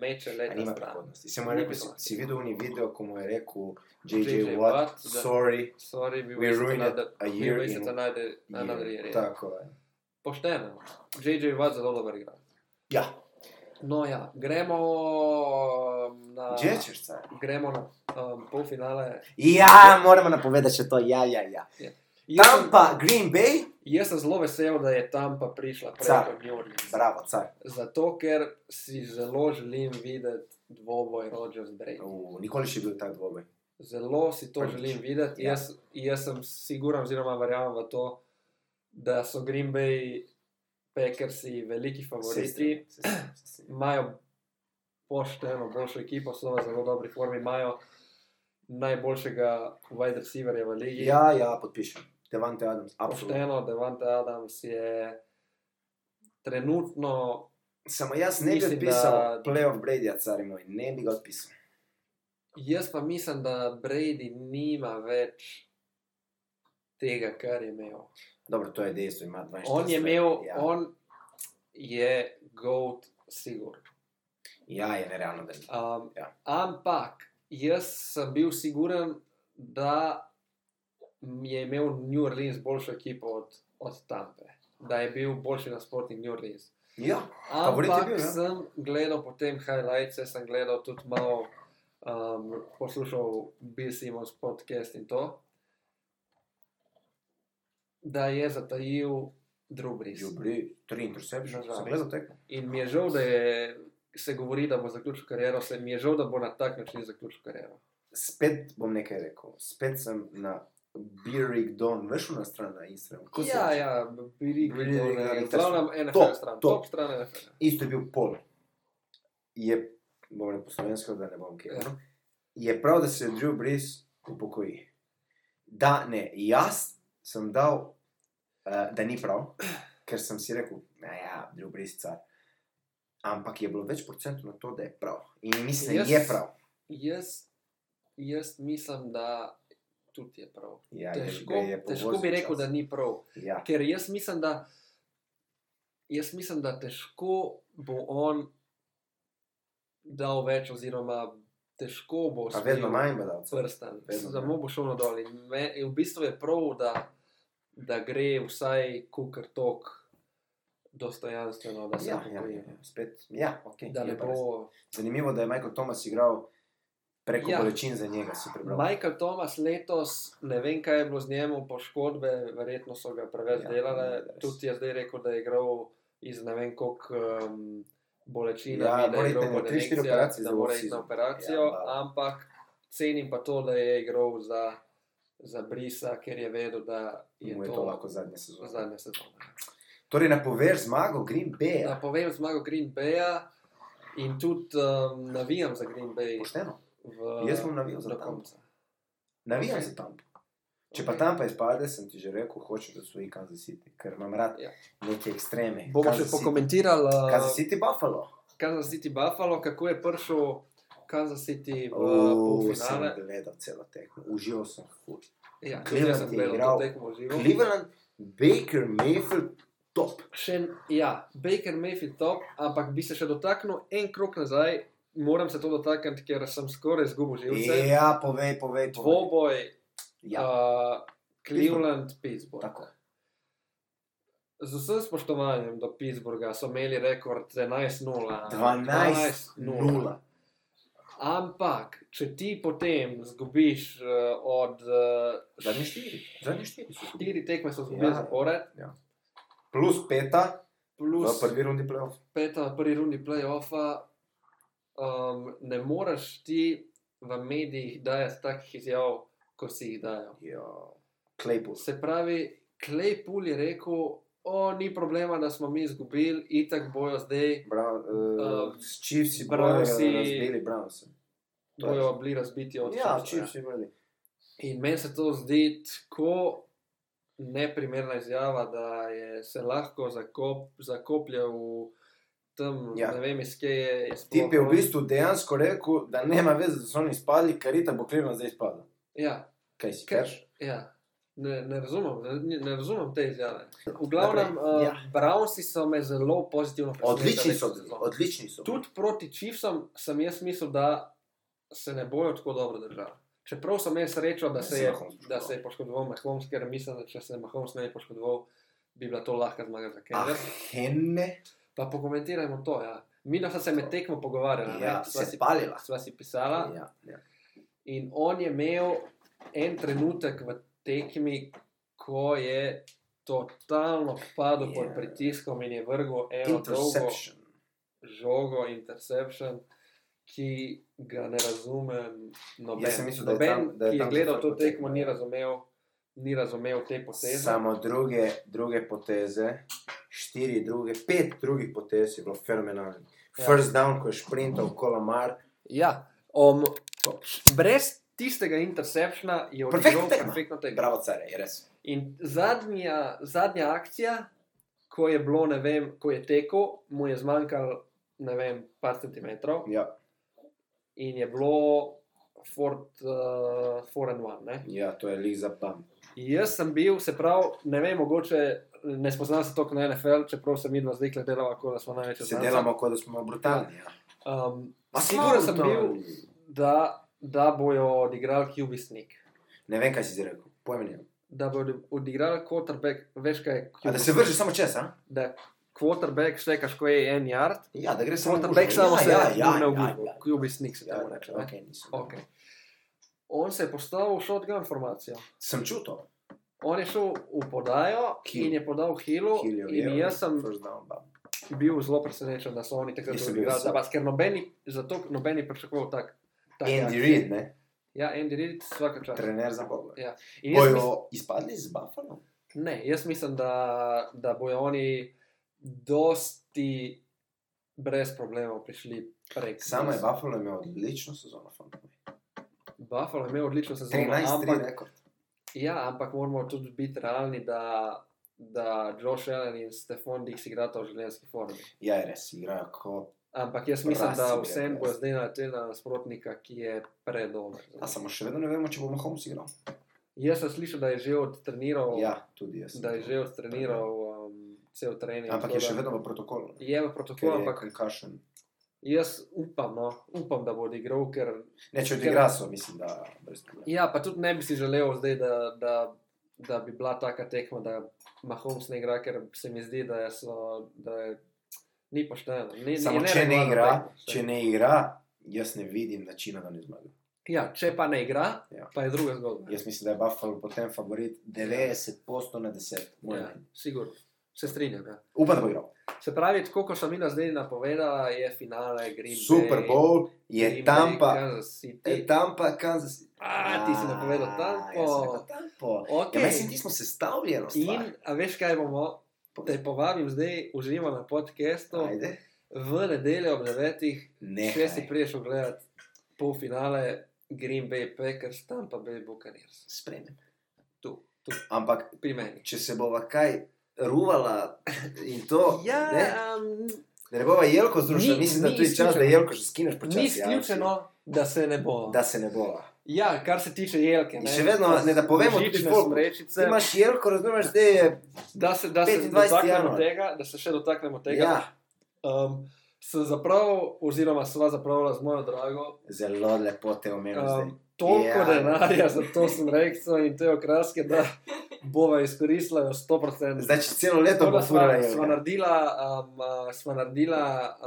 [SPEAKER 2] meče
[SPEAKER 1] A
[SPEAKER 2] leta
[SPEAKER 1] Nima
[SPEAKER 2] stran.
[SPEAKER 1] prihodnosti. Se mu je
[SPEAKER 2] Ni
[SPEAKER 1] rekel, si,
[SPEAKER 2] prihodnosti.
[SPEAKER 1] si videl oni video, ko mu je rekel
[SPEAKER 2] JJ
[SPEAKER 1] JJ
[SPEAKER 2] Watt,
[SPEAKER 1] Watt,
[SPEAKER 2] da.
[SPEAKER 1] sorry,
[SPEAKER 2] Sorry, we
[SPEAKER 1] We
[SPEAKER 2] wasted
[SPEAKER 1] ruined
[SPEAKER 2] another,
[SPEAKER 1] a
[SPEAKER 2] we
[SPEAKER 1] year
[SPEAKER 2] wasted
[SPEAKER 1] in-
[SPEAKER 2] another, another year.
[SPEAKER 1] je.
[SPEAKER 2] ja.
[SPEAKER 1] Tako je.
[SPEAKER 2] Pošteno. JJ Watt zelo dober igra.
[SPEAKER 1] Ja,
[SPEAKER 2] No ja, gremo um, na,
[SPEAKER 1] Ječerca.
[SPEAKER 2] gremo na um, polfinale.
[SPEAKER 1] Ja, moramo napovedati še to, ja, ja, ja.
[SPEAKER 2] Jaz sem-
[SPEAKER 1] Tam pa Green Bay,
[SPEAKER 2] Jaz sem zelo vesel, da je tam pa prišla
[SPEAKER 1] Car.
[SPEAKER 2] preko New Orleans.
[SPEAKER 1] bravo, car.
[SPEAKER 2] Zato, ker si zelo želim videti dvoboj Rodgers Drake.
[SPEAKER 1] U, nikoli še bil tak dvoboj.
[SPEAKER 2] Zelo si to
[SPEAKER 1] Prvič.
[SPEAKER 2] želim videti.
[SPEAKER 1] Ja.
[SPEAKER 2] Jaz, jaz sem siguren, oziroma verjamem v to, da so Green Bay Packersi veliki
[SPEAKER 1] Se
[SPEAKER 2] favoriti.
[SPEAKER 1] strinjam, se strinjam, se strinjam.
[SPEAKER 2] imajo pošteno boljšo ekipo, so v zelo dobri formi, imajo najboljšega wide receiverja v ligi.
[SPEAKER 1] Ja, ja, podpišem. Devante Adams, absolutno.
[SPEAKER 2] pošteno, Devante Adams je trenutno,
[SPEAKER 1] Samo jaz ne bi
[SPEAKER 2] Mislim,
[SPEAKER 1] odpisal
[SPEAKER 2] da-
[SPEAKER 1] playoff Bradyja, car moj, ne bi ga odpisal.
[SPEAKER 2] jaz pa mislim, da Brady nima več tega, kar je imel.
[SPEAKER 1] Dobro, to je dejstvo, ima 42.
[SPEAKER 2] On je imel,
[SPEAKER 1] ja.
[SPEAKER 2] on je gold, sigur.
[SPEAKER 1] Ja, je nerealno, da je.
[SPEAKER 2] Um,
[SPEAKER 1] Ja.
[SPEAKER 2] Ampak jaz sem bil siguren, da je imel New Orleans boljšo ekipo od, od Tampe, da je bil boljši nasprotnik New Orleans.
[SPEAKER 1] Ja, Favorit je
[SPEAKER 2] Ampak
[SPEAKER 1] bil,
[SPEAKER 2] bil,
[SPEAKER 1] ja.
[SPEAKER 2] sem gledal potem highlights, jaz sem gledal tudi malo, um, poslušal Bill Simons podcast in to, da je zatajil Drubris.
[SPEAKER 1] že bili tri intercepcije,
[SPEAKER 2] Nažalost.
[SPEAKER 1] sem gledal tekmo.
[SPEAKER 2] In mi je žal, da je, se govori, da bo zaključil kariero, se mi je žal, da bo na tak način zaključil kariero.
[SPEAKER 1] Spet bom nekaj rekel, spet sem na Birig Don, veš, na stran na Instagramu. kako se
[SPEAKER 2] Ja,
[SPEAKER 1] reče?
[SPEAKER 2] ja, bili
[SPEAKER 1] Bili bili-
[SPEAKER 2] bi
[SPEAKER 1] bili-
[SPEAKER 2] glavnem NFL
[SPEAKER 1] Top,
[SPEAKER 2] stran,
[SPEAKER 1] top.
[SPEAKER 2] top stran NFL.
[SPEAKER 1] Isto je bil pol. Je, bom rekel po slovensko, da ne bom kaj. ono. Je prav, da se Drew Brees upokoji. Da, ne, jaz sem dal, eh, da ni prav, ker sem si rekel, da ja, Drew Brees car. Ampak je bilo več procentov na to, da je prav. In mislim, da
[SPEAKER 2] Jaz-
[SPEAKER 1] je prav.
[SPEAKER 2] Jaz, jaz mislim, da tudi je prav.
[SPEAKER 1] Ja, je-
[SPEAKER 2] Težko,
[SPEAKER 1] ga je
[SPEAKER 2] težko bi
[SPEAKER 1] povozil
[SPEAKER 2] rekel,
[SPEAKER 1] čas.
[SPEAKER 2] da ni prav.
[SPEAKER 1] Ja.
[SPEAKER 2] Ker jaz mislim, da, jaz mislim, da težko bo on dal več, oziroma težko bo
[SPEAKER 1] Pa vedno
[SPEAKER 2] osvojil
[SPEAKER 1] manj gledalcev.
[SPEAKER 2] prstan,
[SPEAKER 1] Vedno,
[SPEAKER 2] samo bo šel na dol. In me, in v bistvu je prav, da, da gre vsaj kukar tok dostojanstveno, da se
[SPEAKER 1] Ja, ja,
[SPEAKER 2] upokoji.
[SPEAKER 1] ja, spet, ja, okay,
[SPEAKER 2] Da ne bo.
[SPEAKER 1] Zanimivo, da je Michael Thomas igral preko
[SPEAKER 2] Ja.
[SPEAKER 1] ja. bolečin za njega, si prebral.
[SPEAKER 2] Michael Thomas letos, ne vem, kaj je bilo z njemu, poškodbe, verjetno so ga preveč
[SPEAKER 1] Ja,
[SPEAKER 2] ja, delale.
[SPEAKER 1] res.
[SPEAKER 2] Tudi jaz zdaj rekel, da je igral iz ne vem koliko um, bolečin,
[SPEAKER 1] Ja,
[SPEAKER 2] da
[SPEAKER 1] mora
[SPEAKER 2] je
[SPEAKER 1] iti
[SPEAKER 2] igral
[SPEAKER 1] na
[SPEAKER 2] pod
[SPEAKER 1] tri, štiri
[SPEAKER 2] injekcijo,
[SPEAKER 1] operacije
[SPEAKER 2] da
[SPEAKER 1] za
[SPEAKER 2] mora iti
[SPEAKER 1] off-season.
[SPEAKER 2] na operacijo,
[SPEAKER 1] Ja,
[SPEAKER 2] ja,
[SPEAKER 1] da.
[SPEAKER 2] ampak cenim pa to, da je igral za, za Brisa, ker je vedel, da je
[SPEAKER 1] Mu
[SPEAKER 2] to,
[SPEAKER 1] je to lahko zadnja sezona.
[SPEAKER 2] zadnja sezona.
[SPEAKER 1] Torej, napoveš zmago Green Bay.
[SPEAKER 2] Ja.
[SPEAKER 1] Ja.
[SPEAKER 2] Napovem zmago Green Baya in tudi um, navijam za Green Bay.
[SPEAKER 1] Pošteno.
[SPEAKER 2] v-
[SPEAKER 1] Jaz bom navijal za
[SPEAKER 2] do
[SPEAKER 1] Tampo.
[SPEAKER 2] konca.
[SPEAKER 1] Navijam
[SPEAKER 2] Ok.
[SPEAKER 1] okay. za tam. Če pa
[SPEAKER 2] Ok.
[SPEAKER 1] tam pa izpade, sem ti že rekel, hočem, da svoji Kansas City, ker imam rad
[SPEAKER 2] Ja.
[SPEAKER 1] ja. neke ekstreme.
[SPEAKER 2] Bomo še
[SPEAKER 1] Kansas City-
[SPEAKER 2] pokomentirali uh,
[SPEAKER 1] Kansas City Buffalo.
[SPEAKER 2] Kansas City Buffalo, kako je prišel Kansas City v
[SPEAKER 1] Uh,
[SPEAKER 2] polfinale.
[SPEAKER 1] sem gledal celo tekmo, užival sem ful.
[SPEAKER 2] Ja,
[SPEAKER 1] Cleveland
[SPEAKER 2] jaz sem
[SPEAKER 1] je
[SPEAKER 2] gledal
[SPEAKER 1] igral.
[SPEAKER 2] to tekmo v živo.
[SPEAKER 1] Cleveland, Baker, Mayfield, top.
[SPEAKER 2] Še, ja, Baker Mayfield top, ampak bi se še dotaknil en krok nazaj. Moram se to dotakniti, ker sem skoraj izgubil živce.
[SPEAKER 1] Ja, povej, povej. povej.
[SPEAKER 2] Dvoboj, eh,
[SPEAKER 1] Ja,
[SPEAKER 2] uh, Cleveland, Pittsburgh.
[SPEAKER 1] tako.
[SPEAKER 2] z vsem spoštovanjem do Pittsburgha so imeli rekord 11-0. 12:0.
[SPEAKER 1] 12-0.
[SPEAKER 2] Ampak, če ti potem zgubiš uh, od uh,
[SPEAKER 1] Zadnji štiri. Zadnji štiri so bili.
[SPEAKER 2] štiri tekme, so zgubili
[SPEAKER 1] Ja.
[SPEAKER 2] ja. zapored,
[SPEAKER 1] Plus peta v
[SPEAKER 2] plus
[SPEAKER 1] No, prvi rundi playoff.
[SPEAKER 2] peta v prvi rundi playoffa, um, ne moreš ti v medijih dajati takih izjav, kot si jih dajo.
[SPEAKER 1] Ja. Claypool.
[SPEAKER 2] Se pravi, Claypool je rekel, o, ni problema, da smo mi izgubili, itak bojo zdaj,
[SPEAKER 1] Brown, uh,
[SPEAKER 2] Um,
[SPEAKER 1] s Chiefsi bojo
[SPEAKER 2] Brownsi-
[SPEAKER 1] razbili Brownsa.
[SPEAKER 2] bojo bili razbiti od
[SPEAKER 1] Ja,
[SPEAKER 2] Chiefsa,
[SPEAKER 1] Chiefsi vrli.
[SPEAKER 2] In meni se to zdi tako neprimerna izjava, da je se lahko zakop, zakoplja v tem,
[SPEAKER 1] Ja.
[SPEAKER 2] ja. ne vem, iz kje je. je sploh
[SPEAKER 1] Tip je v
[SPEAKER 2] on.
[SPEAKER 1] bistvu dejansko rekel, da nema veze, da so oni spadli, ker itak bo klirno zdaj spadla.
[SPEAKER 2] Ja,
[SPEAKER 1] Kaj si
[SPEAKER 2] Ker-
[SPEAKER 1] kaš?
[SPEAKER 2] ja. Ne, ne, razumem, ne, ne razumem te izjave. V glavnem,
[SPEAKER 1] Naprej.
[SPEAKER 2] uh,
[SPEAKER 1] Ja.
[SPEAKER 2] ja. Brownsi so me zelo pozitivno
[SPEAKER 1] Odlični so bili,
[SPEAKER 2] presenetili.
[SPEAKER 1] odlični so. bili.
[SPEAKER 2] Tudi proti Chiefsom sem jaz mislil, da se ne bojo tako dobro držali. Čeprav sem imel srečo, da
[SPEAKER 1] Ja,
[SPEAKER 2] se
[SPEAKER 1] se
[SPEAKER 2] je,
[SPEAKER 1] Mahomes poškodoval.
[SPEAKER 2] da se je poškodoval Mahomes, ker mislim, da če se Mahomes ne bi poškodoval, bi bila to lahka zmaga za
[SPEAKER 1] Ah,
[SPEAKER 2] Kenner.
[SPEAKER 1] henne.
[SPEAKER 2] Pa pokomentirajmo to. Ja. Mi dva sva se med tekmo pogovarjala,
[SPEAKER 1] Ja,
[SPEAKER 2] ne? sva
[SPEAKER 1] se
[SPEAKER 2] si,
[SPEAKER 1] palila.
[SPEAKER 2] sva si pisala.
[SPEAKER 1] Ja, ja.
[SPEAKER 2] In on je imel en trenutek v tekmi, ko je totalno padel pod
[SPEAKER 1] Ja.
[SPEAKER 2] pritiskom in je vrgel eno dolgo
[SPEAKER 1] Interception.
[SPEAKER 2] žogo, interception, ki ga ne razumem. Noben,
[SPEAKER 1] Jaz sem mislil, da je
[SPEAKER 2] noben
[SPEAKER 1] tam- da je
[SPEAKER 2] ki
[SPEAKER 1] tam
[SPEAKER 2] je gledal to
[SPEAKER 1] zaprta tekma,
[SPEAKER 2] tekmo,
[SPEAKER 1] ja.
[SPEAKER 2] ni razumel, ni razumel te poteze.
[SPEAKER 1] Samo druge, druge poteze, štiri druge, pet drugih potez je bilo fenomenalno. Ja.
[SPEAKER 2] Ja.
[SPEAKER 1] First down, ko je šprintal Kolamar,
[SPEAKER 2] Ja, um,
[SPEAKER 1] Top.
[SPEAKER 2] brez tistega interceptiona je
[SPEAKER 1] Perfektna
[SPEAKER 2] odigral
[SPEAKER 1] tekma.
[SPEAKER 2] perfektno tekmo.
[SPEAKER 1] bravo, care, je res.
[SPEAKER 2] In zadnja, zadnja akcija, ko je bilo, ne vem, ko je tekel, mu je zmanjkalo, ne vem, par centimetrov
[SPEAKER 1] Ja,
[SPEAKER 2] in je bilo Ford, uh, Ford and One. Ne?
[SPEAKER 1] ja to je lik za pam.
[SPEAKER 2] Jaz sem bil, se pravi, ne vem, mogoče ne spoznam se toliko na NFL, čeprav sem videl zdaj, da delava, kot da smo največji
[SPEAKER 1] Se delamo, kot da smo brutalni. Ja.
[SPEAKER 2] Um,
[SPEAKER 1] Ma smo
[SPEAKER 2] siguren sem bil,
[SPEAKER 1] brutalni.
[SPEAKER 2] da, da bojo odigrali QB sneak.
[SPEAKER 1] Ne vem, kaj si zdaj rekel, pojmenil.
[SPEAKER 2] Da bojo odigrali quarterback, veš kaj je
[SPEAKER 1] A da
[SPEAKER 2] QB
[SPEAKER 1] se vrže samo čez, a?
[SPEAKER 2] da quarterback štekaš, ko je en yard,
[SPEAKER 1] Ja, da gre samo
[SPEAKER 2] quarterback
[SPEAKER 1] gužvo.
[SPEAKER 2] samo
[SPEAKER 1] Ja,
[SPEAKER 2] se
[SPEAKER 1] ja, ja,
[SPEAKER 2] ne
[SPEAKER 1] ja,
[SPEAKER 2] ugiba,
[SPEAKER 1] ja.
[SPEAKER 2] QB snik se
[SPEAKER 1] Ja,
[SPEAKER 2] temu
[SPEAKER 1] ja,
[SPEAKER 2] reče. ne?
[SPEAKER 1] okej, nisem.
[SPEAKER 2] Okay. On se je postavil v shotgun formacijo.
[SPEAKER 1] Sem čutil.
[SPEAKER 2] On je šel v podajo
[SPEAKER 1] Hill.
[SPEAKER 2] in je podal Hilu.
[SPEAKER 1] Hillier,
[SPEAKER 2] In
[SPEAKER 1] ja,
[SPEAKER 2] jaz sem
[SPEAKER 1] first down, bam.
[SPEAKER 2] bil zelo presenečen, da so oni takrat
[SPEAKER 1] Jaz sem bil
[SPEAKER 2] odigrali
[SPEAKER 1] zelo-
[SPEAKER 2] za vas, ker nobeni, zato nobeni pričakoval tak. tak
[SPEAKER 1] Andy
[SPEAKER 2] jak-
[SPEAKER 1] Reid, ne?
[SPEAKER 2] Ja, Andy Reid, vsaka čast.
[SPEAKER 1] trener za Bogla.
[SPEAKER 2] Ja. In jaz mislim,
[SPEAKER 1] Bojo izpadli z Buffalo?
[SPEAKER 2] ne, jaz mislim, da, da bojo oni dosti brez problemov prišli prek.
[SPEAKER 1] Samo je Buffalo imel odlično sezono. fantovi.
[SPEAKER 2] Buffalo je imel odlično sezono,
[SPEAKER 1] 13-3
[SPEAKER 2] ampak,
[SPEAKER 1] rekord.
[SPEAKER 2] ja, ampak moramo tudi biti realni, da, da Josh Allen in Stefan Dix igrata v življenjski formi.
[SPEAKER 1] Ja, je res igrajo kot.
[SPEAKER 2] Ampak jaz mislim, da
[SPEAKER 1] Rasi,
[SPEAKER 2] vsem
[SPEAKER 1] ja,
[SPEAKER 2] bo
[SPEAKER 1] res.
[SPEAKER 2] zdaj naleteli na nasprotnika, ki je predober.
[SPEAKER 1] A samo še vedno ne vemo, če bomo Holmes igral.
[SPEAKER 2] Jaz sem slišal, da je že odtreniral,
[SPEAKER 1] Ja, tudi jaz. sem
[SPEAKER 2] da je
[SPEAKER 1] to.
[SPEAKER 2] že odtreniral um, cel trening.
[SPEAKER 1] Ampak
[SPEAKER 2] tako
[SPEAKER 1] je še
[SPEAKER 2] da-
[SPEAKER 1] vedno v protokolu. ne?
[SPEAKER 2] Je v
[SPEAKER 1] Ker
[SPEAKER 2] protokolu,
[SPEAKER 1] je
[SPEAKER 2] ampak
[SPEAKER 1] concussion.
[SPEAKER 2] jaz upam, no, upam, da bo odigral, ker
[SPEAKER 1] Ne, če odigra so, mislim, da brez problema.
[SPEAKER 2] Ja, pa tudi ne bi si želel zdaj, da, da, da bi bila taka tekma, da Mahomes ne igra, ker se mi zdi, da, so, da je, ni pošteno. Ni,
[SPEAKER 1] Samo
[SPEAKER 2] je
[SPEAKER 1] če ne
[SPEAKER 2] neregularna
[SPEAKER 1] igra,
[SPEAKER 2] tekma,
[SPEAKER 1] če ne igra, jaz ne vidim načina, da ne zmaga.
[SPEAKER 2] Ja, če pa ne igra,
[SPEAKER 1] Ja.
[SPEAKER 2] ja. pa je druga zgodba.
[SPEAKER 1] Jaz mislim, da je Buffalo potem favorit 90% na 10. moje
[SPEAKER 2] ja,
[SPEAKER 1] mnenje.
[SPEAKER 2] sigurno. Se strinjam. Ja.
[SPEAKER 1] Upam, da bo igral.
[SPEAKER 2] Se pravi, tako kot sem jim zdaj napovedala, je finale Green
[SPEAKER 1] Super
[SPEAKER 2] Bay.
[SPEAKER 1] Bowl je
[SPEAKER 2] Green
[SPEAKER 1] tam
[SPEAKER 2] Bay,
[SPEAKER 1] pa.
[SPEAKER 2] Kansas City.
[SPEAKER 1] Je tam pa Kansas City.
[SPEAKER 2] A, ti si napovedal Tampo.
[SPEAKER 1] Jaz sem rekel Tampo.
[SPEAKER 2] Ok.
[SPEAKER 1] Okay. Ja, mislim, ti smo sestavljeni.
[SPEAKER 2] In, a veš kaj bomo?
[SPEAKER 1] Povej.
[SPEAKER 2] Te povabim zdaj v živo na podkastu
[SPEAKER 1] Ajde.
[SPEAKER 2] v nedeljo ob 9.
[SPEAKER 1] Ne.
[SPEAKER 2] Če si priješ ogledat polfinale Green Bay Packers, tam pa Bay Buccaneers,
[SPEAKER 1] Spremem.
[SPEAKER 2] tu, tu
[SPEAKER 1] Ampak,
[SPEAKER 2] pri meni.
[SPEAKER 1] če se bova kaj ruvala in to,
[SPEAKER 2] Ja,
[SPEAKER 1] ne,
[SPEAKER 2] um,
[SPEAKER 1] da ne bova jelko združila,
[SPEAKER 2] Ni-
[SPEAKER 1] mislim, da
[SPEAKER 2] ni
[SPEAKER 1] tu je čas, da
[SPEAKER 2] izključeno.
[SPEAKER 1] jelko že skineš počasi.
[SPEAKER 2] ni
[SPEAKER 1] ja,
[SPEAKER 2] izključeno, da se ne bo.
[SPEAKER 1] Da se ne bova.
[SPEAKER 2] Ja, kar se tiče jelke.
[SPEAKER 1] In še vedno ne, da povemo tudi
[SPEAKER 2] božične
[SPEAKER 1] folku. Ti
[SPEAKER 2] smrečice,
[SPEAKER 1] imaš jelko, razumeš, da je...
[SPEAKER 2] da se, da se
[SPEAKER 1] 25.
[SPEAKER 2] dotaknemo
[SPEAKER 1] januar.
[SPEAKER 2] tega, da se še dotaknemo tega.
[SPEAKER 1] Ja,
[SPEAKER 2] Um, sem zapravil, oziroma sva zapravila z mojo drago.
[SPEAKER 1] zelo lepo te omenil zdaj.
[SPEAKER 2] Um, Toliko
[SPEAKER 1] Ja.
[SPEAKER 2] ja. denarja za to smrečico in te okraske, da bova izkoristila jo 100%.
[SPEAKER 1] Znači, celo leto
[SPEAKER 2] Um, To, da
[SPEAKER 1] bo
[SPEAKER 2] sva,
[SPEAKER 1] furala
[SPEAKER 2] sva
[SPEAKER 1] evre.
[SPEAKER 2] naredila, um, uh, sva naredila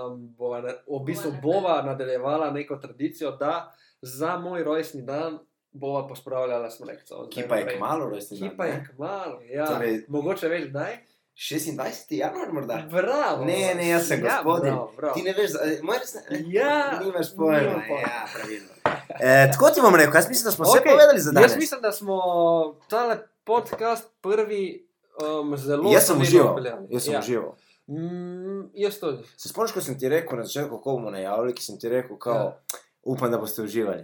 [SPEAKER 2] um, bova, na- v bistvu bova nadaljevala neko tradicijo, da za moj rojstni dan bova pospravljala smrekco.
[SPEAKER 1] Ki pa je kmalo rojstni
[SPEAKER 2] Ki
[SPEAKER 1] dan.
[SPEAKER 2] pa je
[SPEAKER 1] ne?
[SPEAKER 2] kmalo, ja.
[SPEAKER 1] Torej-
[SPEAKER 2] Torej, Mogoče veš, kdaj?
[SPEAKER 1] 26. januar morda.
[SPEAKER 2] Bravo! Ja,
[SPEAKER 1] Ne, ne, jaz sem gospodin.
[SPEAKER 2] bravo, bravo.
[SPEAKER 1] Ti ne veš, za- eh, moj resni. eh,
[SPEAKER 2] Ja,
[SPEAKER 1] Nimaš pojma.
[SPEAKER 2] nimam pojma.
[SPEAKER 1] Ja, pravilno. Eh, tako ti bom rekel, jaz mislim, da smo vse
[SPEAKER 2] Okej,
[SPEAKER 1] povedali za danes.
[SPEAKER 2] Jaz mislim, da smo tale podcast prvi um, zelo
[SPEAKER 1] Jaz sem
[SPEAKER 2] solidno
[SPEAKER 1] užival.
[SPEAKER 2] odpeljali.
[SPEAKER 1] Jaz sem
[SPEAKER 2] ja.
[SPEAKER 1] užival.
[SPEAKER 2] Mm, jaz tudi.
[SPEAKER 1] Se spomniš, ko sem ti rekel na začetku, kako bomo najavili, ki sem ti rekel, kao, ja. upam, da boste uživali.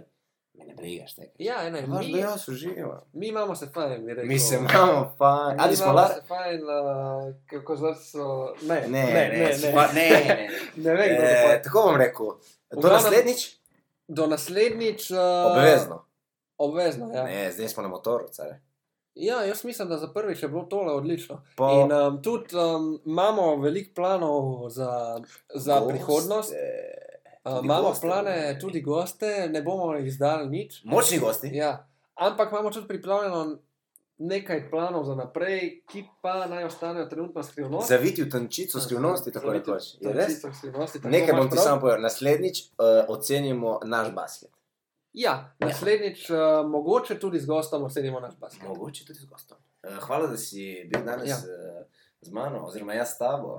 [SPEAKER 1] Me ne brigaš tega.
[SPEAKER 2] Ja, ne,
[SPEAKER 1] Imaš, da
[SPEAKER 2] mi,
[SPEAKER 1] jaz uživam.
[SPEAKER 2] mi imamo se fajn, bi rekel.
[SPEAKER 1] Mi se imamo fajn. Ali smo
[SPEAKER 2] lahko?
[SPEAKER 1] lahko?
[SPEAKER 2] Se fajn, uh, kako zdaj so. Ne,
[SPEAKER 1] Ne, ne, ne.
[SPEAKER 2] ne.
[SPEAKER 1] sva- ne,
[SPEAKER 2] <laughs>
[SPEAKER 1] ne.
[SPEAKER 2] ne vem, kdo bo
[SPEAKER 1] Eh,
[SPEAKER 2] pa-
[SPEAKER 1] tako bom rekel. Do
[SPEAKER 2] glavnem-
[SPEAKER 1] naslednjič?
[SPEAKER 2] Do naslednjič. Uh,
[SPEAKER 1] Obvezno.
[SPEAKER 2] Obvezno, ja.
[SPEAKER 1] Ne, zdaj smo na motoru, care.
[SPEAKER 2] Ja, jaz mislim, da za prvič je bilo tole odlično.
[SPEAKER 1] Po
[SPEAKER 2] In um, tudi um, imamo veliko planov za, za
[SPEAKER 1] goste-
[SPEAKER 2] prihodnost. Uh,
[SPEAKER 1] Tudi
[SPEAKER 2] imamo
[SPEAKER 1] goste.
[SPEAKER 2] plane, tudi goste, ne bomo jih zdali nič.
[SPEAKER 1] Močni gosti.
[SPEAKER 2] Ja. Ampak imamo tudi pripravljeno nekaj planov za naprej, ki pa naj ostanejo trenutno skrivnost.
[SPEAKER 1] Zaviti v tančico skrivnosti, tako
[SPEAKER 2] Zaviti v
[SPEAKER 1] rekoč. Je res?
[SPEAKER 2] tančico skrivnosti, tako
[SPEAKER 1] Nekaj
[SPEAKER 2] imaš
[SPEAKER 1] bom ti
[SPEAKER 2] prav.
[SPEAKER 1] sam povedal. Naslednjič uh, ocenimo naš basket.
[SPEAKER 2] Ja, naslednjič, uh, mogoče tudi z gostom ocenimo naš basket.
[SPEAKER 1] Mogoče tudi z gostom. Eh, Hvala, da si bil danes
[SPEAKER 2] Ja.
[SPEAKER 1] ja. z mano, oziroma jaz s tabo.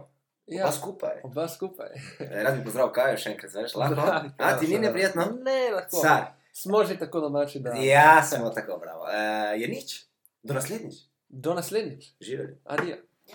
[SPEAKER 1] Ja.
[SPEAKER 2] Ja,
[SPEAKER 1] Pa skupaj.
[SPEAKER 2] oba skupaj.
[SPEAKER 1] Eh, Rad bi pozdravil Kajo še enkrat, znaš, lahko.
[SPEAKER 2] Zdravi,
[SPEAKER 1] A ti ni
[SPEAKER 2] <laughs> ja,
[SPEAKER 1] neprijetno? Ja.
[SPEAKER 2] Ne, lahko.
[SPEAKER 1] Sar.
[SPEAKER 2] Smo že tako domači, da.
[SPEAKER 1] Ja, smo tako, bravo. Uh, je Eh, nič. Do naslednjič.
[SPEAKER 2] Do naslednjič.
[SPEAKER 1] Živeli.
[SPEAKER 2] Adijo.